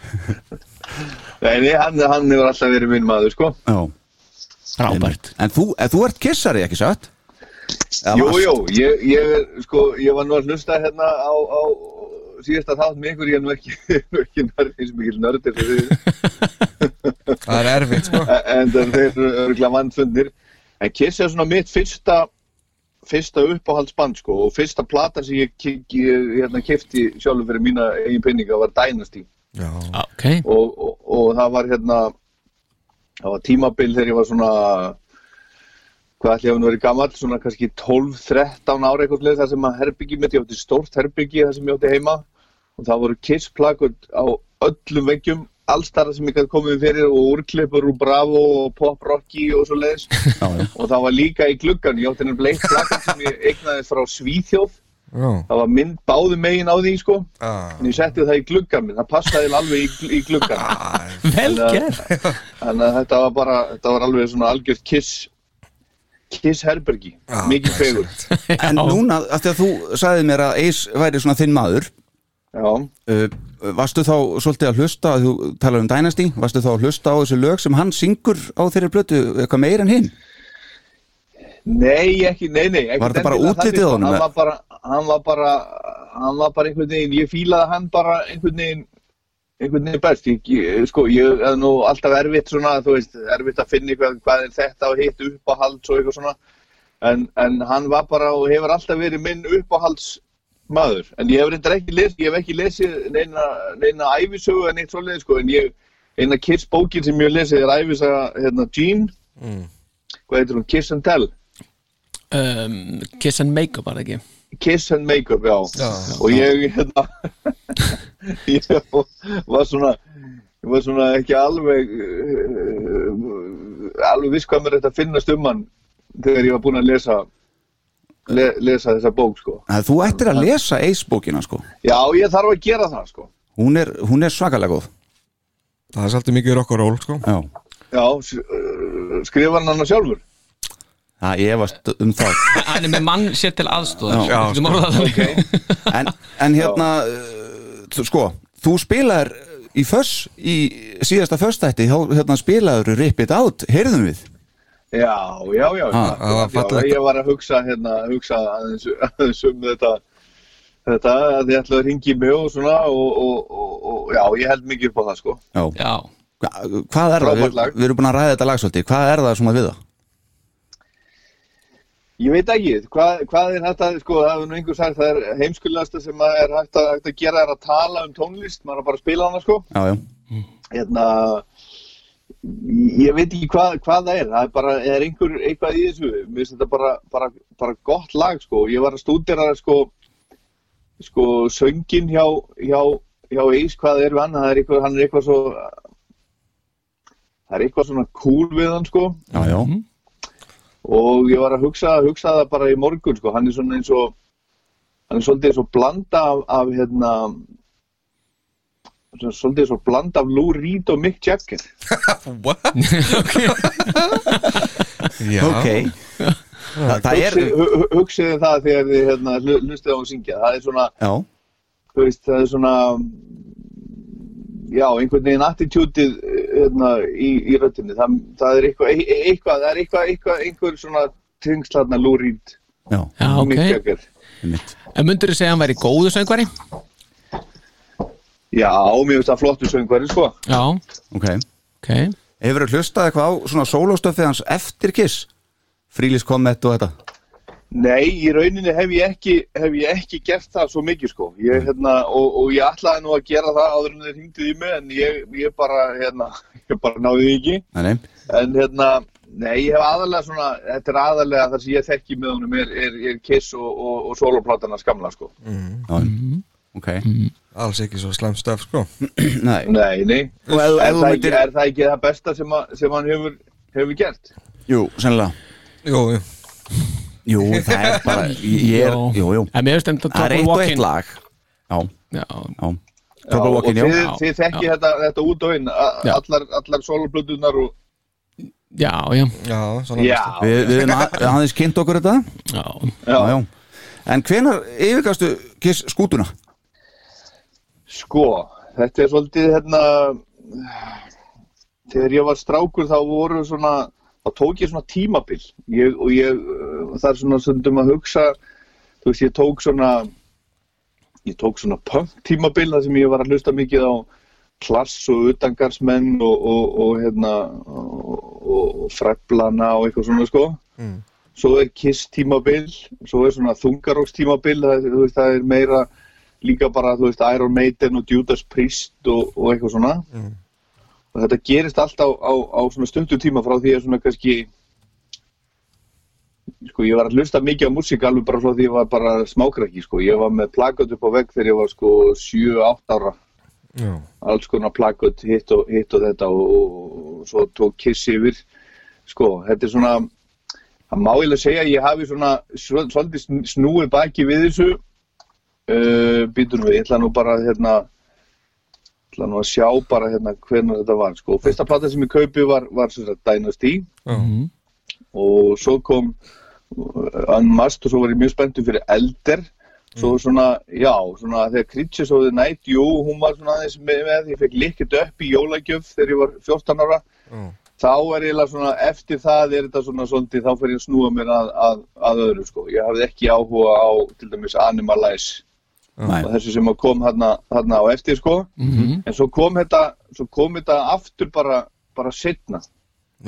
Speaker 1: Nei, nei, hann, hann hefur alltaf verið minn maður, sko.
Speaker 4: Já,
Speaker 6: Frábært
Speaker 4: en þú, en þú ert kissari ekki satt? Eða
Speaker 1: Jú,
Speaker 4: varst?
Speaker 1: jú, ég, ég, er, sko, ég var nú að hlusta hérna á, á síðasta þátt með ykkur, ég er nú ekki, ekki nörd, eins og mikil nördir fyrir því.
Speaker 5: Það er erfitt sko.
Speaker 1: en þeir eru örgulega vannfundir en Kiss er svona mitt fyrsta fyrsta uppáhaldsband sko og fyrsta platan sem ég, ég, ég hérna kefti sjálfur fyrir mína eigin penninga var Dynasty
Speaker 6: Ok,
Speaker 1: og, og, og það var hérna það var tímabil þegar ég var svona hvað ætli ég hafa nú verið gamall svona kannski 12-13 ára eitthvað leið þar sem að herbyggi mitt, ég átti stórt herbyggi þar sem ég átti heima og það voru Kiss plakut á öllum veggjum allstara sem ég gæti komið fyrir og úrklippur úr Bravo og Pop Rocky og svo leiðis og það var líka í gluggan, ég átti nefnilega eitt plakut sem ég eignaði frá Svíþjóð
Speaker 5: Já.
Speaker 1: það var mynd báðum megin á því sko
Speaker 5: Ah,
Speaker 1: en ég setti það í gluggan minn, það passaði alveg í, í gluggan
Speaker 6: vel gert
Speaker 1: Þannig að þetta var bara, þetta var alveg svona algjörð kiss kiss herbergi,
Speaker 5: Ah,
Speaker 1: mikið fegur
Speaker 4: En núna, af því að þú sagði mér að eis væri svona þinn maður uh, Varstu þá svolítið að hlusta þú talar um Dynasty, varstu þá að hlusta á þessi lög sem hann syngur á þeirri blötu eitthvað meir en hinn?
Speaker 1: Nei, ekki, nei, nei ekki
Speaker 4: Var þetta bara
Speaker 1: endilega
Speaker 4: útlitið
Speaker 1: þannig, sko.
Speaker 4: á honum,
Speaker 1: Hann
Speaker 4: eða?
Speaker 1: var bara, hann var bara hann var bara einhvern veginn, ég fílaði hann bara einhvern veginn einhvern veginn best, ég, ég, sko, ég er nú alltaf erfitt svona, þú veist, erfitt að finna eitthvað, hvað er þetta og hitt uppáhalds og eitthvað svona, en, en hann var bara og hefur alltaf verið minn uppáhalds maður, en ég hef reyndar ekki lesið, ég hef ekki lesið neina, neina æfisögu en eitt svoleiði, sko, en ég eina Kiss bókin sem ég hef lesið er æfisaga, hérna, Gene,
Speaker 5: Mm.
Speaker 1: hvað heitir hún, Kiss and Tell
Speaker 6: um, Kiss and Makeup var það ekki
Speaker 1: Kiss and Makeup, já,
Speaker 6: Já,
Speaker 1: og ég hérna ég var svona ég var svona ekki alveg uh, alveg viss hvað mér þetta finnast um hann þegar ég var búinn að lesa le, lesa þessa bók sko
Speaker 4: Að þú ættir að lesa Ace-bókina sko
Speaker 1: já, ég þarf að gera það sko
Speaker 4: Hún er, hún er svakalega góð
Speaker 5: Það er svolítið mikið rock og roll sko
Speaker 4: Já,
Speaker 1: já, s- uh, skrifa hann hann sjálfur
Speaker 4: það ég varst um það
Speaker 6: Hann er með mann sér til aðstóðar
Speaker 4: Já,
Speaker 6: Við getum orðað það þannig.
Speaker 4: en, en hérna uh, þú- sko, þú spilar í föss, í síðasta föstætti hérna spilaður Rip It Out heyrðum við,
Speaker 1: Já, já, já,
Speaker 4: Ah,
Speaker 1: já,
Speaker 4: það var
Speaker 1: já
Speaker 4: fallegt.
Speaker 1: ég var að hugsa hérna, hugsa aðeins, aðeins um þetta þetta, að þið ætlaðu að ringi mig og svona og, og, og, og já, ég held mikið upp á það sko
Speaker 4: já,
Speaker 6: Já,
Speaker 4: Hva- hvað er það,
Speaker 1: Frábært
Speaker 4: við,
Speaker 1: lag.
Speaker 4: við erum búin að ræða þetta lag svolítið, hvað er það svona við það
Speaker 1: Ég veit ekki, hvað, hvað er þetta, sko, það hefur nú einhver sagt, það er heimskulegasta sem að er hægt að, hægt að gera er að tala um tónlist, maður er bara að spila hana sko
Speaker 4: já, já,
Speaker 1: hérna ég veit ekki hvað, hvað það er það er bara, er einhver, eitthvað í þessu mér finnst þetta bara, bara, bara gott lag sko, ég var að stúdera sko sko, söngin hjá hjá, hjá Ís, hvað er við hann það er eitthvað, hann er eitthvað svo það er eitthvað svona cool við hann sko
Speaker 4: já, já,
Speaker 1: og ég var að hugsa, hugsa það bara í morgun sko, hann er svona eins og hann er svolítið eins og blanda af, af hérna svona svolítið eins og blanda af Lou Reed og Mick Jagger
Speaker 5: What? Já,
Speaker 4: ok Þa, það er,
Speaker 1: Hugsið- hu- hu- hugsiði það þegar þið hérna, hlu- hlustið á hún syngja það er svona,
Speaker 4: já,
Speaker 1: þú veist, það er svona já, einhvern veginn attitútið hérna, í, í röttinni það, það er eitthvað, e- e- eitthvað, það er eitthvað, eitthvað einhver svona tengslarna lúrít
Speaker 4: já,
Speaker 6: já,
Speaker 1: Mick
Speaker 6: Ah, ok
Speaker 1: Jagger
Speaker 4: mitt
Speaker 6: En myndirðu segja að hann væri góðu söngvari?
Speaker 1: já, og mér finnst það flottu söngvari sko.
Speaker 6: Já,
Speaker 4: ok,
Speaker 6: ok
Speaker 4: hefur þú hlustað eitthvað á svona sólóstöfið hans eftir Kiss Frílis Comet og þetta
Speaker 1: nei, í rauninni hef ég ekki hef ég ekki gert það svo mikið sko. ég, hérna, og, og ég ætlaði nú að gera það áður en þið hringduð í mig en ég, ég bara, hérna, ég bara náði því ekki
Speaker 4: Nei, nei,
Speaker 1: en hérna, nei, ég hef aðalega svona, þetta er aðalega þar sem ég þekki með honum er, er, er Kiss og, og, og soloplátana skamla, sko.
Speaker 4: Mm. já, ok
Speaker 5: alls ekki svo slæm stöf sko
Speaker 4: Nei,
Speaker 1: Nei, nei,
Speaker 4: Og ef- ef þú
Speaker 1: er, það ekki,
Speaker 4: myndir-
Speaker 1: er það ekki það besta sem, að, sem hann hefur, hefur gert?
Speaker 4: jú, sennilega
Speaker 5: Jú, jú
Speaker 4: Jú, það er bara, ég er, jú, jú
Speaker 6: En mér finnst þetta
Speaker 4: Það er
Speaker 6: Trouble
Speaker 4: eitt og
Speaker 6: Walking
Speaker 4: eitt lag Já,
Speaker 6: Já,
Speaker 4: já Trouble
Speaker 1: og
Speaker 4: Walking,
Speaker 1: þið,
Speaker 4: já
Speaker 1: þið þekki
Speaker 6: Já.
Speaker 1: þetta, þetta út og inn, a-
Speaker 6: Já.
Speaker 1: allar, allar soloplötunar og...
Speaker 6: já, já,
Speaker 5: Já, svona
Speaker 1: Já,
Speaker 5: veist.
Speaker 4: Við við erum að- aðeins kynnt okkur þetta
Speaker 6: já.
Speaker 1: já.
Speaker 4: Já, já En hvenar yfirgastu Kiss skútuna?
Speaker 1: Sko, þetta er svolítið hérna þegar ég var strákur þá voru svona þá tók ég svona tímabil ég, og ég uh, þar svona stundum að hugsa þú veist ég tók svona ég tók svona punk tímabil þar sem ég var að hlusta mikið á klass og utangarsmenn og, og, og hérna og, og freblana og eitthvað svona sko svo er kiss tímabil svo er svona þungaróks tímabil það, þú veist, það er meira líka bara þú veist, Iron Maiden og Judas Priest og, og eitthvað svona og þetta gerist allt á, á, á svona stundu tíma frá því að svona kannski sko ég var að hlusta mikið á músík alveg bara frá því ég var bara smákrakki sko ég var með plakat upp á vegg þegar ég var sko 7-8 ára
Speaker 5: Já.
Speaker 1: alls konar plakat hitt og, hitt og þetta og, og, og svo tók kiss yfir sko þetta er svona það má ég segja að ég hafi svona svol- svolítið sn- snúið baki við þessu uh, býtum við, ég ætla nú bara hérna ætla nú að sjá bara hérna hvernig þetta var sko. fyrsta plata sem ég kaupi var, var sem sagt, Dynasty
Speaker 5: Já.
Speaker 1: eh, og svo kom uh, Unmasked og svo var ég mjög spenntur fyrir Elder svo svona, já, svona þegar Creatures of the Night, jú, hún var svona aðeins með, með ég fekk likkit upp í jólagjöf þegar ég var 14 ára þá er eiginlega svona, eftir það er þetta svona svolítið, þá fer ég að snúa mér að, að, að öðru sko, ég hafði ekki áhuga á til dæmis Animalize
Speaker 4: Nei.
Speaker 1: og þessu sem að kom þarna, þarna á eftir sko,
Speaker 6: Mhm.
Speaker 1: en svo kom þetta svo kom þetta aftur bara bara setna,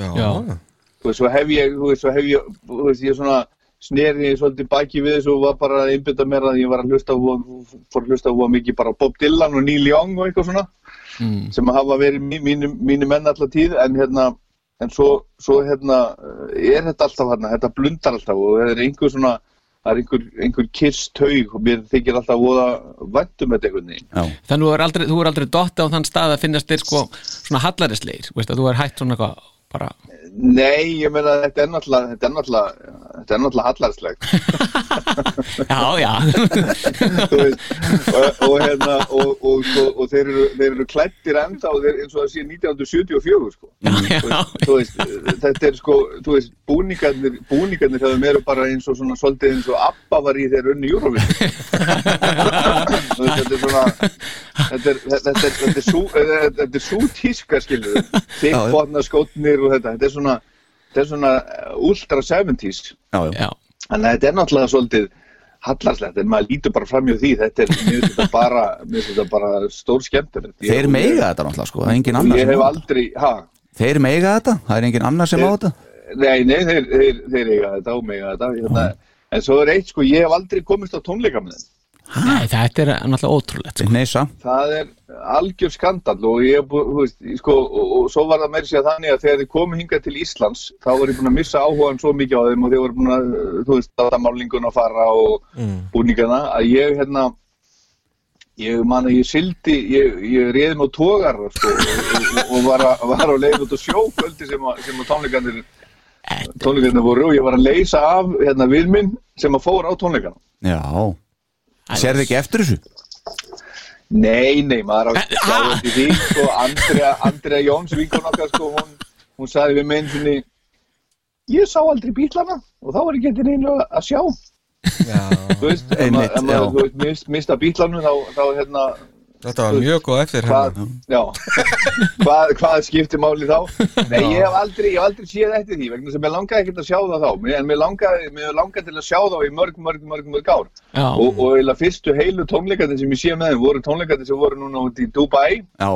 Speaker 6: Já.
Speaker 1: þú veist, svo hef ég þú veist, svo hef ég, þú veist, ég svona sneri svolítið baki við þessu og var bara að einbytta mér að ég var að hlusta voða- fór að hlusta húa mikið bara á Bob Dylan og Neil Young og eitthvað svona
Speaker 6: Mm.
Speaker 1: sem hafa verið mí- mínu, mínu menn alltaf tíð en hérna en svo, svo hérna eh, er þetta alltaf hérna, þetta blundar alltaf og það er einhver svona það er einhver, einhver kiss taug og mér þykir alltaf voða væntum þetta einhvern veginn
Speaker 6: Þannig þú er aldrei, þú er aldrei dotta á þann stað að finnast þér sko svona hallarisleir, veist að þú er hætt svona eitthvað bara,
Speaker 1: Nei, ég meina þetta er náttúrulega þetta er náttúrulega, þetta er náttúrulega hallarslegt
Speaker 6: já, já
Speaker 1: Þú veist, og, og hérna og, og, og, og þeir, eru, þeir eru klættir enda og þeir, eins og það sé 1974 sko. þú veist, þetta er sko þú veist, búningarnir, búningarnir hjá þeim eru bara eins og svona svolítið eins og Abba var í þeir unni Eurovision Þú veist, þetta er svona þetta er, þetta er, þetta er, sú, þetta er sú tíska skilur þikkbotna skotnir og þetta þetta er svona, þetta er svona eh, ultra 70s
Speaker 4: já,
Speaker 6: já.
Speaker 1: Þannig að þetta er náttúrulega svolítið hallarslegt en maður lítur bara framjá því þetta er mér finnst þetta bara, mér finnst þetta bara stór skemmtilegt Ég-
Speaker 4: Þeir meiga þetta náttúrulega sko, það er engin
Speaker 1: og
Speaker 4: annar
Speaker 1: Ég
Speaker 4: sem á
Speaker 1: hef
Speaker 4: þetta
Speaker 1: aldrei, ha,
Speaker 4: Þeir meiga þetta, það er engin annar sem á þetta
Speaker 1: nei, nei, þeir, þeir, þeir eiga þetta og mega þetta hérna, en svo er eitt sko, ég hef aldrei komist á tónleika með þeim
Speaker 6: Nei, þetta er náttúrulega ótrúlegt sko.
Speaker 4: Nei, samt
Speaker 1: það er algjör skandal og ég hef, bú- þú veist, sko, og, og svo var það meiri sér þannig að þegar þið komu hingað til Íslands þá var ég búin að missa áhugan svo mikið á þeim og þeir voru búin að, uh, þú veist, að málingun að fara og búningana að ég hérna ég man að ég sildi ég, ég réði mig á tógar sko, og, og, og var, að, var að leiða út á sjó kvöldi sem að, sem að tónleikanir tónleikanir voru og ég var að leysa af hérna við minn sem að fór á tónleikana
Speaker 4: Já, sérðu ekki eftir þessu?
Speaker 1: Nei, nei, maður á ekki að sjá eftir því sko, Andrea, Andrea Jóns vinkun okkar sko, hún, hún sagði við minn sinni ég sá aldrei bílana og þá var ég getur einu að sjá þú veist, ef ma-
Speaker 5: Einmitt,
Speaker 1: ef
Speaker 5: já.
Speaker 1: maður þú veist, mist, mista bílanu þá, þá hérna
Speaker 5: Þetta var mjög góð eftir
Speaker 1: hvað,
Speaker 5: hérna.
Speaker 1: já, hvað, hvað skiptir máli þá nei, ég hef aldrei, ég hef aldrei séð eftir því vegna sem ég langaði ekkert að sjá það þá mér- en mér langaði, mér langaði til að sjá þá í mörg, mörg, mörg, mörg ár
Speaker 6: Já.
Speaker 1: og, og eiginlega fyrstu heilu tónleikarnir sem ég sé með þeim voru tónleikarnir sem voru núna út í Dubai
Speaker 4: Já,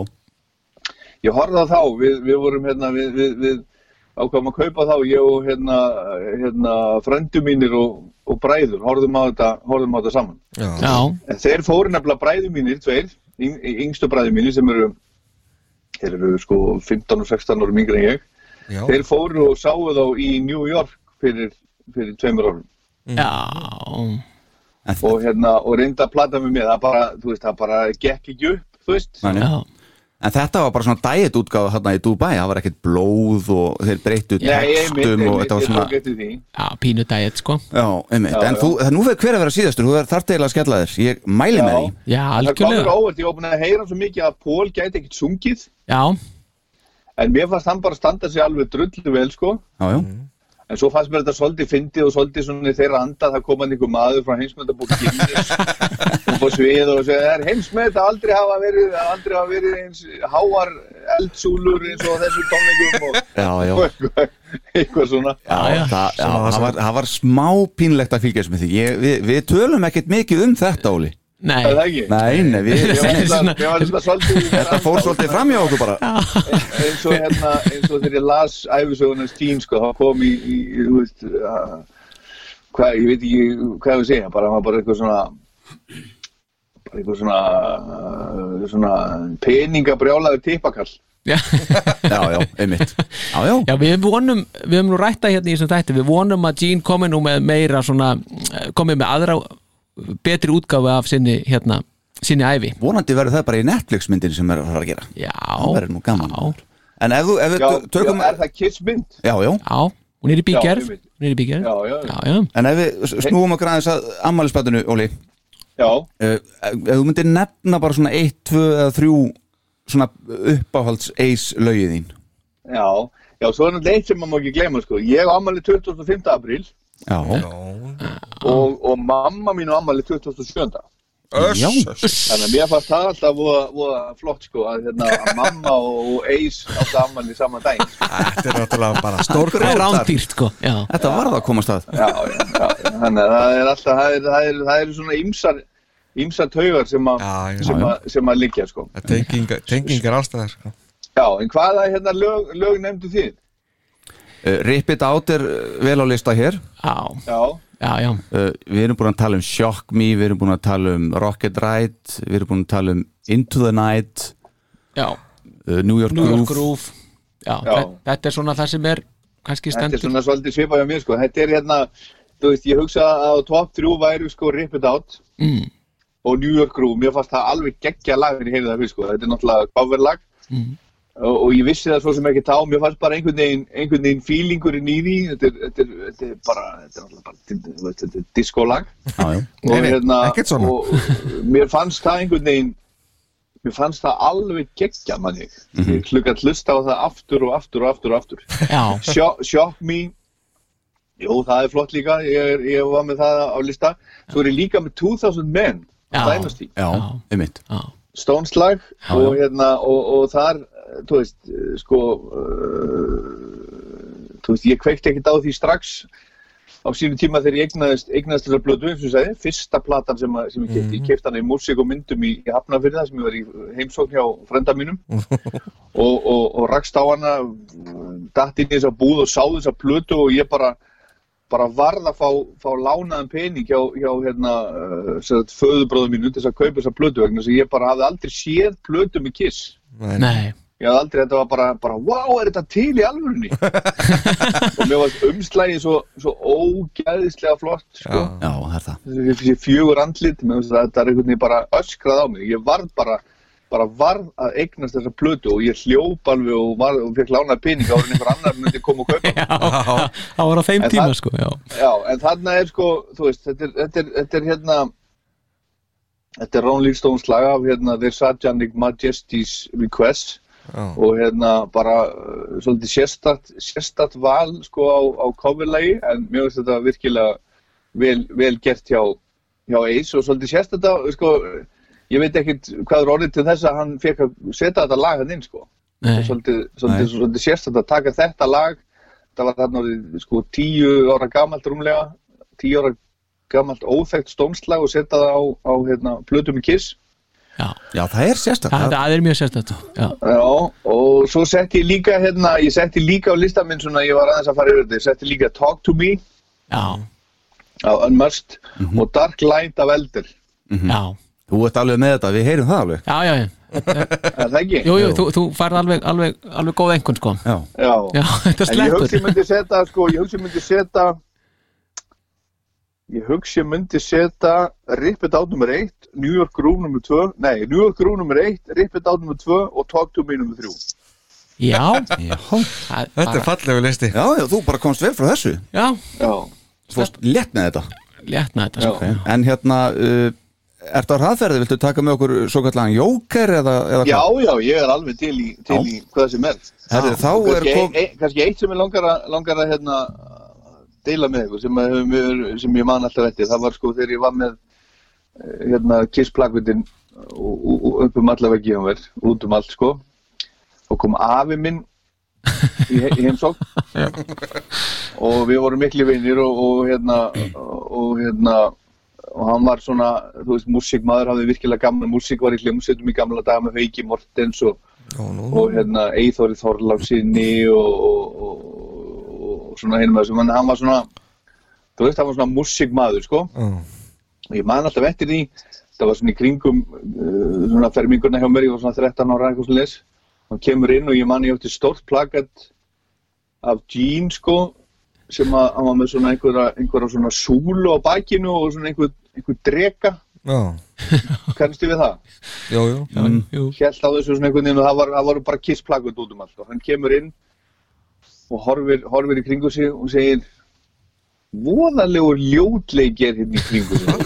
Speaker 1: Ég horfði á þá, við, við vorum hérna, við, við, við ákvæmum að kaupa þá, ég og hérna, hérna frendu mínir og, og bræður, horfðum á þetta, horfðum á þetta saman.
Speaker 6: já,
Speaker 1: En þeir fóru nefnilega bræður mínir, tveir, yng, yngstu bræður mínir sem eru, þeir eru sko 15 og 16 árum yngri en ég,
Speaker 5: Já.
Speaker 1: þeir fóru og sáu þá í New York fyrir, fyrir tveimur árum
Speaker 4: Mhm.
Speaker 6: já
Speaker 1: og hérna, og reynda að plata með mér, það bara, þú veist, það bara gekk ekki upp, þú veist,
Speaker 4: Þannig. En þetta var bara svona dæet útgáð hérna í Dubai, það var ekkert blóð og þeir breyttu
Speaker 1: Nei, einmitt,
Speaker 4: textum og
Speaker 1: einmitt,
Speaker 4: þetta var
Speaker 1: ég
Speaker 4: svona
Speaker 1: tók eftir því.
Speaker 6: já, pínu dæet sko
Speaker 4: Já, einmitt,
Speaker 1: Já,
Speaker 4: en
Speaker 1: já.
Speaker 4: þú, það nú verður hver að vera síðastur, þú verður þart eiginlega að skella þér, ég mæli með því
Speaker 6: Já,
Speaker 1: Það
Speaker 6: algjörlega
Speaker 1: komur óvart, ég var búin að heyra svo mikið að Pól gæti ekkert sungið
Speaker 6: Já,
Speaker 1: en mér fannst hann bara standa sig alveg drullu vel sko
Speaker 4: Já, já,
Speaker 1: en svo fannst mér þetta svolítið fyndið og svolítið svona í þeirra anda það kom hann einhver maður frá heimsmyndabók Guinness og fór svið og segja það er heimsmynd að aldrei hafa verið að aldrei hafa verið eins háar eldsúlur eins og á þessum tónleikum og
Speaker 4: já, já,
Speaker 1: og eitthvað, eitthvað svona
Speaker 4: já, já. Það, já það, var, það var smá pínlegt að fylgjast með því ég, við, við tölum ekkert mikið um þetta, Óli
Speaker 6: nei
Speaker 1: er það ekki?
Speaker 4: Nei, nei, við,
Speaker 1: Mér fannst það- mér fannst það svolítið í þeirra
Speaker 4: þetta fór
Speaker 1: anda.
Speaker 4: svolítið fram hjá okkur bara
Speaker 1: eins og hérna, eins og þegar ég las æfisögunars tím, sko, þá kom í, í, í þú veist, uh, hvað, ég veit ekki hvað ég á að segja, bara, maður bara eitthvað svona, bara eitthvað svona, uh, svona peningabrjálaður tippakall.
Speaker 6: Já,
Speaker 4: Já, já, einmitt Já, já,
Speaker 6: já við vonum, við höfum nú rætta hérna í þessum þætti Við vonum að Gene komi nú með meira svona eh, komi með aðra eh, betri útgáfu af sinni hérna, sinni ævi
Speaker 4: vonandi verður það bara í Netflix myndin sem er að fara að gera
Speaker 6: Já,
Speaker 4: Það verður nú gaman En ef, þú, ef við
Speaker 1: Já,
Speaker 4: tökum
Speaker 1: já, er það kissmynd?
Speaker 4: Já, já,
Speaker 6: já, hún er í bígerð
Speaker 1: Já, einmitt.
Speaker 6: Hún er í bígerð
Speaker 1: Já, já, já.
Speaker 6: já, já.
Speaker 4: en ef við s- snúum okkur aðeins að ammælisbættinu, Óli
Speaker 1: Já,
Speaker 4: uh, ef þú myndir nefna bara svona 1, 2 eða 3 svona uppáhalds eis lögið þín
Speaker 1: já, já, svo er náttúrulega eitt sem maður má ekki gleyma, sko, ég á ammali 25. apríl
Speaker 4: Já.
Speaker 1: og, og mamma mín og ammali 2007
Speaker 4: Öss, Já. öss.
Speaker 1: þannig að mér fannst það alltaf voða, voða flott sko að, hérna, að mamma og, og Eis átti ammali saman dag
Speaker 4: Þetta er náttúrulega bara
Speaker 1: stórkostlegt.
Speaker 6: Rándýrt sko Já.
Speaker 4: Þetta var það að komast að
Speaker 1: já, já, já, þannig að það er alltaf það eru er, það er svona ýmsar ýmsar taugar sem að sem,
Speaker 5: já.
Speaker 1: að- sem að liggja sko
Speaker 5: Tengingar, tengingar allstæðar sko.
Speaker 1: já, en hvaða hérna lög, lög nefndu þið?
Speaker 4: Uh, Rip It Out er uh, vel á lista hér
Speaker 6: Já,
Speaker 1: já,
Speaker 6: já, já.
Speaker 4: Uh, Við erum búin að tala um Shock Me Við erum búin að tala um Rocket Ride Við erum búin að tala um Into the Night
Speaker 6: Já.
Speaker 4: uh, New York
Speaker 6: New
Speaker 4: Groove
Speaker 6: York Groove Já,
Speaker 1: Já.
Speaker 6: þe- Þetta er svona það sem er kannski
Speaker 1: þetta
Speaker 6: stendur
Speaker 1: er svona svolítið svipað hjá mér sko þetta er hérna, þú veist, ég hugsa að á top 3 væri sko Rip It Out
Speaker 6: mm.
Speaker 1: og New York Groove, mér fannst það alveg geggja lag fyrir heyrið það fyrst sko, þetta er náttúrulega coverlag
Speaker 6: Mm.
Speaker 1: og, og ég vissi það svo sem ekki tá, mér fannst bara einhvern veginn, einhvern veginn feelingurinn í því, þetta er, þetta er, þetta er bara, þetta er náttúrulega bara, þetta- þú veist, þetta er diskolag og
Speaker 5: Nei, nei, ekkert svona.
Speaker 1: hérna- og mér fannst það einhvern veginn, mér fannst það alveg geggja manni,
Speaker 6: Mhm.
Speaker 1: ég klukka að hlusta á það aftur og aftur og aftur og aftur.
Speaker 6: Já,
Speaker 1: Shock, shock Me Jú, það er flott líka ég, er, ég var með það á lista Svo er ég líka með 2000 Men
Speaker 4: Já.
Speaker 1: Dynasty,
Speaker 4: Já, einmitt
Speaker 1: Stones lag
Speaker 4: Já,
Speaker 1: og,
Speaker 4: já.
Speaker 1: hérna, og, og þar, eh, þú veist eh, sko uh, þú veist, ég kveikti ekkert á því strax á sínu tíma þegar ég eignaðist, eignaðist þessar blötu, eins og ég sagði, fyrsta platan sem, að- sem ég kefti, ég
Speaker 4: Mhm.
Speaker 1: kefti hana í músík og myndum í, í Hafnafyrða sem ég var í heimsókn hjá frenda mínum
Speaker 4: Mhm.
Speaker 1: og, og, og rakst á hana datt inn í þessa búð og sá þessa plötu og ég bara bara varð að fá, fá lánaðan pening hjá, hjá hérna, uh, föðubróðum mínu til þess að kaupa þessa plötu vegna þess að ég bara hafði aldrei séð plötu með kiss
Speaker 6: nei
Speaker 1: ég hafði aldrei, þetta var bara, bara wow, er þetta til í alvörunni og mér varst umslægið svo, svo ógæðislega flott sko.
Speaker 4: Já, það er það
Speaker 1: þessi fjögur andlit mér finnst þetta er einhvern veginn bara öskrað á mig ég varð bara, bara varð að eignast þessa plötu og ég hljóp alveg og, varð, og fekk lánað pening áður en einhver annar myndi koma og kaupa
Speaker 6: Já, það var á þeim
Speaker 1: En
Speaker 6: tíma
Speaker 1: það-
Speaker 6: sko Já,
Speaker 1: Já, en þarna er sko, þú veist, þetta er, þetta er, þetta er hérna Þetta er Ron Lýrstóns lag af hérna The Satanic Majesty's Request og hérna bara uh, svolítið sérstakt, sérstakt val sko á, á coverlagi en mér finnst þetta virkilega vel, vel gert hjá, hjá Ace og svolítið sérstakt á, sko ég veit ekkit hvað er orðið til þess að hann fekk að setja þetta lag hann inn sko
Speaker 6: Nei.
Speaker 1: svolítið, svolítið, svolítið sérstætt að taka þetta lag það var þarna orðið sko tíu ára gamalt rúmlega tíu ára gamalt óþægt stómslag og setja það á, á hérna, plötum í kiss
Speaker 4: Já, það er sérstætt
Speaker 6: það, það er mjög sérstætt Já,
Speaker 1: Já, og svo setti ég líka hérna, ég setti líka á listan minn svona ég var aðeins að fara yfir þetta, ég setti líka Talk to Me
Speaker 6: já,
Speaker 1: á Unmust
Speaker 6: Mhm.
Speaker 1: og Dark Light af Elder
Speaker 4: Mhm.
Speaker 6: já
Speaker 4: Þú ert alveg með þetta, við heyrum það alveg
Speaker 6: Já, já, já,
Speaker 1: er það ekki?
Speaker 6: jú, jú, þú, þú færð alveg, alveg, alveg góð einhvern sko
Speaker 4: Já,
Speaker 1: Já,
Speaker 6: Já, þetta
Speaker 1: En ég
Speaker 6: sleppur
Speaker 1: hugsi ég myndi setja, sko, ég hugsi ég myndi setja ég hugsi ég myndi setja Rip It Out nr. 1, New York Groove nr. 2 nei, New York Groove nr. 1, Rip It Out nr. 2 og Talk To Me nr. 3
Speaker 6: Já,
Speaker 4: já,
Speaker 6: það er
Speaker 5: Þetta er
Speaker 6: bara-
Speaker 5: fallegu listi
Speaker 4: já, já þú bara komst vel frá þessu
Speaker 6: Já,
Speaker 1: Já,
Speaker 4: Fórst létt með þetta
Speaker 6: léttna þetta sko
Speaker 4: okay. En hérna, uh, ertu á hraðferði, viltu taka með okkur svo kallan jóker eða, eða
Speaker 1: já,
Speaker 4: hvað?
Speaker 1: já, ég er alveg til í, til í hvað sem er
Speaker 4: Herri, þá
Speaker 1: Og
Speaker 4: er
Speaker 1: kannski,
Speaker 4: kom...
Speaker 1: ein, ein, kannski eitt sem ég langar að, langar að hérna, deila með ykkur sem, að- mér- sem ég man alltaf eftir það var sko þegar ég var með eh, hérna, Kiss plakvindin upp um alla veggi hjá mér, út um allt sko og kom afi minn í, he- í heimsókn og við vorum miklu vinnir og, og hérna og hérna og hann var svona, þú veist, músikmaður hafði virkilega gamla músík, var í hljómsveitum í gamla daga með Hauki Mortens og, og hérna Eithóri Þorláfsinni og, og, og, og svona hinum þessum, en hann var svona þú veist, hann var svona músikmaður sko, og ég man alltaf eftir því það var svona í kringum uh, svona fermingurna hjá mér, ég var svona 13 ára eitthvað svona les, hann kemur inn og ég man ég átti stórt plakat af Jean sko sem að hann var með svona einhverja, einhverja svona súlu á bakinu og svona einhver, einhver drega,
Speaker 5: Já, Mm,
Speaker 1: kannstu við það?
Speaker 5: já, já
Speaker 6: Jú,
Speaker 1: held á þessu svona einhvern veginn og það var, það var bara kissplakut út um allt og hann kemur inn og horfir, horfir í kringu sig og segir voðalegur ljótleiki er hérna í kringu sig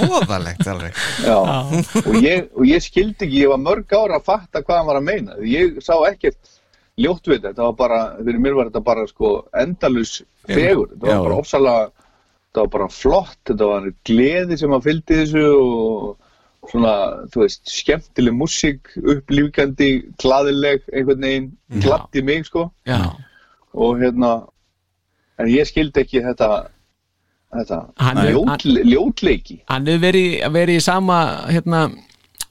Speaker 5: Voðalegt alveg
Speaker 1: Já. og, ég, og ég skildi ekki, ég var mörg ára að fatta hvað hann var að meina ég sá ekkert ljótt við þetta, þetta var bara, fyrir mér var þetta bara sko endalus fegur, þetta var
Speaker 4: Já.
Speaker 1: bara ofsalega, þetta var bara flott, þetta var gleði sem að fylgdi þessu og svona, þú veist, skemmtileg músík, upplýkandi, glaðileg, einhvern veginn, glatti mig sko
Speaker 6: Já,
Speaker 1: og hérna, en ég skildi ekki þetta, þetta,
Speaker 6: Hann er-
Speaker 1: ljót, ljótleiki.
Speaker 6: hann hefur verið, verið í sama hérna,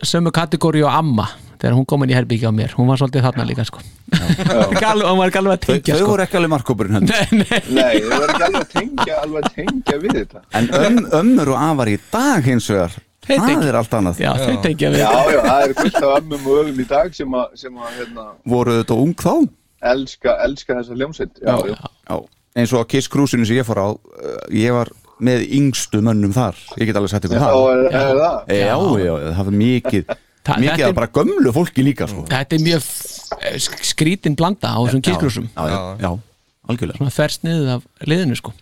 Speaker 6: sömu kategóri og amma þegar hún kom inn í herbyggja á mér hún var svolítið þarna líka sko Gal, hún var ekki alveg að
Speaker 4: Þau,
Speaker 6: tengja
Speaker 4: þau
Speaker 6: sko
Speaker 4: voru ekki alveg hérna. markkópurinn hendur
Speaker 6: Nei, nei.
Speaker 1: Nei, það var ekki alveg að tengja, alveg að tengja við þetta.
Speaker 4: En öm, ömmur og afar í dag hins vegar
Speaker 6: Þeir
Speaker 4: Það
Speaker 6: tengja.
Speaker 4: er allt annað
Speaker 6: Já, þau tengja við
Speaker 1: Já, já, það er fullt af ömmum og ögum í dag sem að, sem að, hérna,
Speaker 4: Voru þetta ung þá?
Speaker 1: elska, elska þessa hljómsveit já, já.
Speaker 4: Já, eins og á Kiss Cruise-inu sem ég fór á uh, Ég var með yngstu mönnum þar Ég get alveg sagt ykkur
Speaker 1: Já,
Speaker 4: það
Speaker 1: er, er eh, það
Speaker 4: Já, já, það var mikið
Speaker 6: Þa-
Speaker 4: Mikið
Speaker 6: þetta
Speaker 4: af
Speaker 6: er-
Speaker 4: bara gömlu fólki líka sko.
Speaker 6: þetta er mjög eh, sk- skrítin blanda á þessum kirkrúsum
Speaker 4: Já, já, já, algjörlega
Speaker 6: svona ferst niður af liðinu sko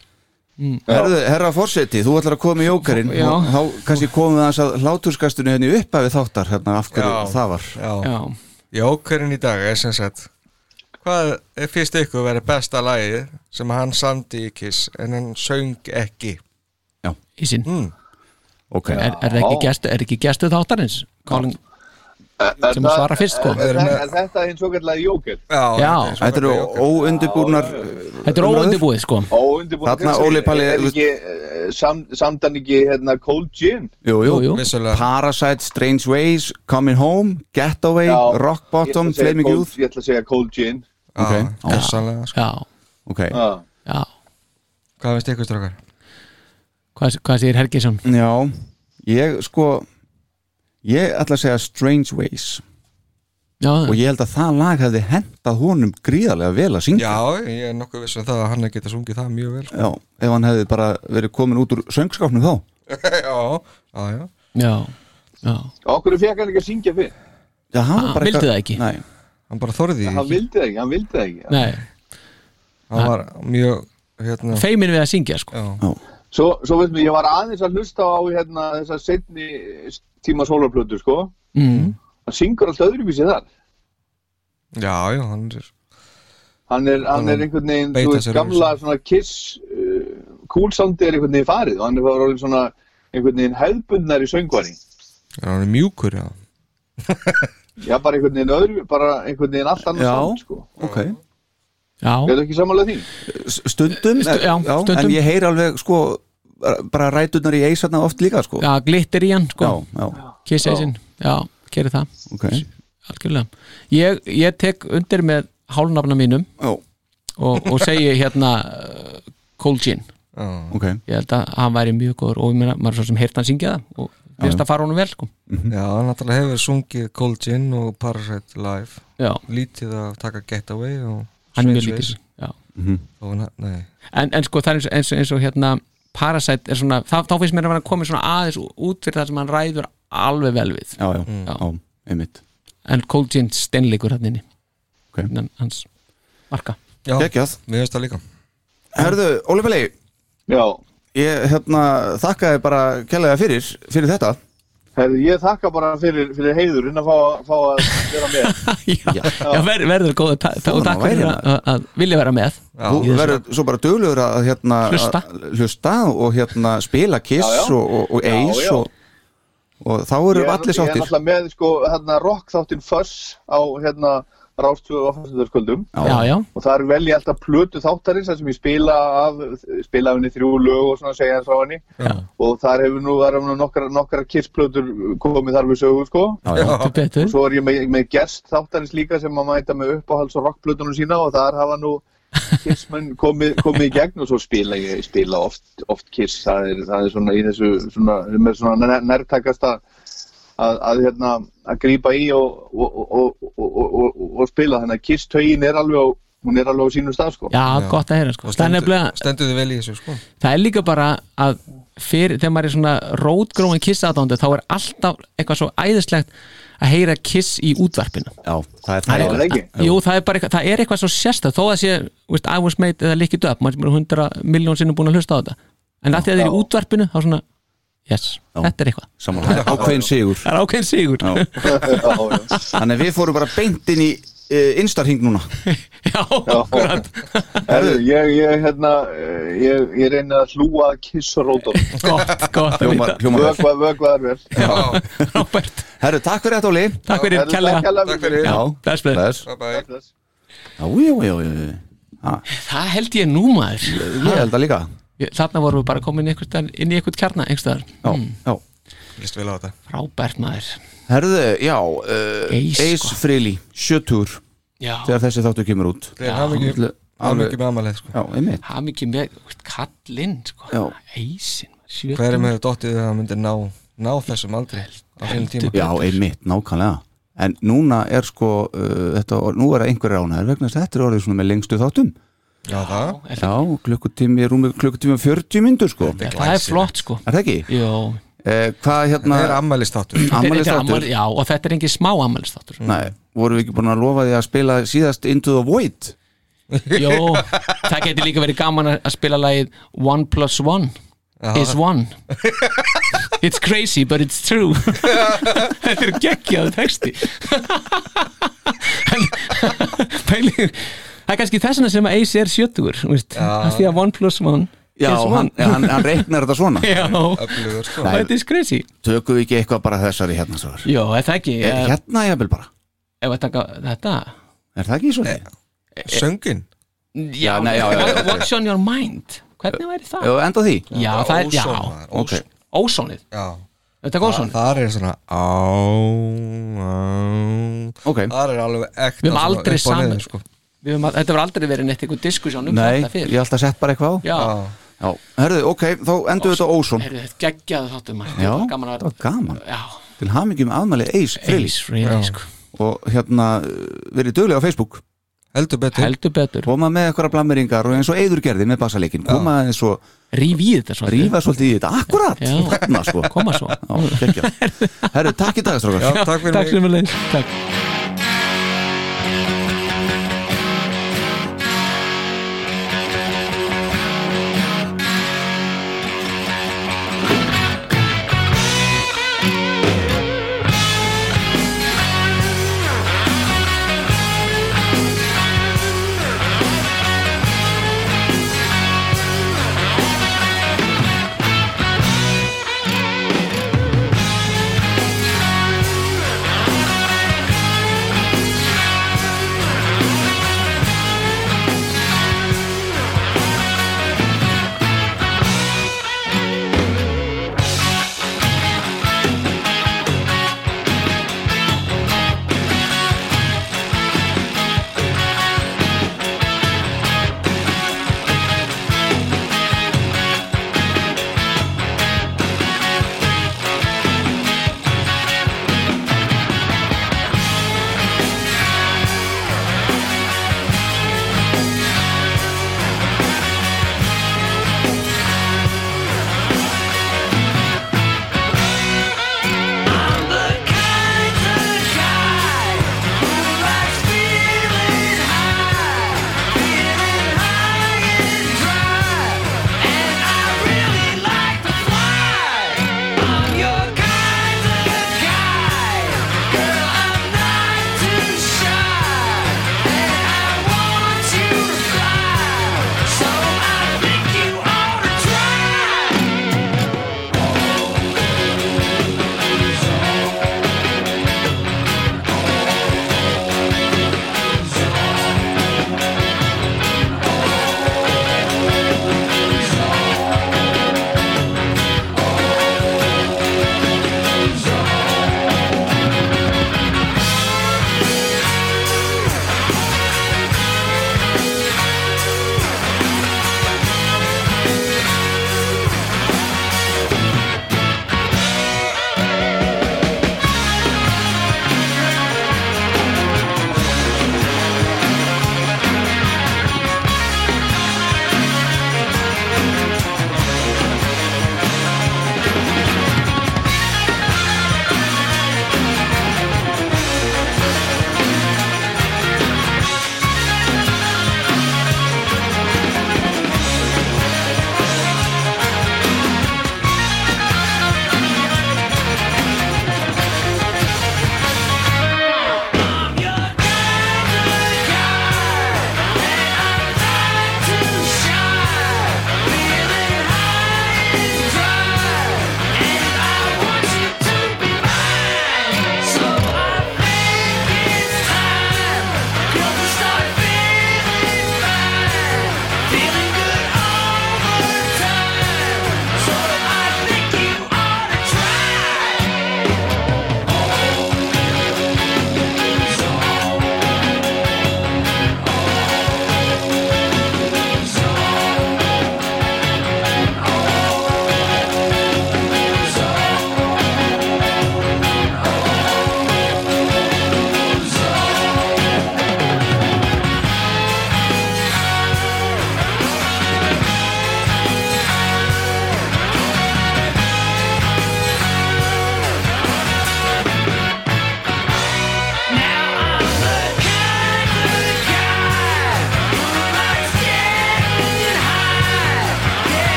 Speaker 4: Herðu, Herra Forseti, þú ætlar að koma í jókarinn
Speaker 6: Já.
Speaker 4: og Þá kannski komum við aðeins að hláturskastunni henni uppa við þáttar hérna af hverju
Speaker 5: Já.
Speaker 4: það var
Speaker 5: Já,
Speaker 6: já,
Speaker 5: Jókerinn í dag er sem sagt Hvað er fyrst ykkur verið besta lagið sem hann samdi í Kiss en hann söng ekki
Speaker 6: í sín
Speaker 5: mm.
Speaker 4: Ok,
Speaker 6: er, er, ekki gestu, er ekki gestu þáttarins Colin,
Speaker 1: Er
Speaker 6: sem
Speaker 1: það-
Speaker 6: svara fyrst sko
Speaker 1: er, er, er, er þetta hins og kallega jóker
Speaker 5: Já,
Speaker 6: Já.
Speaker 5: þetta er svo
Speaker 4: þetta eru
Speaker 5: bara Joker.
Speaker 4: óundibúrnar
Speaker 6: þetta er óundibúið sko
Speaker 1: óundibúin
Speaker 4: Þarna Óli Palli-
Speaker 1: er ekki eh, sam, samdan ekki hérna Cold Gin
Speaker 4: Jú, jú,
Speaker 6: Jú, jú.
Speaker 5: Vissulega
Speaker 4: Parasite, Strange Ways, Coming Home, Getaway,
Speaker 1: Já.
Speaker 4: Rock Bottom,
Speaker 1: Ég ætla að segja
Speaker 4: Flaming
Speaker 1: Cold-
Speaker 4: Youth
Speaker 1: ég ætla að segja Cold Gin
Speaker 5: Já,
Speaker 4: Ok.
Speaker 5: Gjörsamlega, sko.
Speaker 6: já,
Speaker 4: Ok,
Speaker 1: Já.
Speaker 6: já
Speaker 5: Hvað finnst ykkur strákar?
Speaker 6: hvað, hvað segir Helgisson
Speaker 4: já, ég sko Ég ætla að segja Strange Ways
Speaker 6: já,
Speaker 4: og ég held að það lag hefði hendað honum gríðarlega vel að syngja
Speaker 5: Já, ég er nokkuð viss um það að hann geta sungið það mjög vel sko.
Speaker 4: Já, ef hann hefði bara verið komin út úr söngskápnum þá
Speaker 5: Já, já, já
Speaker 6: já, já,
Speaker 1: okkur fekk hann ekki að syngja fyrir
Speaker 4: Já, hann var
Speaker 6: Ah,
Speaker 4: bara
Speaker 6: vildi
Speaker 4: eitthvað-
Speaker 6: það ekki?
Speaker 4: Nei,
Speaker 5: Hann bara þorði því
Speaker 1: hann
Speaker 5: ekki
Speaker 1: vildi það ekki, hann vildi það ekki
Speaker 6: nei,
Speaker 5: Hann var mjög, hérna
Speaker 6: feimin við að syngja sko
Speaker 5: Já,
Speaker 1: svo, svo veist mér, ég var aðeins að hlusta á hérna þessar setni tíma sólarplötu sko
Speaker 6: mm.
Speaker 1: hann syngur alltaf öðruvísi þar
Speaker 5: já, já, hann er
Speaker 1: hann er, hann er einhvern veginn, þú
Speaker 5: Beita
Speaker 1: veist,
Speaker 5: sér
Speaker 1: gamla
Speaker 5: öðruvísi.
Speaker 1: svona kiss uh, cool soundi er einhvern veginn farið og hann er bara orðinn svona einhvern veginn hefðbundnar í söngvari
Speaker 5: Já, hann er mjúkur, já
Speaker 1: já, bara einhvern veginn öðru, bara einhvern veginn allt annars
Speaker 4: Já.
Speaker 1: sound, sko
Speaker 4: ok
Speaker 1: er
Speaker 6: já,
Speaker 1: það ekki samanlega því?
Speaker 4: S- Stundum,
Speaker 6: Stu- já, stundum.
Speaker 4: En ég heyri alveg sko bara ræturnar í eisarna oft líka sko
Speaker 6: já, glittir í hann sko
Speaker 4: já, já,
Speaker 6: kissa í sín, já, gerir það
Speaker 4: ok
Speaker 6: algjörlega, ég, ég tek undir með hálnafna mínum
Speaker 4: Já,
Speaker 6: og, og segi hérna uh, Cold Gin,
Speaker 5: Já,
Speaker 4: ok
Speaker 6: ég held að hann væri mjög góður og ég meina, maður er svo sem heyrt hann syngja það og finnst að fara honum vel sko
Speaker 5: já hann náttúrulega hefur sungið Cold Gin og Parasite Live
Speaker 6: já,
Speaker 5: Lítið að taka Getaway og
Speaker 6: hann er
Speaker 5: Strange
Speaker 6: mjög lítill
Speaker 5: Ways.
Speaker 6: já
Speaker 5: Og hann, nei
Speaker 6: en, en sko það er eins, eins, eins og hérna Parasite er svona, þá, þá finnst mér að vera að koma svona aðeins út fyrir það sem hann ræður alveg vel við,
Speaker 4: Já, já, já, einmitt
Speaker 6: en Cold Gin steinleikur hann inni,
Speaker 4: Ok.
Speaker 6: innan hans marka,
Speaker 5: Já,
Speaker 4: Gekkjað
Speaker 5: mér finnst það líka
Speaker 4: Herðu, Óli Peli,
Speaker 1: já,
Speaker 4: ég hérna, þakka þér bara kærlega fyrir, fyrir þetta
Speaker 1: Herðu, ég þakka bara fyrir, fyrir heiðurinn að fá, fá að vera með
Speaker 6: já, já ver, verður góð ta, ta,
Speaker 4: Svona
Speaker 6: og takk
Speaker 4: væri
Speaker 6: fyrir
Speaker 4: maður.
Speaker 6: að, að- að vilja vera með
Speaker 4: Þú verður svo bara duglegur að hérna,
Speaker 6: Hlusta.
Speaker 4: að hlusta og hérna, spila kiss
Speaker 1: Já, já.
Speaker 4: og, og, og
Speaker 1: Já,
Speaker 4: eis
Speaker 1: já.
Speaker 4: Og, og þá eru allir
Speaker 1: ég, er- ég er
Speaker 4: sáttir
Speaker 1: náttúrulega með sko, hérna, rock þáttinn Fuss á hérna, Rástöðu á Föstudörsköldum
Speaker 6: já, já,
Speaker 1: og þar vel ég alltaf plötu þáttarins þar sem ég spila af, spila af henni þrjú lög og svona segja hans frá henni
Speaker 5: Já.
Speaker 1: og þar hefur nú, þar hefur nú nokkra, nokkra kissplötur komið þar við sögu sko
Speaker 4: já, já.
Speaker 6: þú betur
Speaker 1: svo er ég með, með gerst þáttarins líka sem að mæta með uppáhalds og rockplötunum sína og þar hafa nú kissmenn komið, komið í gegn og svo spila ég spila oft, oft kiss það er, það er svona í þessu svona, með svona nær- nærtækasta að, að, hérna, að grípa í og, og, og, og, og, og, og spila þannig að kiss taugin er alveg á, hún er alveg á sínum stað sko
Speaker 6: já, gott að heyra sko,
Speaker 5: Og
Speaker 6: það er
Speaker 5: stendur,
Speaker 6: nefnilega
Speaker 5: stendur þið vel í þessu, sko
Speaker 6: það er líka bara að fyrir, þegar maður er svona rótgróin kiss aðdándu þá er alltaf eitthvað svo æðislegt að heyra kiss í útvarpinu
Speaker 4: já, það er
Speaker 1: Já,
Speaker 4: það
Speaker 1: er það ekki?
Speaker 6: Jú, það er bara eitthvað, það er eitthvað svo sérstæð þó að sé, veist, I was made eða líkið upp maður sem er hundra miljón sinnum búin að hlusta á þetta en að því að það er í útvarpinu þá svona yes, þetta er eitthvað
Speaker 4: Samanlega, ákveðin sigur
Speaker 6: það er ákveðin sigur
Speaker 4: Já.
Speaker 1: Já, já.
Speaker 4: Þannig að við fórum bara beint inn í instarhing núna
Speaker 6: Já, akkurat
Speaker 1: Herðu, ég, ég, hérna, eh, ég, ég reyna að hlúa að kissa rótum.
Speaker 6: Gott, gott að
Speaker 4: Hljómar,
Speaker 6: vita
Speaker 4: hljómar vel
Speaker 1: Vögva, vögva er vel.
Speaker 6: Já, Robert,
Speaker 4: Herru, takk fyrir þetta Óli
Speaker 6: takk fyrir
Speaker 1: Herðu,
Speaker 6: kærlega
Speaker 1: alveg
Speaker 5: Takk fyrir.
Speaker 6: Já, bless, bless.
Speaker 4: Bless.
Speaker 5: Bye bye.
Speaker 1: Bless.
Speaker 4: Já, já, já, já, já.
Speaker 6: Það held ég nú maður
Speaker 4: Ég held það líka
Speaker 6: Ég- Þarna vorum við bara komin í einhvern- inn í eitthvað kjarna einhverstaðar,
Speaker 4: Já, já
Speaker 5: List vel á þetta.
Speaker 6: frábært maður
Speaker 4: Herðu, já uh,
Speaker 6: Ace,
Speaker 4: Ace
Speaker 6: sko.
Speaker 4: Frehley, 70
Speaker 6: Já,
Speaker 4: þegar þessi þáttu kemur út
Speaker 5: Þeir hafa ekki,
Speaker 4: Ætli-
Speaker 5: hafa
Speaker 4: alveg-
Speaker 5: ekki með amalið, sko.
Speaker 4: Já, einmitt
Speaker 6: hafa mikið með úst, kallinn, sko
Speaker 4: Já.
Speaker 6: Eisin, sjö
Speaker 5: Hver er með dottið að það myndi ná, ná þessum aldrei á sínum tíma?
Speaker 4: Já, einmitt, nákvæmlega En núna er sko uh, þetta, Nú er það einhverja ánæður vegna þess að þetta er orðið svona með lengstu þáttum
Speaker 5: Já, það.
Speaker 6: er,
Speaker 4: Já, klukkutími, rúmi klukkutími og 40 myndur sko
Speaker 5: er
Speaker 4: Er
Speaker 6: Það er
Speaker 5: glæsilegt.
Speaker 6: flott, sko
Speaker 4: það ekki?
Speaker 6: Jó,
Speaker 4: Eh, hvað hérna
Speaker 5: Það er amalistáttur.
Speaker 6: Þetta er
Speaker 4: Ammælisdáttur
Speaker 6: afmæli- Já, og þetta er engin smá ammælistáttur
Speaker 4: Nei, vorum við ekki búin að lofa því að spila síðast Into the Void
Speaker 6: Jó, það getur líka verið gaman að að spila lagið One plus one is one It's crazy but it's true Þetta er geggjaðu texti En- Pælir Það er kannski þessuna sem að Ace er sjötugur Því að one plus one
Speaker 4: Já,
Speaker 6: is
Speaker 4: hann,
Speaker 6: one
Speaker 4: hann, hann reiknar þetta svona
Speaker 6: Já,
Speaker 5: Öflugur, sko.
Speaker 4: Nei.
Speaker 6: þetta er crazy
Speaker 4: Tökum við ekki eitthvað bara þessari hérna svar
Speaker 6: Jó, er það ekki
Speaker 4: Er
Speaker 6: eh,
Speaker 4: hérna jafnvel bara?
Speaker 6: Ef að taka þetta
Speaker 4: Er það ekki svona?
Speaker 5: Söngin.
Speaker 6: Já,
Speaker 4: nei, já, já, já.
Speaker 6: What's on your mind? Hvernig væri það?
Speaker 4: Jó, enda á því
Speaker 6: Já, það er,
Speaker 5: Óson
Speaker 6: já,
Speaker 5: var, Óson.
Speaker 4: Ok.
Speaker 6: ósónið
Speaker 5: Já.
Speaker 6: Þetta er ósónið
Speaker 5: Það er svona á, á.
Speaker 4: Ok.
Speaker 5: Það er alveg ekta.
Speaker 6: Við höfum
Speaker 5: svona upp og
Speaker 6: aldrei
Speaker 5: niður,
Speaker 6: saman
Speaker 5: sko.
Speaker 6: Við höfum, þetta var aldrei verið neitt einhver diskussjón um
Speaker 4: Nei,
Speaker 6: þetta
Speaker 4: ég
Speaker 6: fyrr Já,
Speaker 4: ætla að setja bara eitthvað á
Speaker 6: já.
Speaker 5: Já.
Speaker 4: Já, herðu, ok, þá endur við þetta á Óson
Speaker 6: Heyrðu, þetta geggjaðu þáttum maður
Speaker 4: Já,
Speaker 6: Þetta var gaman
Speaker 4: þetta
Speaker 6: að
Speaker 4: var gaman
Speaker 6: Já,
Speaker 4: Til hamingjum afmæli Ace Frehley
Speaker 6: Ace Frehley sko
Speaker 4: Og hérna, uh, verið duglega á Facebook
Speaker 5: Heldur betur.
Speaker 6: Heldur betur,
Speaker 4: Koma með eitthvað blammeringar og eins og Eiður gerði með bassaleikinn Koma eins og
Speaker 6: rýf í þetta svo
Speaker 4: rífa svolítið í þetta Akkurat,
Speaker 6: Já.
Speaker 4: þarna sko
Speaker 6: Koma svo
Speaker 4: Já, geggjað. Herru, takk í dag, strókar
Speaker 5: Já, takk fyrir mig.
Speaker 6: Takk sem við leið Takk
Speaker 1: hérna-